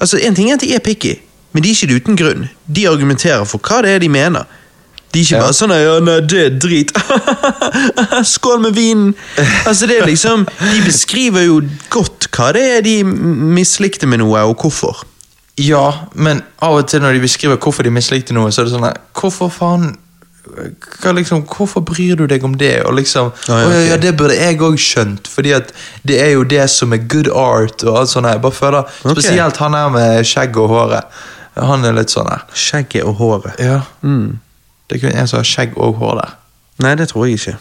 Altså, En ting er at de er picky, men de er ikke det uten grunn. De argumenterer for hva det er de mener. De er ikke Ja. bare sånn ja, nei, det er drit. Skål med vinen! Altså, det er liksom, De beskriver jo godt hva det er de mislikte med noe, og hvorfor. Ja, men av og til når de beskriver hvorfor de mislikte noe, så er det sånn her, Hvorfor faen hva liksom, Hvorfor bryr du deg om det? Og liksom, Ja, ja, «Å, ja, ok. ja, Det burde jeg òg skjønt, Fordi at det er jo det som er good art. og alt sånt her. Jeg bare føler, Ok. Spesielt han her med skjegg og håret. Han er litt sånn her. Skjegget og håret. Mm. Ja. Det er kun en som har skjegg og hår der. Nei, det tror jeg ikke.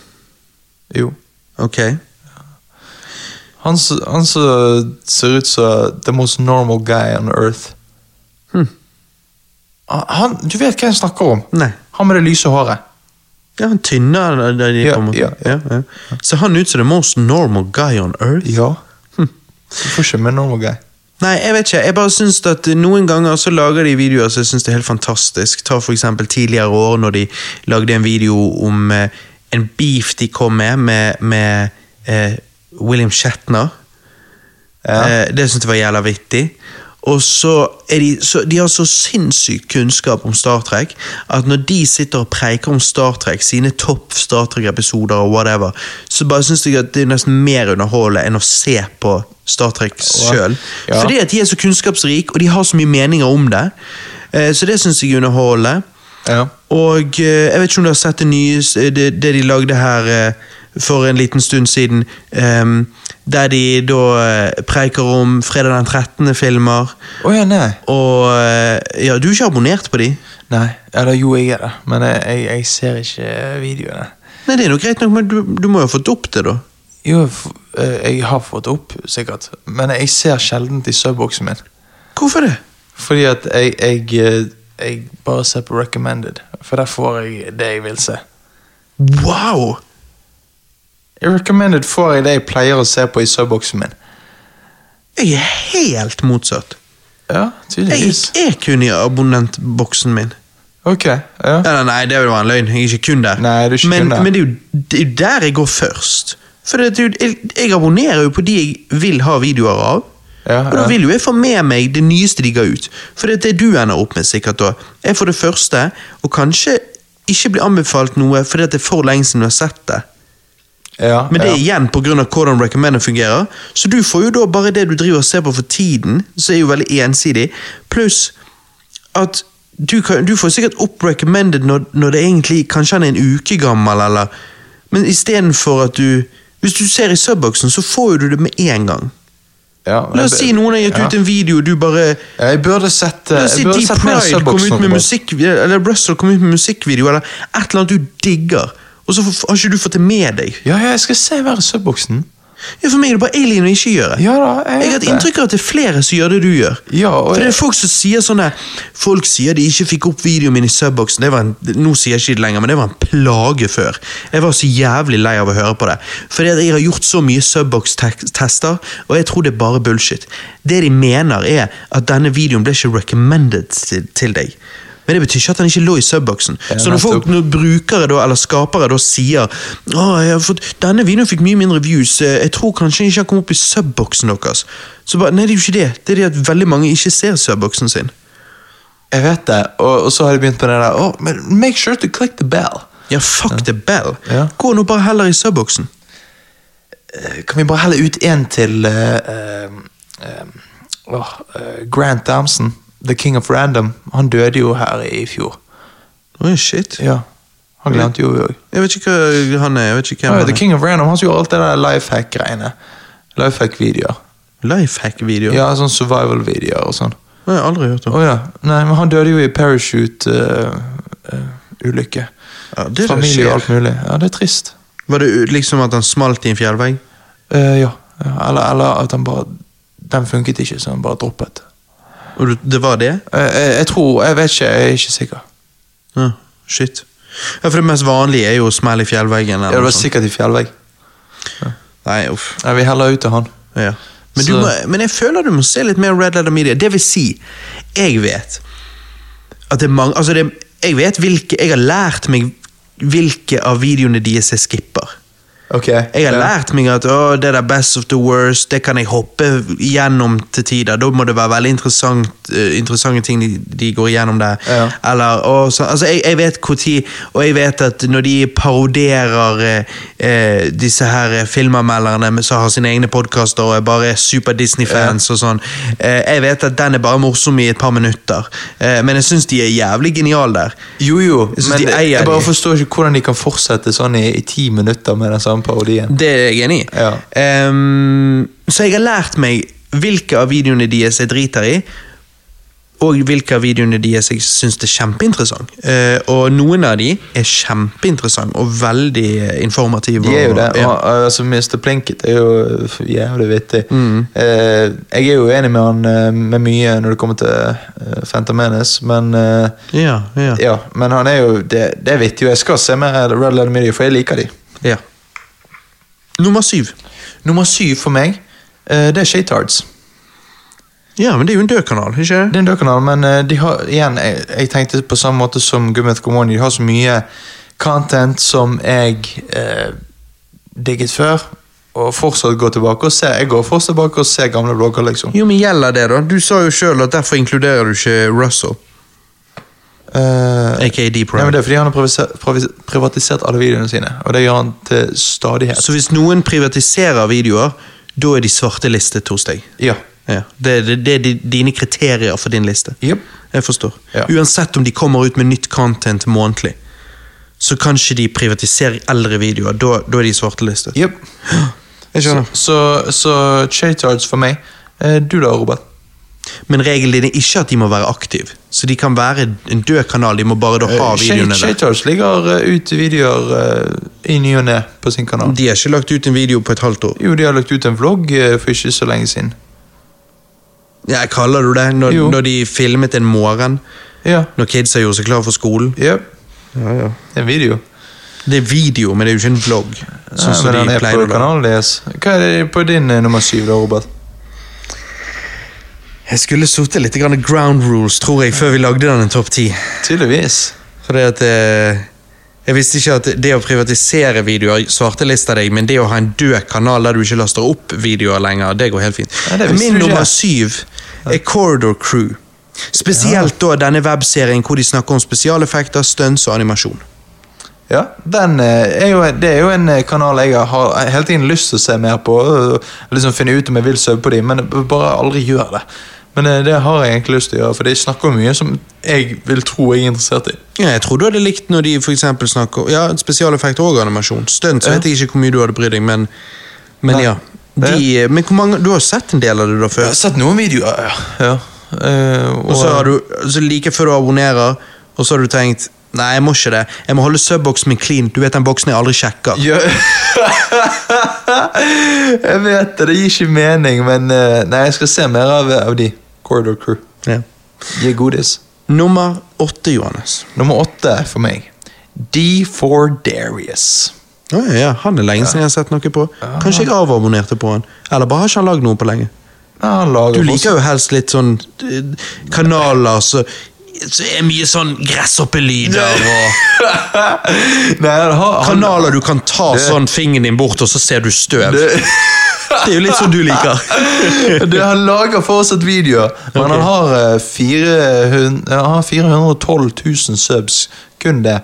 Jo. Ok. Han som han som ser ut som the most normal guy on earth. Ah, Hmm. Han, du vet hva jeg snakker om? Nei. Han med det lyse håret. Ja, han tynne da da de Ja, kommer. ja, ja. Ser han ut som the most normal guy on earth? Ja. Hvorfor ikke med normal guy? Nei, jeg vet ikke. Jeg bare syns at noen ganger så lager de videoer som jeg syns er helt fantastisk. Ta for eksempel tidligere år når de lagde en video om eh, en beef de kom med med, med eh, William Shatner. Ja. Eh, det syns jeg var jævla vittig. Og så er de, så de har så sinnssyk kunnskap om Star Trek at når de sitter og preiker om Star Trek, sine topp Star Trek-episoder og whatever, så bare syns jeg at det er nesten mer underholdende enn å se på Star Trek sjøl. Ja. Fordi at de er så kunnskapsrike, og de har så mye meninger om det. Eh, Så det syns jeg er underholdende. Ja. Og eh, jeg vet ikke om du har sett det nye s- det, det de lagde her eh, for en liten stund siden. ehm, der de da eh, preiker om fredag den 13. filmer. Å ja, nei. Og eh, ja, du er ikke abonnert på de? Nei, eller jo, jeg er det, men jeg, jeg, jeg ser ikke videoene. Nei, det er nok greit nok, men du, du må jo ha fått opp det, da. Jo, jeg f- eh, jeg har fått opp, sikkert, men jeg ser sjelden i subboksen min. Hvorfor det? Fordi at jeg, jeg, eh, jeg bare ser på recommended, for der får jeg det jeg vil se. Wow! I recommended får jeg det jeg pleier å se på i subboksen min. Jeg er helt motsatt. Ja, Jeg, tydeligvis. jeg er kun i abonnentboksen min. Ok, ja. Ja, nei, nei, det var en løgn. Jeg er ikke kun der. Nei, du er ikke men, kun der. men det er jo det er jo der jeg går først. For det, er jo- jeg, jeg abonnerer jo på de jeg vil ha videoer av. Ja, og da ja. vil jo jeg få med meg det nyeste de ga ut. For det er det du ender opp med sikkert da. Jeg for det første, og kanskje ikke blir anbefalt noe fordi at det er for lenge siden du har sett det. ja Men det er ja. igjen pga. hvordan recommender fungerer. Så du får jo da bare det du driver og ser på for tiden, som er jo veldig ensidig. Pluss at du, kan, du får sikkert opp recommended når, når det egentlig kanskje han er en uke gammel, eller Men istedenfor at du Hvis du ser i subboksen, så får jo du det med en gang. Ja, La oss si noen har gitt ut en video, og du bare ja, Jeg burde sett eh, La oss si jeg burde Deep sett mer Pride kom Subbox ut med nå, musikk, eller Russell kom ut med musikkvideo, eller et eller annet du digger, og så har ikke du fått det med deg. Ja, ja, jeg skal se hver Subboxen. Ja, For meg er det bare alien å ikke gjøre. Ja da, Jeg har vet hatt det. inntrykk av at det er flere som gjør det du gjør. Ja, og For det jeg, er folk som sier sånne Folk sier de ikke fikk opp videoen min i subboxen. Det var en, nå sier jeg ikke det lenger, men det var en plage før. Jeg var så jævlig lei av å høre på det. Fordi at jeg har gjort så mye subbox-tester, og jeg tror det er bare bullshit. Det de mener, er at denne videoen ble ikke recommended til, til deg. Men det betyr ikke at den ikke lå i subboxen. Ja, Så når folk, nettopp. når brukere da, eller skapere da sier Å, jeg har fått, 'Denne videoen fikk mye mindre views, eh, jeg tror kanskje den ikke har kommet opp i subboksen deres'. Så bare, Nei, det er jo ikke det. Det er det at veldig mange ikke ser subboksen sin. jeg vet det, og, og så har de begynt på det der oh, men Make sure to click the bell. Ja, fuck the bell. Ja. Gå nå bare heller i subboksen. Eh, Kan vi bare helle ut en til eh, eh, eh, åh, eh, Grant Damson, the king of random. Han døde jo her i fjor. Oi, shit. Ja, Han glemte jo vi òg. Jeg vet ikke hva han er. jeg vet ikke hvem Ja, han The er. King of Random, han som gjorde alt det der lifehack-greiene. Lifehack-videoer. Lifehack-video. Ja, sånn survival-videoer og sånn. Det har jeg aldri hørt Å om. ja. Nei, men han døde jo i parachute-ulykke. Ja, det er det Familie skjer. og alt mulig. Ja, det er trist. Var det u- liksom at han smalt i en fjellvegg? Eh, ja. Ja, Eller, eller at han bare Den funket ikke, så han bare droppet. Og du- det var det? Eh, eh, jeg tror Jeg vet ikke, jeg er ikke sikker. Ja, shit. Ja, for det mest vanlige er jo å smelle i fjellveggen. Eller Ja, det noe var sånt. sikkert i fjellvegg. Nei, uff. Nei, vi heller ut til han. Ja. Men, du Så- må, men jeg føler du må se litt mer Red Letter Media. Det vil si, jeg vet at det er mange altså det, Jeg vet hvilke Jeg har lært meg hvilke av videoene deres jeg skipper. Ok. Jeg har lært meg at å, det der best of the worst, det kan jeg hoppe gjennom til tider. Da må det være veldig interessant, eh, interessante ting de, de går igjennom der. Ja. Eller, å, så, altså, jeg, jeg vet hvor tid, og jeg vet at når de paroderer eh, eh, disse her eh, filmanmelderne med- som har sine egne podkaster og er bare super Disney-fans og sånn, eh, jeg vet at den er bare morsom i et par minutter. Eh, men jeg syns de er jævlig geniale der. Jo, jo, Jeg synes men de eier jeg bare de. forstår ikke hvordan de kan fortsette sånn i, i ti minutter med den samme parodien. Det er jeg enig i. Ja. Ehm, så jeg har lært meg hvilke av videoene deres jeg driter i, og hvilke av videoene deres jeg syns er kjempeinteressant. Eh, og noen av de er kjempeinteressante og veldig eh, informative. De er jo det. Og, ja. Og, altså, Mr. Plinkett er jo f- jævlig vittig. Mm. Eh, jeg er jo enig med han eh, med mye når det kommer til uh, Phantom Menace, men eh, Ja, ja. ja, men han er jo Det, det er vittig, og jeg skal se mer Red Letter Media, for jeg liker de. ja. Nummer syv. Nummer syv for meg, eh, det er Shaytards. Ja, men det er jo en død kanal, ikke Det det? er en dørkanal, men eh, de har, igjen, jeg, jeg tenkte på samme måte som Gummet Komoni, de har så mye content som jeg eh, digget før, og fortsatt går tilbake og ser. Jeg går fortsatt tilbake og ser gamle blogger, liksom. Jo, men gjelder det, da? Du sa jo sjøl at derfor inkluderer du ikke Russell. Eh, AKA Deep Nei, Pride. men det er fordi han har privatisert, privis- privatisert alle videoene sine, og det gjør han til stadighet. Så hvis noen privatiserer videoer, da er de svartelistet hos deg? Ja. Ja, det, det, det er di- dine kriterier for din liste. Jep. Jeg forstår. Ja. Uansett om de kommer ut med nytt content månedlig, så kan ikke de privatisere eldre videoer. Da, da er de svartelistet. Jep. Jeg Så, skjønner. så, så Shaytards for meg. Eh, du da, Robert? Men regelen din er ikke at de må være aktive. Så de kan være en død kanal, de må bare da ha Eh, Shay- videoene der. Shaytards ligger eh, ut videoer eh, i ny og ne på sin kanal. De har ikke lagt ut en video på et halvt år. Jo, de har lagt ut en vlogg eh, for ikke så lenge siden. Ja, kaller du det? Når, Jo. når de filmet en morgen, Ja. når kidsa gjorde seg klar for skolen. Yep. En video. Det er video, men det er jo ikke en vlogg. Sånn Nei, som men de den er pleier på å lage. kanalen deres. Hva er det på din eh, nummer syv, da, Robert? Jeg skulle sittet litt grann ground rules, tror jeg, før vi lagde denne topp ti. Tydeligvis. Fordi at eh, Jeg visste ikke at det å privatisere videoer svartelister deg, men det å ha en død kanal der du ikke laster opp videoer lenger, det går helt fint. Ja, det visste Min du ikke. nummer syv er Corridor Crew. Spesielt da denne webserien hvor de snakker om spesialeffekter, stunts og animasjon. Ja, den eh, er jo, Det er jo en eh, kanal jeg har hele tiden lyst til å se mer på. og liksom Finne ut om jeg vil søve på dem, men jeg bare aldri gjør det. Men eh, det har jeg egentlig lyst til å gjøre, for de snakker om mye som jeg vil tro jeg er interessert i. Ja, jeg tror du hadde likt når de for eksempel snakker Ja, spesialeffekter og animasjon. Stunts Ja. vet jeg ikke hvor mye du hadde brydd deg, men, men Nei. ja. De, eh, men hvor mange, du har sett en del av det da før? Jeg har sett noen videoer, ja. ja. Eh, Og så har du, så like før du abonnerer, og så har du tenkt Nei, jeg må ikke det. Jeg må holde subboksen min clean. Du vet den boksen jeg aldri sjekker. Ja. jeg vet det, det gir ikke mening, men eh, Nei, jeg skal se mer av, av de. Corridor Crew. Ja. Gi godis. Nummer åtte, Johannes. Nummer åtte for meg. D4 Darius. Å ja, ja, han er lenge siden jeg har sett noe på. Kanskje jeg avabonnerte på han. Eller bare har ikke han lagd noe på lenge. Ja, han Du lager liker jo helst litt sånn eh, kanaler som så er mye sånn gresshoppelyder og Nei, han har han- Kanaler du kan ta Det- sånn fingeren din bort, og så ser du støv. Det, Det er jo litt sånn du liker. det, han lager fortsatt videoer, men han Ok. har, eh, 400, han har 412 000 subs. Kun det.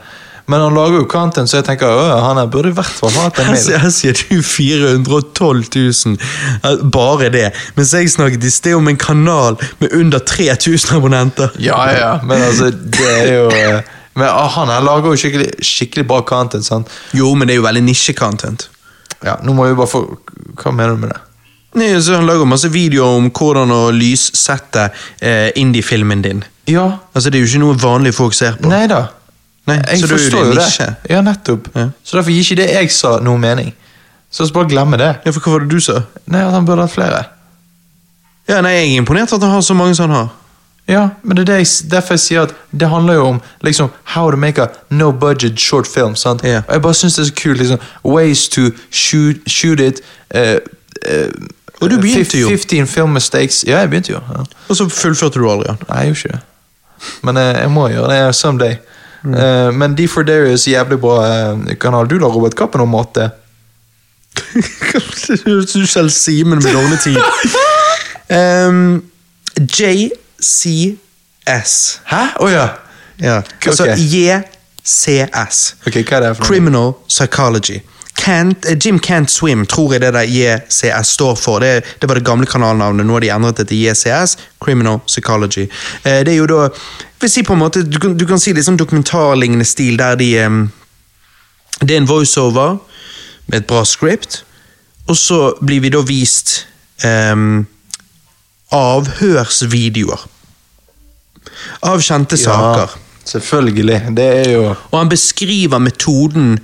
Men han lager jo content, så jeg tenker «Åh, han her burde i hvert fall hatt en Her mail. sier, her sier du 412 000. Eh, Bare det. Mens jeg snakket i sted om en kanal med under 3000 abonnenter. Ja, ja, men altså, det er jo eh, Men ah, han her lager jo skikkelig, skikkelig bra content, sant? Jo, men det er jo veldig nisje-content. Ja, nå må vi bare få Hva mener du med det? Nei, så Han lager masse videoer om hvordan å lyssette eh, indie-filmen din. Ja, Altså, Det er jo ikke noe vanlige folk ser på. nei da. Nei, jeg så da er jo forstår det jo det. nisje. Ja, nettopp. Ja. Så derfor gir ikke det jeg sa, noe mening. Så la oss bare glemme det. Ja, for Hva var det du sa? Nei, at han burde hatt flere. Ja, nei, Jeg er imponert at han har så mange som han har. Ja, men det er det jeg, s- derfor jeg sier at det handler jo om liksom, how to make a no budget short film. sant? Ja. Og jeg bare syns det er så kult. liksom, Ways to shoot, shoot it. eh, eh, Og du begynte fif- jo. 15 film mistakes. Ja, jeg begynte jo. Ja. Og så fullførte du aldri han. Nei, jeg gjorde ikke det. Men eh, jeg må gjøre det someday. Eh, men D4 Darius, jævlig bra eh, kanal. Du la Robert Kapp på nummer åtte. Det høres ut som Simen med dårlig tid. Ehm, JCS. Hæ? Å ja. Ja. Altså Ok. JCS. Ok, hva er det for noe? Criminal Psychology. Can't, eh, Jim Can't Swim tror jeg det der JCS står for. Det, det var det gamle kanalnavnet. Nå har de endret det til JCS. Criminal Psychology. Eh, det er jo da jeg vil si på en måte, Du kan, du kan si litt sånn dokumentarlignende stil der de ehm, det er en voiceover med et bra script, og så blir vi da vist um, avhørsvideoer. Av kjente saker. Ja, selvfølgelig. Det er jo Og han beskriver metoden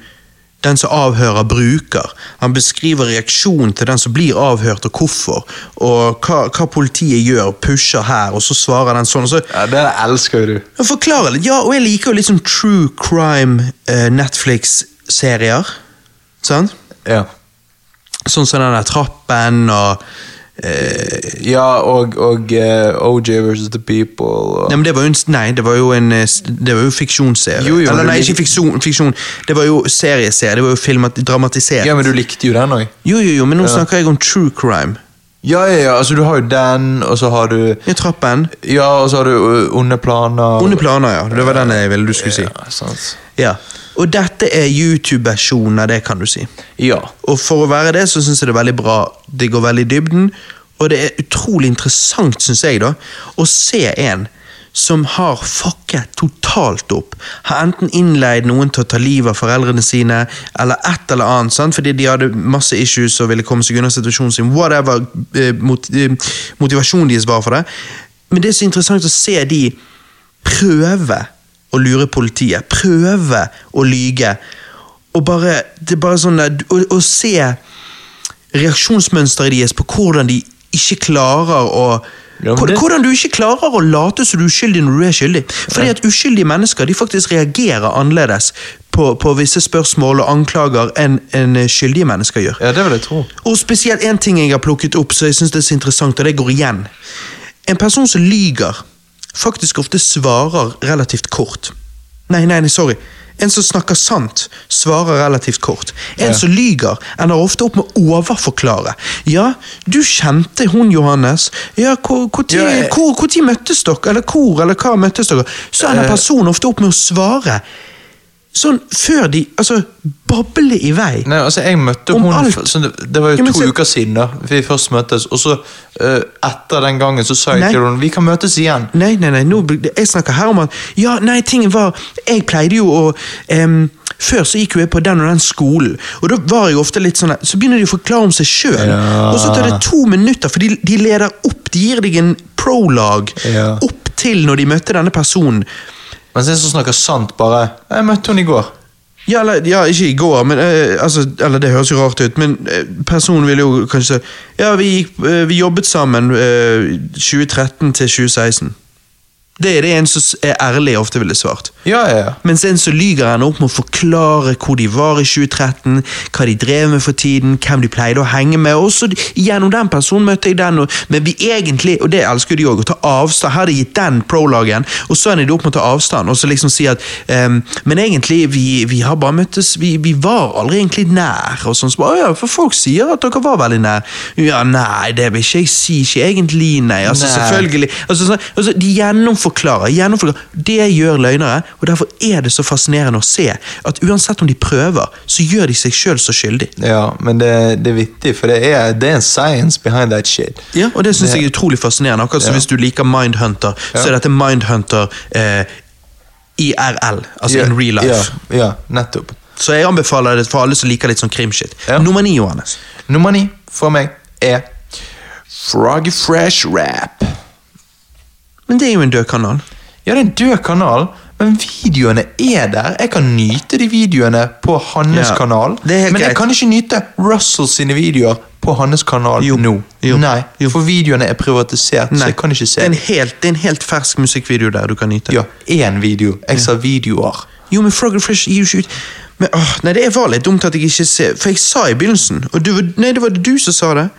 den som avhører, bruker. Han beskriver reaksjonen til den som blir avhørt, og hvorfor. Og hva, hva politiet gjør. Pusher her, og så svarer den sånn. Og så ja, Det elsker jo du. og Forklare litt. Ja, og jeg liker jo litt sånn true crime eh, Netflix-serier. Sant? Ja, Sånn som den der trappen og eh, ja og, og eh, OJ versus The People. Og... Nei, men det var jo en, nei, det var jo en eh, s- Det var jo fiksjonsserie. Jo, jo, Eller men nei, du- ikke fiksjon, fiksjon. Det var jo serieserie. Det var jo filmat, dramatisert. Ja, men du likte jo den òg. Jo, jo, jo, men nå snakker jeg om true crime. Ja, ja, ja, altså du har jo den, og så har du Ja, trappen. Ja, og så har du ø, Onde planer. Onde planer, ja. Det var den jeg ville du skulle si. Ja, sant. Ja. Og dette er YouTube-versjonen av det, kan du si. Ja. Og for å være det, så syns jeg det er veldig bra. Det går veldig i dybden. Og det er utrolig interessant, syns jeg, da, å se en som har fucket totalt opp. Har enten innleid noen til å ta livet av foreldrene sine, eller et eller annet, sant? fordi de hadde masse issues og ville komme seg unna situasjonen sin. Whatever eh, mot, eh, motivasjonen deres var for det. Men det er så interessant å se de prøve å lure politiet. Prøve å lyge. Og bare, det er bare sånn der, å, å se reaksjonsmønsteret deres på hvordan de ikke klarer å Ja, men hvor- det- Hvordan du ikke klarer å late som du er uskyldig når du er skyldig. Fordi at uskyldige mennesker de faktisk reagerer annerledes på, på visse spørsmål og anklager enn enn skyldige mennesker gjør. Mm. ja, det vil jeg tro. Og spesielt en ting jeg har plukket opp, så jeg synes det er så interessant, og det går igjen. En person som lyger, faktisk ofte svarer relativt kort. Nei, nei, nei, sorry. En som snakker sant, svarer relativt kort. En Ja. som lyger, ender ofte opp med å overforklare. Ja, du kjente hun, Johannes. Ja, hvor, hvor, tid, Ja, jeg- hvor, hvor tid møttes dere? Eller hvor, eller hva møttes dere? Så ender Eh. personen ofte opp med å svare. Sånn før de Altså, bable i vei. Nei, altså jeg møtte Om hun alt. for- så det, det var Ja, jo men to så- uker siden da vi først møttes, og så eh, etter den gangen så sa jeg Nei. til henne vi kan møtes igjen. Nei, nei, nei, nå, blir- jeg snakker her om at Ja, nei, tingen var Jeg pleide jo å em, Før så gikk jo jeg på den og den skolen, og da var jeg jo ofte litt sånn der, Så begynner de å forklare om seg sjøl, Ja. og så tar det to minutter, for de, de leder opp, de gir deg en prolog Ja. opp til når de møtte denne personen. Mens jeg som snakker sant, bare Jeg møtte hun i går. Ja, eller, ja, ikke i går, men eh, altså, Eller det høres jo rart ut, men eh, personen ville jo kanskje Ja, vi, gikk, eh, vi jobbet sammen eh, 2013 til 2016. Det er det en som s- er ærlig ofte ville svart. Ja, ja, ja. Mens en så lyger han opp med å forklare hvor de var i 2013, hva de drev med for tiden, hvem de pleide å henge med, og så gjennom den personen møtte jeg den, og, men vi egentlig, og det elsker de òg, å ta avstand. Her har de gitt den prologen, og så ender de opp med å ta avstand, og så liksom si at ehm, Men egentlig, vi, vi har bare møttes vi, vi var aldri egentlig nær, og sånn. Så bare, «Å ja, for folk sier at dere var veldig nær. Ja, nei, det vil ikke jeg si. Ikke egentlig, nei. Altså, Nei. selvfølgelig virkelig. Altså, sånn- altså, de gjennomforklarer, gjennomforklarer. Det gjør løgnere, og derfor er det så fascinerende å se at uansett om de prøver, så gjør de seg sjøl så skyldig. Ja, men det, det er vittig, for det er, det er en science behind that shit. Ja, og det syns jeg er utrolig fascinerende. Akkurat som Ja. hvis du liker Mindhunter, så Ja. er dette Mindhunter eh, IRL, altså in real life. Ja, ja nettopp. Så jeg anbefaler det for alle som liker litt sånn krimshit. Ja. Nummer ni, Johannes. Nummer ni for meg er Froggy Fresh Rap. Men det er jo en død kanal. Ja, det er en død kanal, men videoene er der. Jeg kan nyte de videoene på hans Ja, kanal, det er helt men jeg greit. kan ikke nyte Russell sine videoer på hans kanal Jo, nå. jo, Nei, jo. for videoene er privatisert, så Nei, jeg kan ikke Det se er en dem. helt, det er en helt fersk musikkvideo der du kan nyte. Ja, én video. Jeg sa videoer. Jo, men Frog and Fresh gir jo ikke ut men, åh, Nei, det var litt dumt at jeg ikke ser For jeg sa i begynnelsen Og du, nei, det var du som sa det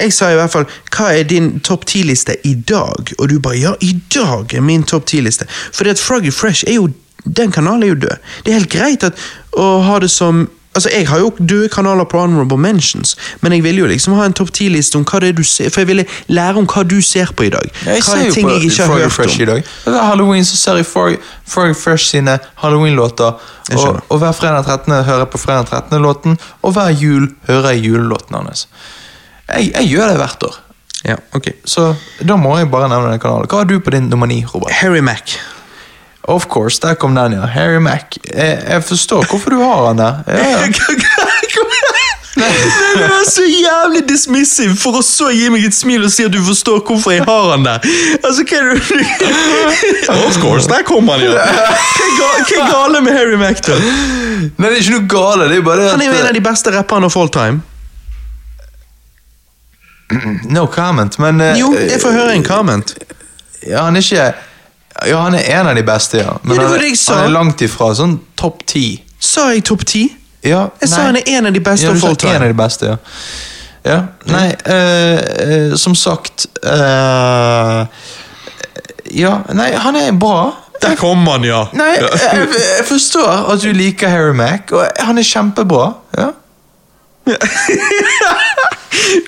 Jeg sa i hvert fall Hva er din topp 10-liste i dag? Og du bare, ja, i dag er min topp 10-liste Fordi at Frog and Fresh er jo Den kanalen er jo død Det er helt greit at Å ha det som Altså, jeg har jo døde kanaler på Honorable Mentions, men jeg ville jo liksom ha en topp 10-liste om hva det er du ser, for jeg ville lære om hva du ser på i dag. Jeg hva ser er jo ting på jeg ikke har Froggy hørt Fresh om? i dag. Hver Halloween så ser jeg Frog- Froggy Fresh sine Halloween-låter. Jeg skjønner. Og, og hver fredag 13. hører jeg på fredag 13.-låten, og hver jul hører jeg julelåten hans. Jeg, jeg gjør det hvert år. Ja, ok. Så da må jeg bare nevne den kanalen. Hva har du på din nummer ni, Robert? Harry Mack. Of course, der kom den, ja. Harry Mack. Jeg, jeg forstår hvorfor du har han der. Ja, ja. Nei, men Du er så jævlig dismissiv for å så gi meg et smil og si at du forstår hvorfor jeg har han der. Altså, hva er det du Of course, der kom han, ja. Hva er ga- hva er gale med Harry Mactor? Nei, det er ikke noe gale, det er bare det Han er jo en av at de beste rapperne of all time. No comment, men eh, Jo, jeg får høre en comment. ja, han er ikke Ja, han er en av de beste, ja. Men Ja, det var han, det jeg sa. han er langt ifra sånn topp ti. Sa jeg topp ti? Ja, Jeg sa nei. han er en av de beste ja, du of sa all en av time. de beste, ja. Ja, nei, eh, eh, som sagt eh, Ja, nei, han er bra. Der kom han, ja. Nei, jeg, jeg forstår at du liker Harry Mack, og han er kjempebra. Ja.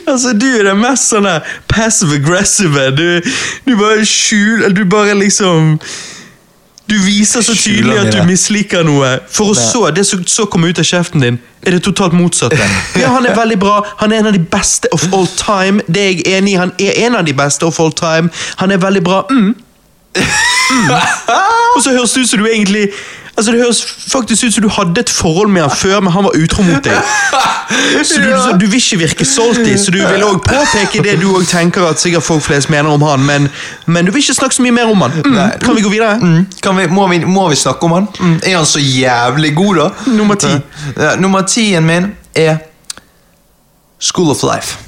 Altså, du er den mest sånn der passive-aggressive. Du, du bare skjuler Du bare liksom Du viser så tydelig Skjuler at du mine. misliker noe, for å Nei. så det som så kommer ut av kjeften din, er det totalt motsatte. Ja, han er veldig bra. Han er en av de beste of all time. Det er jeg enig i. Han er en av de beste of all time. Han er veldig bra. Mm. Og så høres det ut som du egentlig Altså Det høres faktisk ut som du hadde et forhold med han før, men han var utro mot deg. Så du, så du vil ikke virke salty, så du vil òg påpeke det du også tenker at sikkert folk flest mener om han, men, men du vil ikke snakke så mye mer om han. Mm, kan vi gå videre? Mm. Kan vi, må, vi, må vi snakke om han? Mm. Er han så jævlig god, da? Eh, Nummer ti. Ja, nummer tien min er School of Life.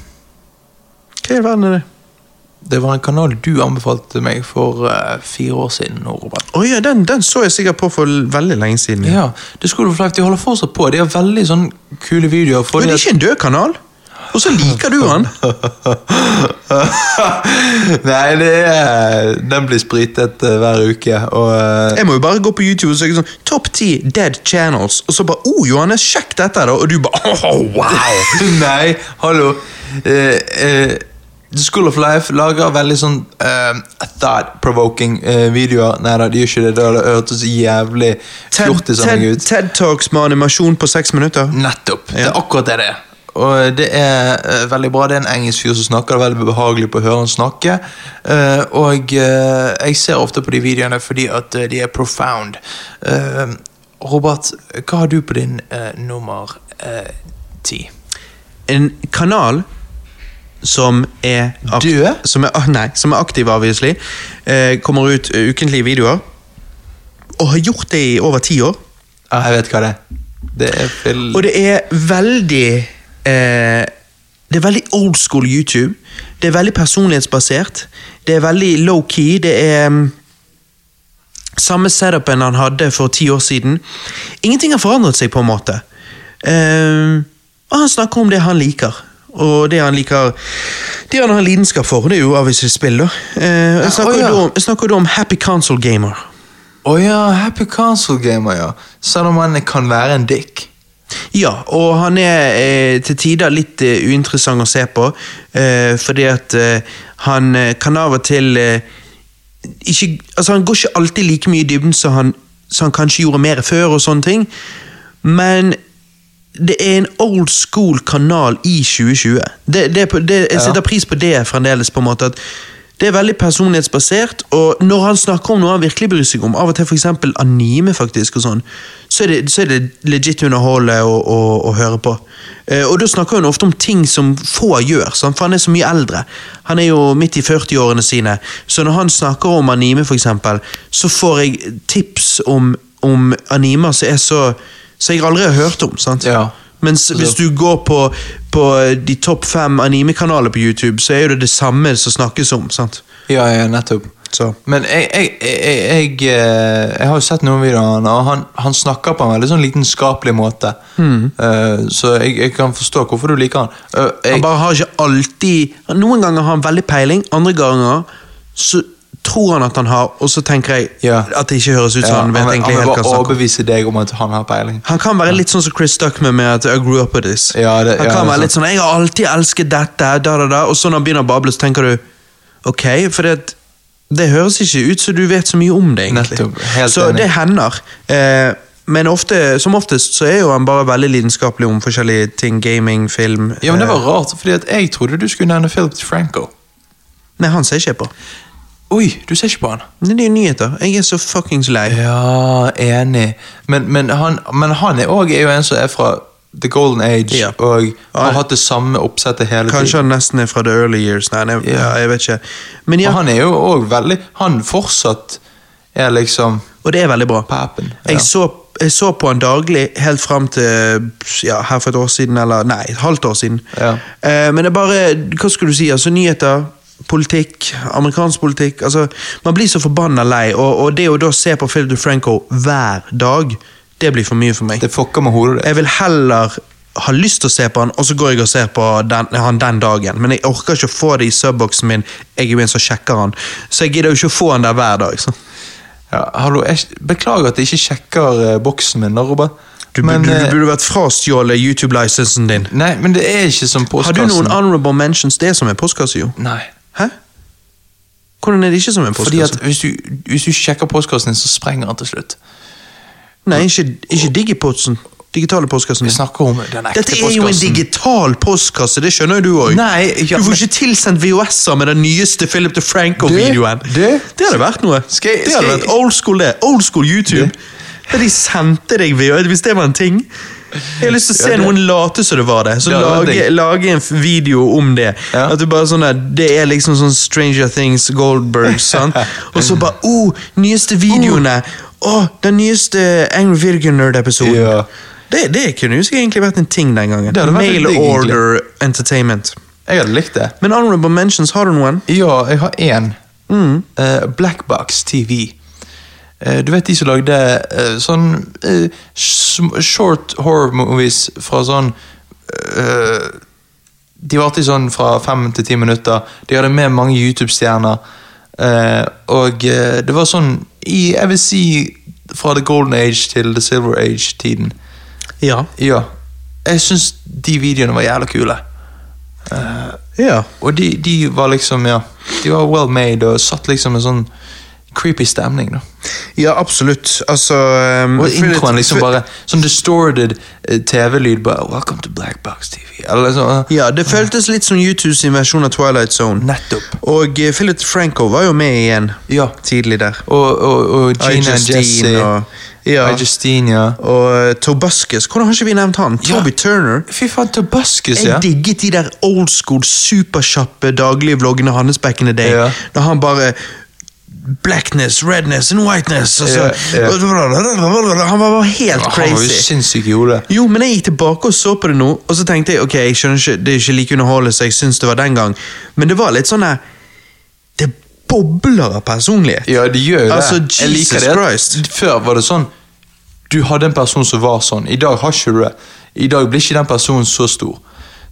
Hva i verden er det? Det var en kanal du anbefalte meg for eh, fire år siden. nå, Robert. Å ja, den, den så jeg sikkert på for veldig lenge siden. Ja, det er School of Life, De holder fortsatt på. De har veldig sånn kule videoer. Men Fordi det er at, ikke en død kanal? Og så liker du han! Nei, det er, den blir spritet eh, hver uke, og eh, Jeg må jo bare gå på YouTube og søke sånn Top 10 Dead Channels, og så bare Å, oh, Johannes, sjekk dette, da! Og du bare «Åh, wow! Nei, hallo. Eh, eh, The School of Life lager veldig sånn eh, thought-provoking eh, videoer. Nei da, de gjør ikke det. Det hadde hørtes jævlig Ted, Ted, fjortisamling ut. Ted Talks med animasjon på seks minutter. Nettopp. Det er akkurat det det er. Og det er eh, veldig bra. Det er en engelsk fyr som snakker. Det er veldig behagelig på å høre han snakke. Eh, og eh, jeg ser ofte på de videoene fordi at eh, de er profound. Eh, Robert, hva har du på din eh, nummer eh, ti? En kanal som er ak- Død? Som er, ah, nei, som er aktiv, obviously. Eh, kommer ut eh, ukentlige videoer. Og har gjort det i over ti år. Ja, Ah, jeg vet hva det er. Det er Phil Og det er veldig eh, Det er veldig old school YouTube. Det er veldig personlighetsbasert. Det er veldig low key. Det er mm, samme setupen han hadde for ti år siden. Ingenting har forandret seg, på en måte. Eh, og han snakker om det han liker. Og det han liker Det han har lidenskap for, det er jo obviously spill, da. Eh, jeg snakker, å, jo ja. da om, jeg snakker jo da om Happy Console Gamer. Å ja, Happy Console Gamer, ja. Selv om han kan være en dick. Ja, og han er eh, til tider litt eh, uinteressant å se på, eh, fordi at eh, han eh, kan av og til eh, ikke, altså Han går ikke alltid like mye i dybden som han, som han kanskje gjorde mer før, og sånne ting, men det er en old school kanal i 2020. Det, det, er på- det, jeg setter pris på det fremdeles. på en måte at Det er veldig personlighetsbasert, og når han snakker om noe han virkelig bryr seg om, av og til f.eks. anime, faktisk, og sånn, så er det, så er det legit underholdende å, å, å høre på. Eh, og da snakker han ofte om ting som få gjør, sant? for han er så mye eldre. Han er jo midt i 40-årene sine, så når han snakker om anime, f.eks., så får jeg tips om, om animer som er så som jeg aldri har hørt om. sant? Ja. Mens hvis du går på, på eh, de topp fem anime-kanaler på YouTube, så er jo det det samme som snakkes om. sant? Ja, ja, nettopp. Så. Men jeg, jeg, jeg, jeg, eh, jeg har jo sett noen videoer av han, og han, han snakker på en veldig sånn lidenskapelig måte. Eh, så jeg, jeg kan forstå hvorfor du liker han. Eh, Hmm. Han jeg, bare har ikke alltid Noen ganger har han veldig peiling, andre ganger så tror han at han har, og så tenker jeg Ja. at det ikke høres ut som ja, han vet vil- egentlig han helt vil hva han bare snakker om. overbevise deg om at han har peiling. Han kan være litt sånn som Chris Duckman med at 'I grew up with this'. Ja, han det- ja, kan det er være litt sånn 'Jeg har alltid elsket dette', da, da, da, og så når han begynner å bable, så tenker du 'ok', for det, det høres ikke ut som du vet så mye om det, egentlig. Nettopp, helt så enig. det hender. Eh, men ofte, som oftest så er jo han bare veldig lidenskapelig om forskjellige ting. Gaming, film Ja, men Det eh, var rart, fordi at jeg trodde du skulle nevne Philip Franco. Nei, Eh, han ser ikke jeg på. Oi, du ser ikke på han? Men Det er jo nyheter. Jeg er så fuckings lei. Ja, enig. Men, men, han, men han er òg jo en som er fra the golden age Ja. og Ja. har hatt det samme oppsettet hele Kanskje tiden. han nesten er fra the early years. Nei, nei Ja. ja, jeg vet ikke. Men ja, Og han er jo òg veldig Han fortsatt er liksom og det er veldig bra. papen. Ja. Jeg så, jeg så på han daglig helt frem til ja, her for et år siden, eller nei, et halvt år siden. Ja. Eh, men det er bare, hva skulle du si, altså nyheter, politikk, amerikansk politikk, altså man blir så forbannet lei, og, og det å da se på Philip DeFranco hver dag, det blir for mye for meg. Det fucker med hodet ditt. Jeg vil heller ha lyst til å se på han, og så går jeg og ser på den, han den dagen. Men jeg orker ikke å få det i subboksen min, jeg er jo en som sjekker han. Så jeg gidder jo ikke å få han der hver dag. Så. Ja, hallo, jeg beklager at jeg ikke sjekker eh, boksen min, da, Robert. Du, men, burde- du, eh, burde vært frastjålet YouTube-lisensen din. nei, men det er ikke som Har postkassen. du noen honorable mentions? Det er som en postkasse, jo. Nei. Hæ? Hvordan er det ikke som en Fordi postkasse? at hvis du, hvis du sjekker postkassen din, så sprenger han til slutt. Nei, ikke, ikke digipotsen. Digitale postkassen. Vi din. snakker om den ekte Dette er jo en postkassen. digital postkasse, det skjønner jo du òg. Nei, ja, du får men- ikke tilsendt VHS-er med den nyeste Philip DeFranco-videoen. Det- det- hadde vært noe. Skal jeg- det skal hadde jeg- vært old school, det. Old school YouTube. Da de sendte deg VHS, hvis det var en ting. Jeg har lyst til å se Ja, det- noen late som det var det. Så Det hadde lage, vært digg. lage en video om det. Ja. At du bare sånn der, Det er liksom sånn Stranger Things, Goldberg, sant? Og så bare Oh, nyeste videoene! Å, Oh. den nyeste Angry Video Nerd-episoden. Ja. Det, det kunne jo sikkert egentlig vært en ting den gangen. Det hadde vært Mail litt digg, egentlig. order entertainment. Jeg hadde likt det. Men honorable mentions, har du noen? Ja, jeg har én. Eh, Blackbox TV. Eh, du vet de som lagde eh, sånn eh, sm- short horror movies fra sånn eh, De varte i sånn fra fem til ti minutter. De hadde med mange YouTube-stjerner. Eh, og eh, det var sånn i, Jeg vil si fra the golden age til the silver age-tiden. Ja. Ja. Jeg syns de videoene var jævla kule. ja. Og de, de var liksom, ja De var well made og satt liksom en sånn creepy stemning. da Ja, absolutt. Altså um, Og fordi- introen liksom for- bare Sånn distorted eh, TV-lyd bare Welcome to Black Box TV Eller sånn Ja, det føltes litt som YouTube sin versjon av Twilight Zone. Nettopp Og eh, Philip Franco var jo med igjen Ja tidlig der. Og, og, og Gina I, Jesse Justine og Ja. I Justine, ja Og eh, Tobuscus. Hvordan har ikke vi nevnt han? Ja. Toby Turner. Fy faen, Tobuscus, ja Jeg digget de der old school, superkjappe daglige vloggene hans back in the day. Ja. Når han bare Blackness, redness and whiteness. Og så, Ja, Han var bare helt Han var jo crazy. sinnssyk i hodet Jo, men jeg gikk tilbake og så på det nå, og så tenkte jeg ok, jeg skjønner ikke, det er ikke like underholdende som jeg syns det var den gang, men det var litt sånn der Det bobler av personlighet. Ja, de gjør jo det Altså, Jeg liker Jesus det. Christ. Før var det sånn Du hadde en person som var sånn I dag har ikke du det I dag blir ikke den personen så stor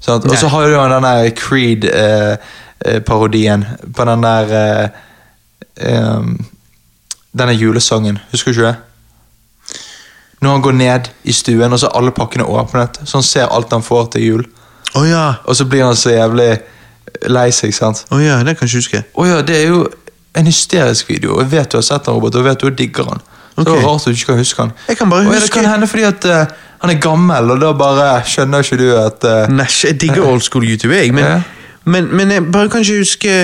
sant? Og Nei. så har du jo den der Creed-parodien På den der eh, em, Denne julesangen Husker du ikke det? Når han går ned i stuen Og så er alle pakkene åpnet Så han ser alt han får til jul Å ja. Og så blir han så jævlig lei seg, sant? Å ja, det kan jeg ikke huske. Å ja, det er jo en hysterisk video. Og jeg vet du har sett den, Robert, og jeg vet du digger den. Så det Ok. var rart at du ikke kan huske den. Jeg kan bare Å ja, huske- Det kan hende fordi at eh, han er gammel, og da bare skjønner ikke du at eh, Nash, jeg digger old school YouTube, jeg, men, Ja. men, men jeg bare kan ikke huske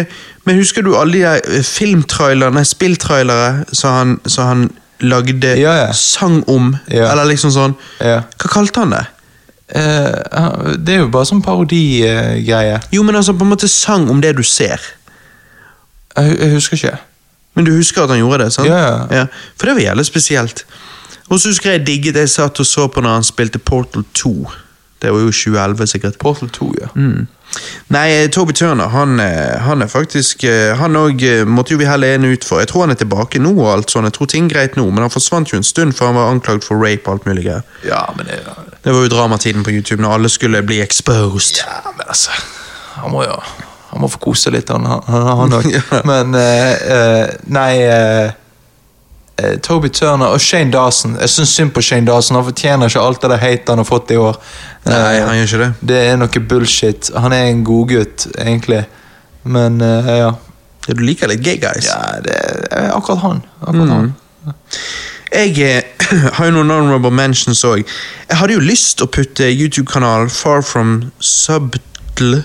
Men husker du alle de der eh, filmtrailere, nei, spilltrailere som han, som han lagde Ja, ja. sang om? Ja. Eller liksom sånn Ja. Hva kalte han det? eh, han- Det er jo bare sånn parodigreie. Jo, men altså på en måte sang om det du ser. Jeg, hu- jeg husker ikke. Men du husker at han gjorde det, sant? Ja, ja. For det var jævlig spesielt. Og så husker jeg digget jeg satt og så på når han spilte Portal 2. Det var jo 2011, sikkert. Portal 2, ja. Mm. Nei, eh, Toby Turner, han, eh, han er faktisk eh, Han òg måtte jo vi helle en ut for. Jeg tror han er tilbake nå, og alt sånn. Jeg tror ting er greit nå, men han forsvant jo en stund før han var anklagd for rape og alt mulig greier. Ja, men det Det var jo dramatiden på YouTube når alle skulle bli exposed. Ja, men altså Han må jo Han må få kose litt, han òg. Han, han, også. Ja. Men eh, eh, Nei eh, eh, Toby Turner og Shane Dawson. Jeg syns synd på Shane Dawson. Han fortjener ikke alt av det hate han har fått i år. Nei, Eh, han gjør ikke det. Det er noe bullshit. Han er en godgutt, egentlig. Men eh, ja. Du liker litt gay guys. ja det er akkurat han. Mm. Akkurat han. Jeg eh, har jo noen honorable mentions òg. Jeg hadde jo lyst å putte YouTube-kanalen Far From Subtle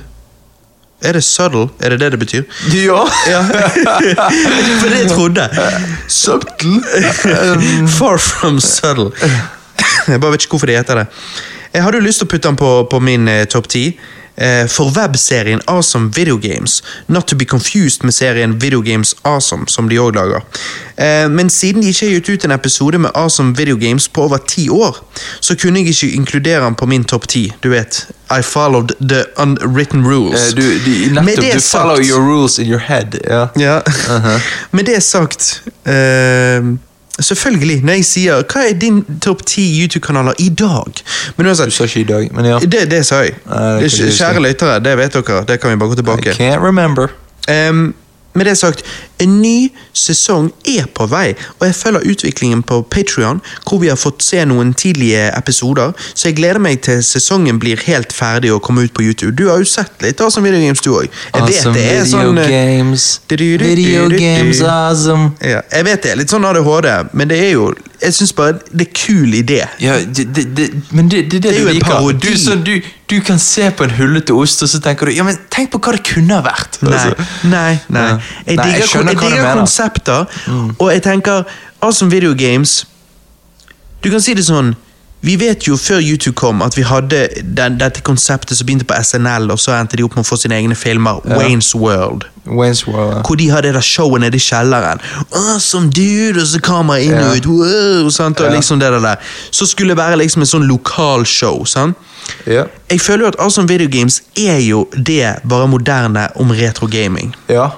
Er det subtle? Er det det det betyr? Ja! For det jeg trodde Subtle. Eh, Um, Far From Subtle. Jeg bare vet ikke hvorfor de heter det. Jeg hadde jo lyst til å putte den på, på min eh, topp ti. Eh, for webserien Awesome Video Games. Not to be confused med serien Video Games Awesome, som de òg lager. Eh, men siden de ikke har gitt ut en episode med Awesome Video Games på over ti år, så kunne jeg ikke inkludere den på min topp ti. Du vet, I followed the unwritten rules. Eh, du, du, Med nettopp, det du follow sagt- your rules in your head. Ja. ja. Med det sagt eh, Selvfølgelig, når jeg sier Hva er din topp ti YouTube-kanaler i dag? Men Du uansett, sa ikke i dag, men ja. det, det sa jeg. Nei, det Kj- kan du si. Kjære lyttere, det vet dere. Det kan vi bare gå tilbake. I can't remember. Ehm, med det sagt, en ny sesong er på vei, og jeg følger utviklingen på Patreon, hvor vi har fått se noen tidlige episoder, så jeg gleder meg til sesongen blir helt ferdig og kommer ut på YouTube. Du har jo sett litt av som videogames, du òg. Jeg vet Awesome det er sånn eh, games. Du-du-du-du-du-du. Video games, awesome. Ja, jeg vet det er litt sånn ADHD, men det er jo Jeg syns bare det er kul idé. Ja, det, det, det, men det, det, det, det er jo du en liker. parodi. Du, sånn, du, du kan se på en hullete ost, og så tenker du Ja, men tenk på hva det kunne ha vært. Nei, Altså. nei, nei. Ja. Jeg Nei, digger, kon- skjønner jeg hva du digger mener. Mm. konsepter, og jeg tenker Awesome Video Games Du kan si det sånn vi vet jo før YouTube kom at vi hadde den, dette konseptet som begynte på SNL, og så endte de opp med å få sine egne filmer. Wayne's World. Wayne's World. ja. Hvor de har det der showet nede i kjelleren. Awesome dude, Og så kamera inn Ja. og ut. Wow, sant? Og Ja. liksom det der der. Så skulle det være liksom en sånn lokalshow. sant? Ja. Jeg føler jo at Awesome Video Games er jo det bare moderne om retro gaming. ja.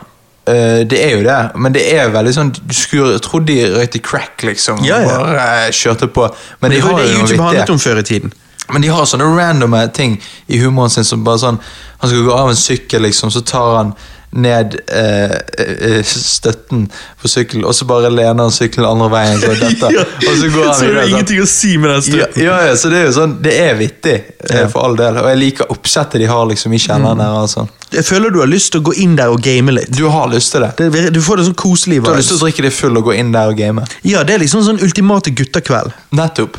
Eh, det er jo det, men det er veldig sånn Du skulle trodd de røykte crack, liksom. Ja, ja. Og bare eh, kjørte på. Men, Det de var har jo det jo noe YouTube handlet vittig. om før i tiden. Men de har sånne randome ting i humoren sin som bare sånn Han skal gå av en sykkel, liksom, så tar han ned eh, eh, støtten på sykkelen, og så bare lener han sykkelen andre veien. Så dette, og så går han så er det videre, sånn. ingenting å si med den Ja, støtten. ja, ja, så det er jo sånn, det er vittig, eh, for all del. Og jeg liker oppsettet de har liksom i Mm. kjelleren. her og sånn. Jeg føler du har lyst til å gå inn der og game litt. Du har lyst til det. Det, vir- du får det sånn koselig Du har lyst til å vibes. drikke deg full og gå inn der og game. Ja, det er liksom sånn ultimate guttekveld. Nettopp.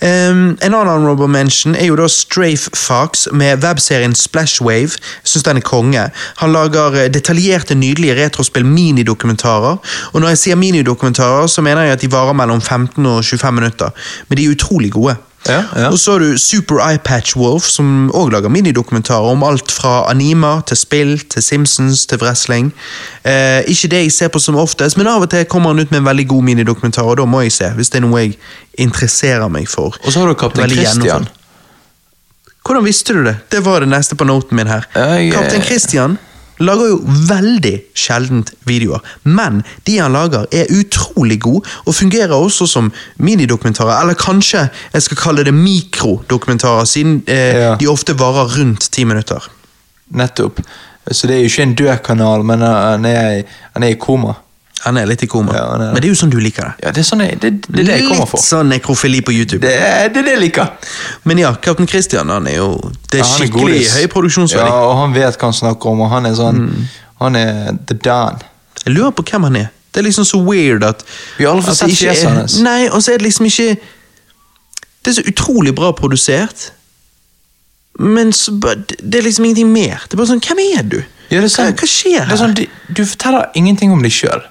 Ehm, en annen honorable mention er jo da Strafe Fox med webserien Splashwave. Jeg synes den er konge. Han lager eh, detaljerte, nydelige retrospill-minidokumentarer. Og når jeg sier minidokumentarer, så mener jeg at de varer mellom 15 og 25 minutter. Men de er utrolig gode. Ja, ja. Og så har du Super Eye Patch Wolf, som òg lager minidokumentarer om alt fra animer til spill til Simpsons til wrestling. Eh, ikke det jeg ser på som oftest, men av og til kommer han ut med en veldig god minidokumentar, og da må jeg se, hvis det er noe jeg interesserer meg for. Og så har du Kaptein Veldig Christian. gjennomført. Hvordan visste du det? Det var det neste på noten min her. Ja, jeg- Kaptein Christian lager jo veldig sjeldent videoer, men de han lager er utrolig gode, og fungerer også som minidokumentarer, eller kanskje jeg skal kalle det mikrodokumentarer, siden eh, Ja. de ofte varer rundt ti minutter. Nettopp. Så det er jo ikke en død kanal, men eh, han er, han er i koma. Han er litt i koma, Ja, han er det. men det er jo sånn du liker det. Ja, det er, sånn jeg, det, det, er det jeg kommer litt for. sånn nekrofili på YouTube. Det er det er det jeg liker. Men ja, Kaptein Christian han er jo det er Ja, han er skikkelig godis. høy produksjonsverdi. Ja, og han vet hva han snakker om, og han er sånn Mm. Han er the Dan. Jeg lurer på hvem han er. Det er liksom så weird at Vi har aldri fått at det sett ikke er- fjeset hans. Nei, og så er det liksom ikke Det er så utrolig bra produsert, men så, ba- det er liksom ingenting mer. Det er bare sånn Hvem er du? Ja, det er sånn, hva, hva skjer her? Det er sånn, du, du forteller ingenting om deg sjøl.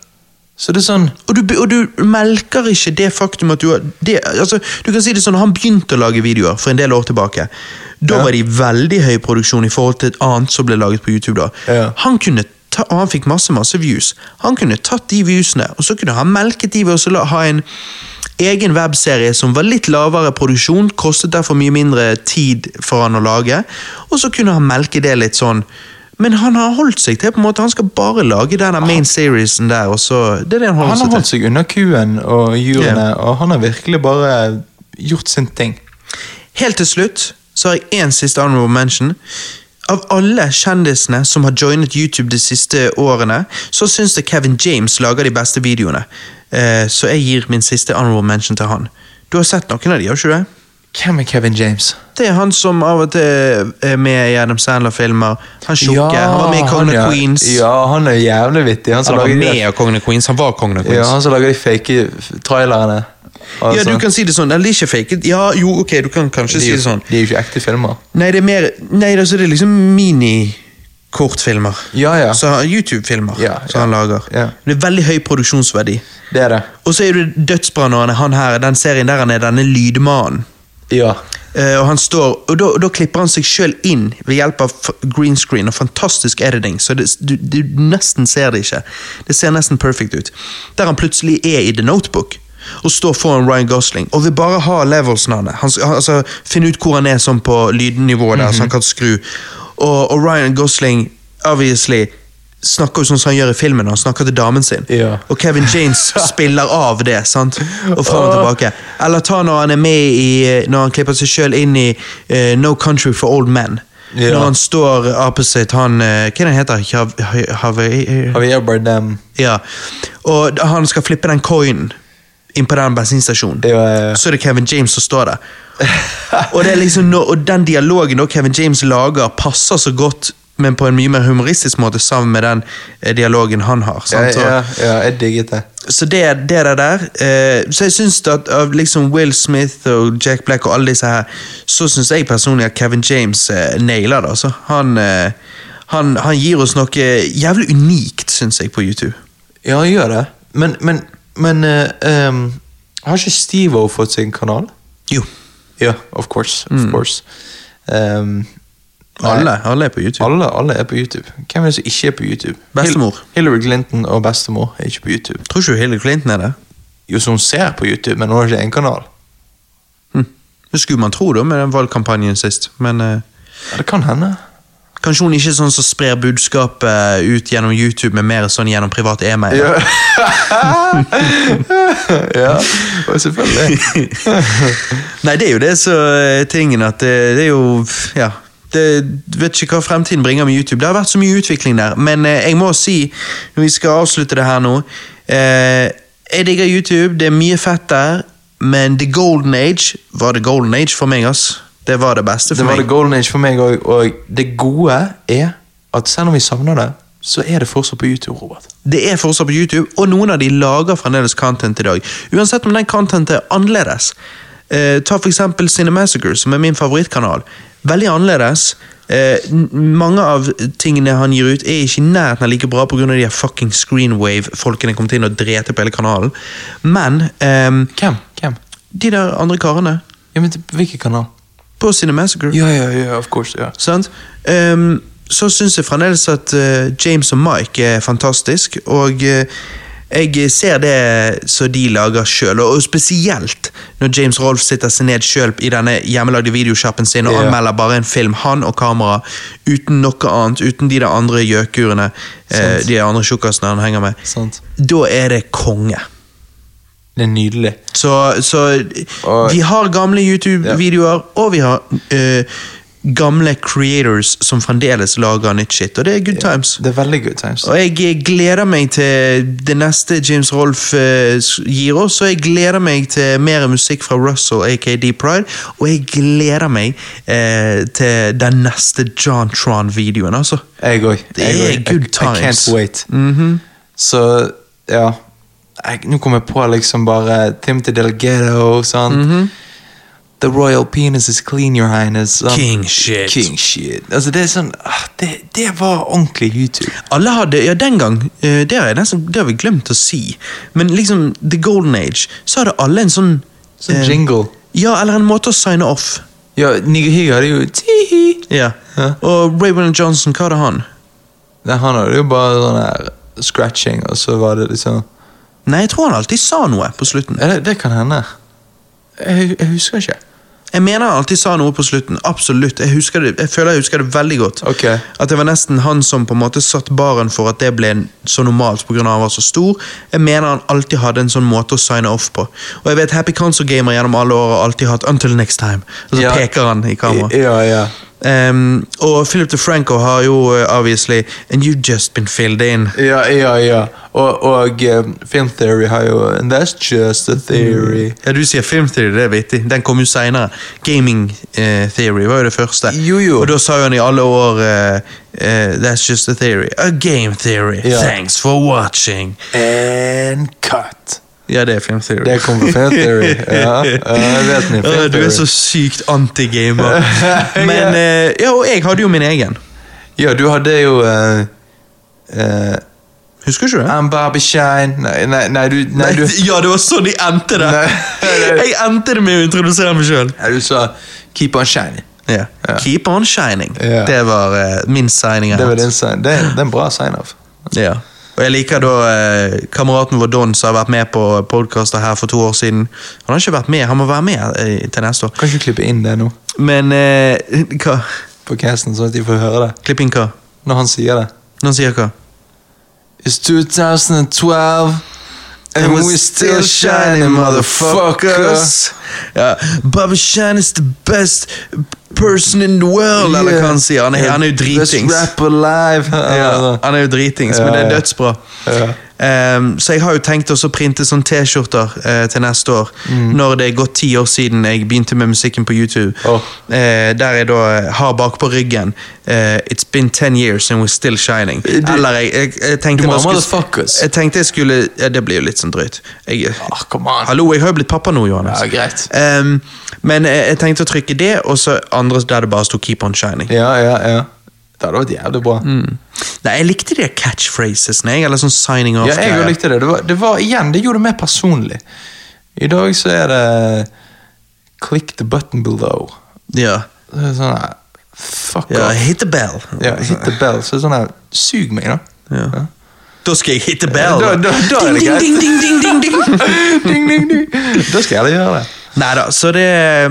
Så det er sånn og, du, be- og du melker ikke det faktum at du har det, altså, Du kan si det sånn, Han begynte å lage videoer for en del år tilbake. Da Ja. var de veldig høy produksjon i forhold til et annet som ble laget på YouTube. da. Ja. Han kunne ta, og han fikk masse masse views. Han kunne tatt de viewsene, og så kunne han melket de ved å så la- ha en egen webserie som var litt lavere produksjon, kostet derfor mye mindre tid for han å lage, og så kunne han melke det litt sånn. Men han har holdt seg til på en måte, han skal bare lage denne Ah. main seriesen der, og så Det er det han holder Han har seg til. holdt seg unna kuen og juryene, og han har virkelig bare gjort sin ting. Helt til slutt så har jeg en siste honorable mention. Av alle kjendisene som har joinet YouTube de siste årene, så syns jeg Kevin James lager de beste videoene. Eh, så jeg gir min siste honorable mention til han. Du har sett noen av de, har ikke du det? Hvem er Kevin James? Det er han som av og til er med i Adam Sandler-filmer. Han tjukke. han var med i han, Kongen ja. av Queens. Ja, han er jævlig vittig. Han som Han var lager de, med der- av Kongen av Queens. Han var Kongen av Queens. ja, han som lager de fake trailerne. Altså, Ja, du kan si det sånn. Eller ikke fake. it. Ja, jo, ok, du kan kanskje si de, det sånn. de er jo ikke ekte filmer. Nei, det er mer Nei, altså, det er liksom mini-kortfilmer. Ja, ja. Så han- YouTube-filmer Ja, ja. som han lager. Ja. Det er veldig høy produksjonsverdi. Det er det. Og så er det dødsbra når han er han her, den serien der han er denne lydmannen. Ja. Eh, og han står, og da, og da klipper han seg sjøl inn ved hjelp av f- green screen og fantastisk editing, så det, du, du nesten ser det ikke. Det ser nesten perfect ut. Der han plutselig er i The Notebook og står foran Ryan Gosling og vil bare ha levelsen han er. Han, s- han- altså, finne ut hvor han er sånn på lydnivået, der, så han kan skru. Og, og Ryan Gosling, obviously snakker jo sånn som han gjør i filmen, han snakker til damen sin. Ja. Og Kevin James spiller av det, sant? Og fram og tilbake. Eller ta når han er med i Når han klipper seg sjøl inn i eh, No Country for Old Men. Ja. Når han står opposite han eh, Hva er det han heter Hav- Hav- Hav- Har vi jobbet dem? Ja. Og da han skal flippe den coinen inn på den bensinstasjonen. Ja, ja, ja. Så er det Kevin James som står der. og, det er liksom nå- og den dialogen da Kevin James lager, passer så godt, men på en mye mer humoristisk måte, sammen med den eh, dialogen han har. Sant? Så- Ja, ja, ja, jeg digget det. så det, det der der eh, Så jeg syns at av liksom Will Smith og Jack Black og alle disse her, så syns jeg personlig at Kevin James eh, nailer det, altså. Han, eh, han, han gir oss noe jævlig unikt, syns jeg, på YouTube. Ja, han gjør det. Men, men, men eh, ehm, Har ikke Steve-O fått sin kanal? Jo. Ja, of course. Of course. Ehm, nei, Alle, alle er på YouTube. alle. Alle er på YouTube. Hvem er det som ikke er på YouTube? Bestemor. Hil- Hillary Clinton og bestemor er ikke på YouTube. Tror ikke du Hillary Clinton er det? Jo, så hun ser på YouTube, men hun har ikke en kanal. Hm. Det skulle man tro, da, med den valgkampanjen sist, men eh, Ja, det kan hende. Kanskje hun ikke er sånn som sprer budskapet eh, ut gjennom YouTube, men mer sånn gjennom privat e-mail. Ja. ja, og selvfølgelig. Nei, det er jo det så eh, tingen at det, det er jo Ja. Det, vet ikke hva fremtiden bringer med YouTube. Det har vært så mye utvikling der, men eh, jeg må si, når vi skal avslutte det her nå eh, Jeg digger YouTube, det er mye fett der, men The Golden Age var The Golden Age for meg, ass. Det var det beste for Det var det meg. golden age for meg òg, og det gode er at selv om vi savner det, så er det fortsatt på YouTube, Robert. Det er fortsatt på YouTube, og noen av de lager fremdeles content i dag. Uansett om den contentet er annerledes. Eh, ta for eksempel Cinemassacre, som er min favorittkanal. Veldig annerledes. Eh, n- mange av tingene han gir ut, er ikke i nærheten av like bra pga. de her fucking Screenwave-folkene kom til og drete på hele kanalen. Men ehm, Hvem? Hvem? de der andre karene Ja, men til- Hvilken kanal? på Cinemassacre Ja, ja, ja, of course. ja. Sant? Ehm, så syns jeg fremdeles at eh, James og Mike er fantastisk, og eh, jeg ser det som de lager sjøl, og og spesielt når James Rolf sitter seg ned sjøl i denne hjemmelagde videosjappen sin og Ja. anmelder bare en film, han og kamera, uten noe annet, uten de der andre gjøkurene, eh, Sant. de andre tjukkasene han henger med. Sant. Da er det konge. Det er nydelig. Så, så Og- vi har gamle YouTube-videoer, og vi har eh, gamle creators som fremdeles lager nytt shit, og det er good times. Det er veldig good times. Og jeg eh, gleder meg til det neste James Rolf eh, s- gir oss, og jeg gleder meg til mer musikk fra Russell, aka Deep Pride, og jeg gleder meg eh, til den neste John Tron-videoen, altså. Jeg òg. Det er good I times. can't wait. Så ja jeg, Nå kom jeg på liksom bare Timothy Delgado, sant. The royal penis is clean, your highness. sant? King shit. King shit. Altså, det er sånn ah, det, det var ordentlig YouTube. Alle hadde, ja den gang, eh, det har, jeg nesten, det har vi glemt å si, men liksom The Golden Age, så hadde alle en sånn Sånn eh, jingle. Ja, eller en måte å signe off. Ja, Nigahiga hadde jo tihi. Ja. Ja. Og Rayburn Johnson, hva hadde han? Nei, han hadde jo bare sånn her scratching, og så var det liksom Nei, jeg tror han alltid sa noe på slutten. Ja, det, det kan hende. Jeg, jeg husker ikke. Jeg mener han alltid sa noe på slutten, absolutt. Jeg, husker det, jeg føler jeg husker det veldig godt. Ok. At det var nesten han som på en måte satt baren for at det ble en- så normalt pga. han var så stor. Jeg mener han alltid hadde en sånn måte å signe off på. Og jeg vet Happy Console Gamer gjennom alle år har alltid hatt 'Until next time'. Og så Ja. peker han i kamera. Ja, ja. Ehm, og Philip DeFranco har jo eh, obviously And you've just been filled in. Ja, ja, ja. Og, og um, Film Theory har jo And that's just a theory. Ja, Du sier film theory, det er vittig. Den kom jo seinere. Gaming eh, theory var jo det første. Mm. Jo, jo. Og da sa jo han i alle år eh, eh, That's just a theory. A game theory. Ja. Thanks for watching. And cut. Ja, det er film theory. Det kom fra Film Theory. Ja, ja jeg vet ni. Å, Film du er så Theory. sykt anti-gamer. Men eh, Ja, og jeg hadde jo min egen. Ja, du hadde jo uh, uh, Husker ikke du det? I'm Bobby Shine Nei, nei, nei, du, Ah, nei, du, Ja, det var sånn de endte det! Nei. jeg endte det med å introdusere meg sjøl. nei, du sa Keep on shining. Ja. Ja. Keep on shining. Ja. Det var eh, min signing. jeg Det var hadde. din sign. Det, det er en bra sign-off. Ja. Og jeg liker da eh, kameraten vår Don som har vært med på podkaster her for to år siden. Han har ikke vært med, han må være med eh, til neste år. Kan ikke du klippe inn det nå Men eh, hva? på casten, sånn at de får høre det Klipp inn hva? når han sier det? Når han sier hva? It's 2012, and we still shining, motherfuckers. Ja. Bobby Shine is the best person in the world, eller hva han sier. Han er, han er jo dritings. Let's rap alive. Ja, han er jo dritings, men Ja, det er ja. dødsbra. Ja. Ehm, så jeg har jo tenkt også å printe sånn T-skjorter eh, til neste år, Mm. når det er gått ti år siden jeg begynte med musikken på YouTube. Åh. Eh, der jeg da eh, har bakpå ryggen eh, It's been ten years and we're still shining. Eh, Du- Eller jeg, jeg, jeg tenkte Du må bare ha skulle- motherfuckers. Jeg tenkte jeg skulle ja, Det blir jo litt sånn drøyt. Jeg, Ah, come on. Hallo, jeg har jo blitt pappa nå, Johannes. Ja, greit. Ehm, men jeg, jeg tenkte å trykke det, og så andre der det bare sto 'Keep on shining'. ja, ja, ja. Det hadde vært jævlig bra. Mm. Nei, jeg likte de der catchphrasesene, jeg, eller sånn signing off. Ja, jeg òg likte det. Det var, det var igjen, det gjorde det mer personlig. I dag så er det Click the button below. Ja. Så er det Sånn her, Fuck ja, off. hit the bell. Ja, hit the bell. Så er det sånn her, sug meg, da. Ja. Da skal jeg hit the bell. Da- da- da er det ding, greit. ding, ding, ding, ding, ding, ding. ding, ding, ding. Da skal jeg gjøre det. Neida, så det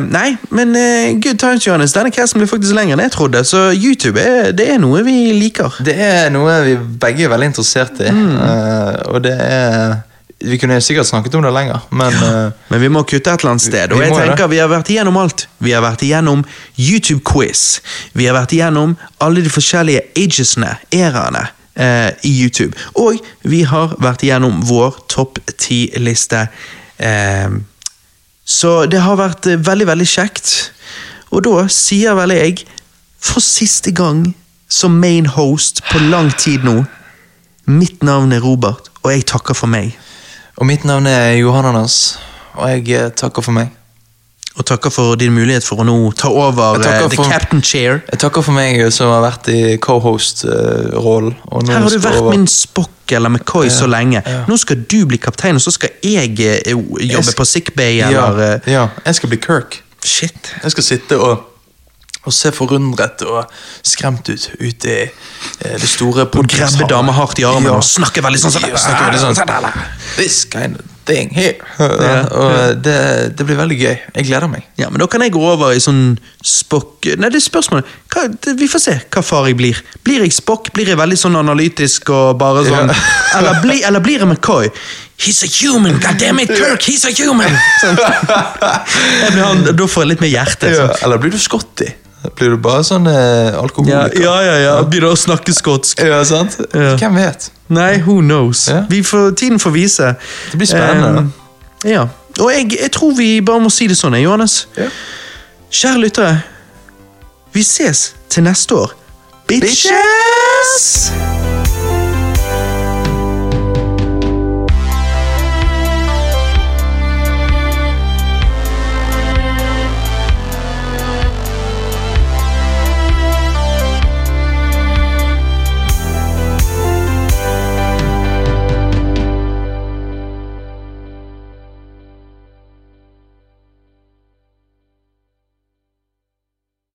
Nei, men eh, good times, Johannes. Denne casten blir faktisk lenger enn jeg trodde, så YouTube er, det er noe vi liker. Det er noe vi begge er veldig interessert i. Mm. eh, og det er Vi kunne sikkert snakket om det lenger, men eh, Men vi må kutte et eller annet sted. Og Vi jeg må tenker det. Vi har vært igjennom alt. Vi har vært igjennom YouTube-quiz. Vi har vært igjennom alle de forskjellige agesene, eraene, eh, i YouTube. Og vi har vært igjennom vår topp ti-liste. Eh, så det har vært eh, veldig, veldig kjekt. Og da sier vel jeg, for siste gang som main host på lang tid nå, mitt navn er Robert, og jeg takker for meg. Og mitt navn er Johan Anders, og jeg eh, takker for meg. Og takker for din mulighet for å nå ta over Jeg takker eh, the for- captain chair. Jeg takker for meg eh, som har vært i cohost-rollen. og nå Her har du skal vært over- min Spock eller McCoy så lenge. ja. Nå skal du bli kaptein, og så skal jeg eh, jo- jobbe sk- på sickbay ja, eller eh, ja, jeg skal bli Kirk. Shit. Jeg skal sitte og, og se forundret og skremt ut ute i eh, det store Og grabbe damer hardt i armen og snakke veldig sånn. Ja, snakke veldig sånn. This kind of thing here. Ja, Og det, det blir veldig gøy. Jeg gleder meg. Ja, men Da kan jeg gå over i sånn Spock Nei, det er spørsmålet. Hva, det, vi får se hva far jeg blir. Blir jeg Spock? Blir jeg veldig sånn analytisk og bare sånn? Eller, bli, eller blir jeg McCoy? He's a human! God damn it, Kirk! He's a human! Sånn. Jeg blir han, da får jeg litt mer hjerte. Ja, Sånn. Eller blir du skotty? Blir du bare sånn eh, Ja, alkoholiker? ja, ja, ja. Begynner å snakke skotsk. Ja, sant? Ja. Hvem vet? Nei, who knows? Ja. Vi får, tiden får vise. Det blir spennende, Em, ja. Og jeg, jeg tror vi bare må si det sånn, eh, Johannes. Ja. Kjære lyttere, vi ses til neste år. Bitches!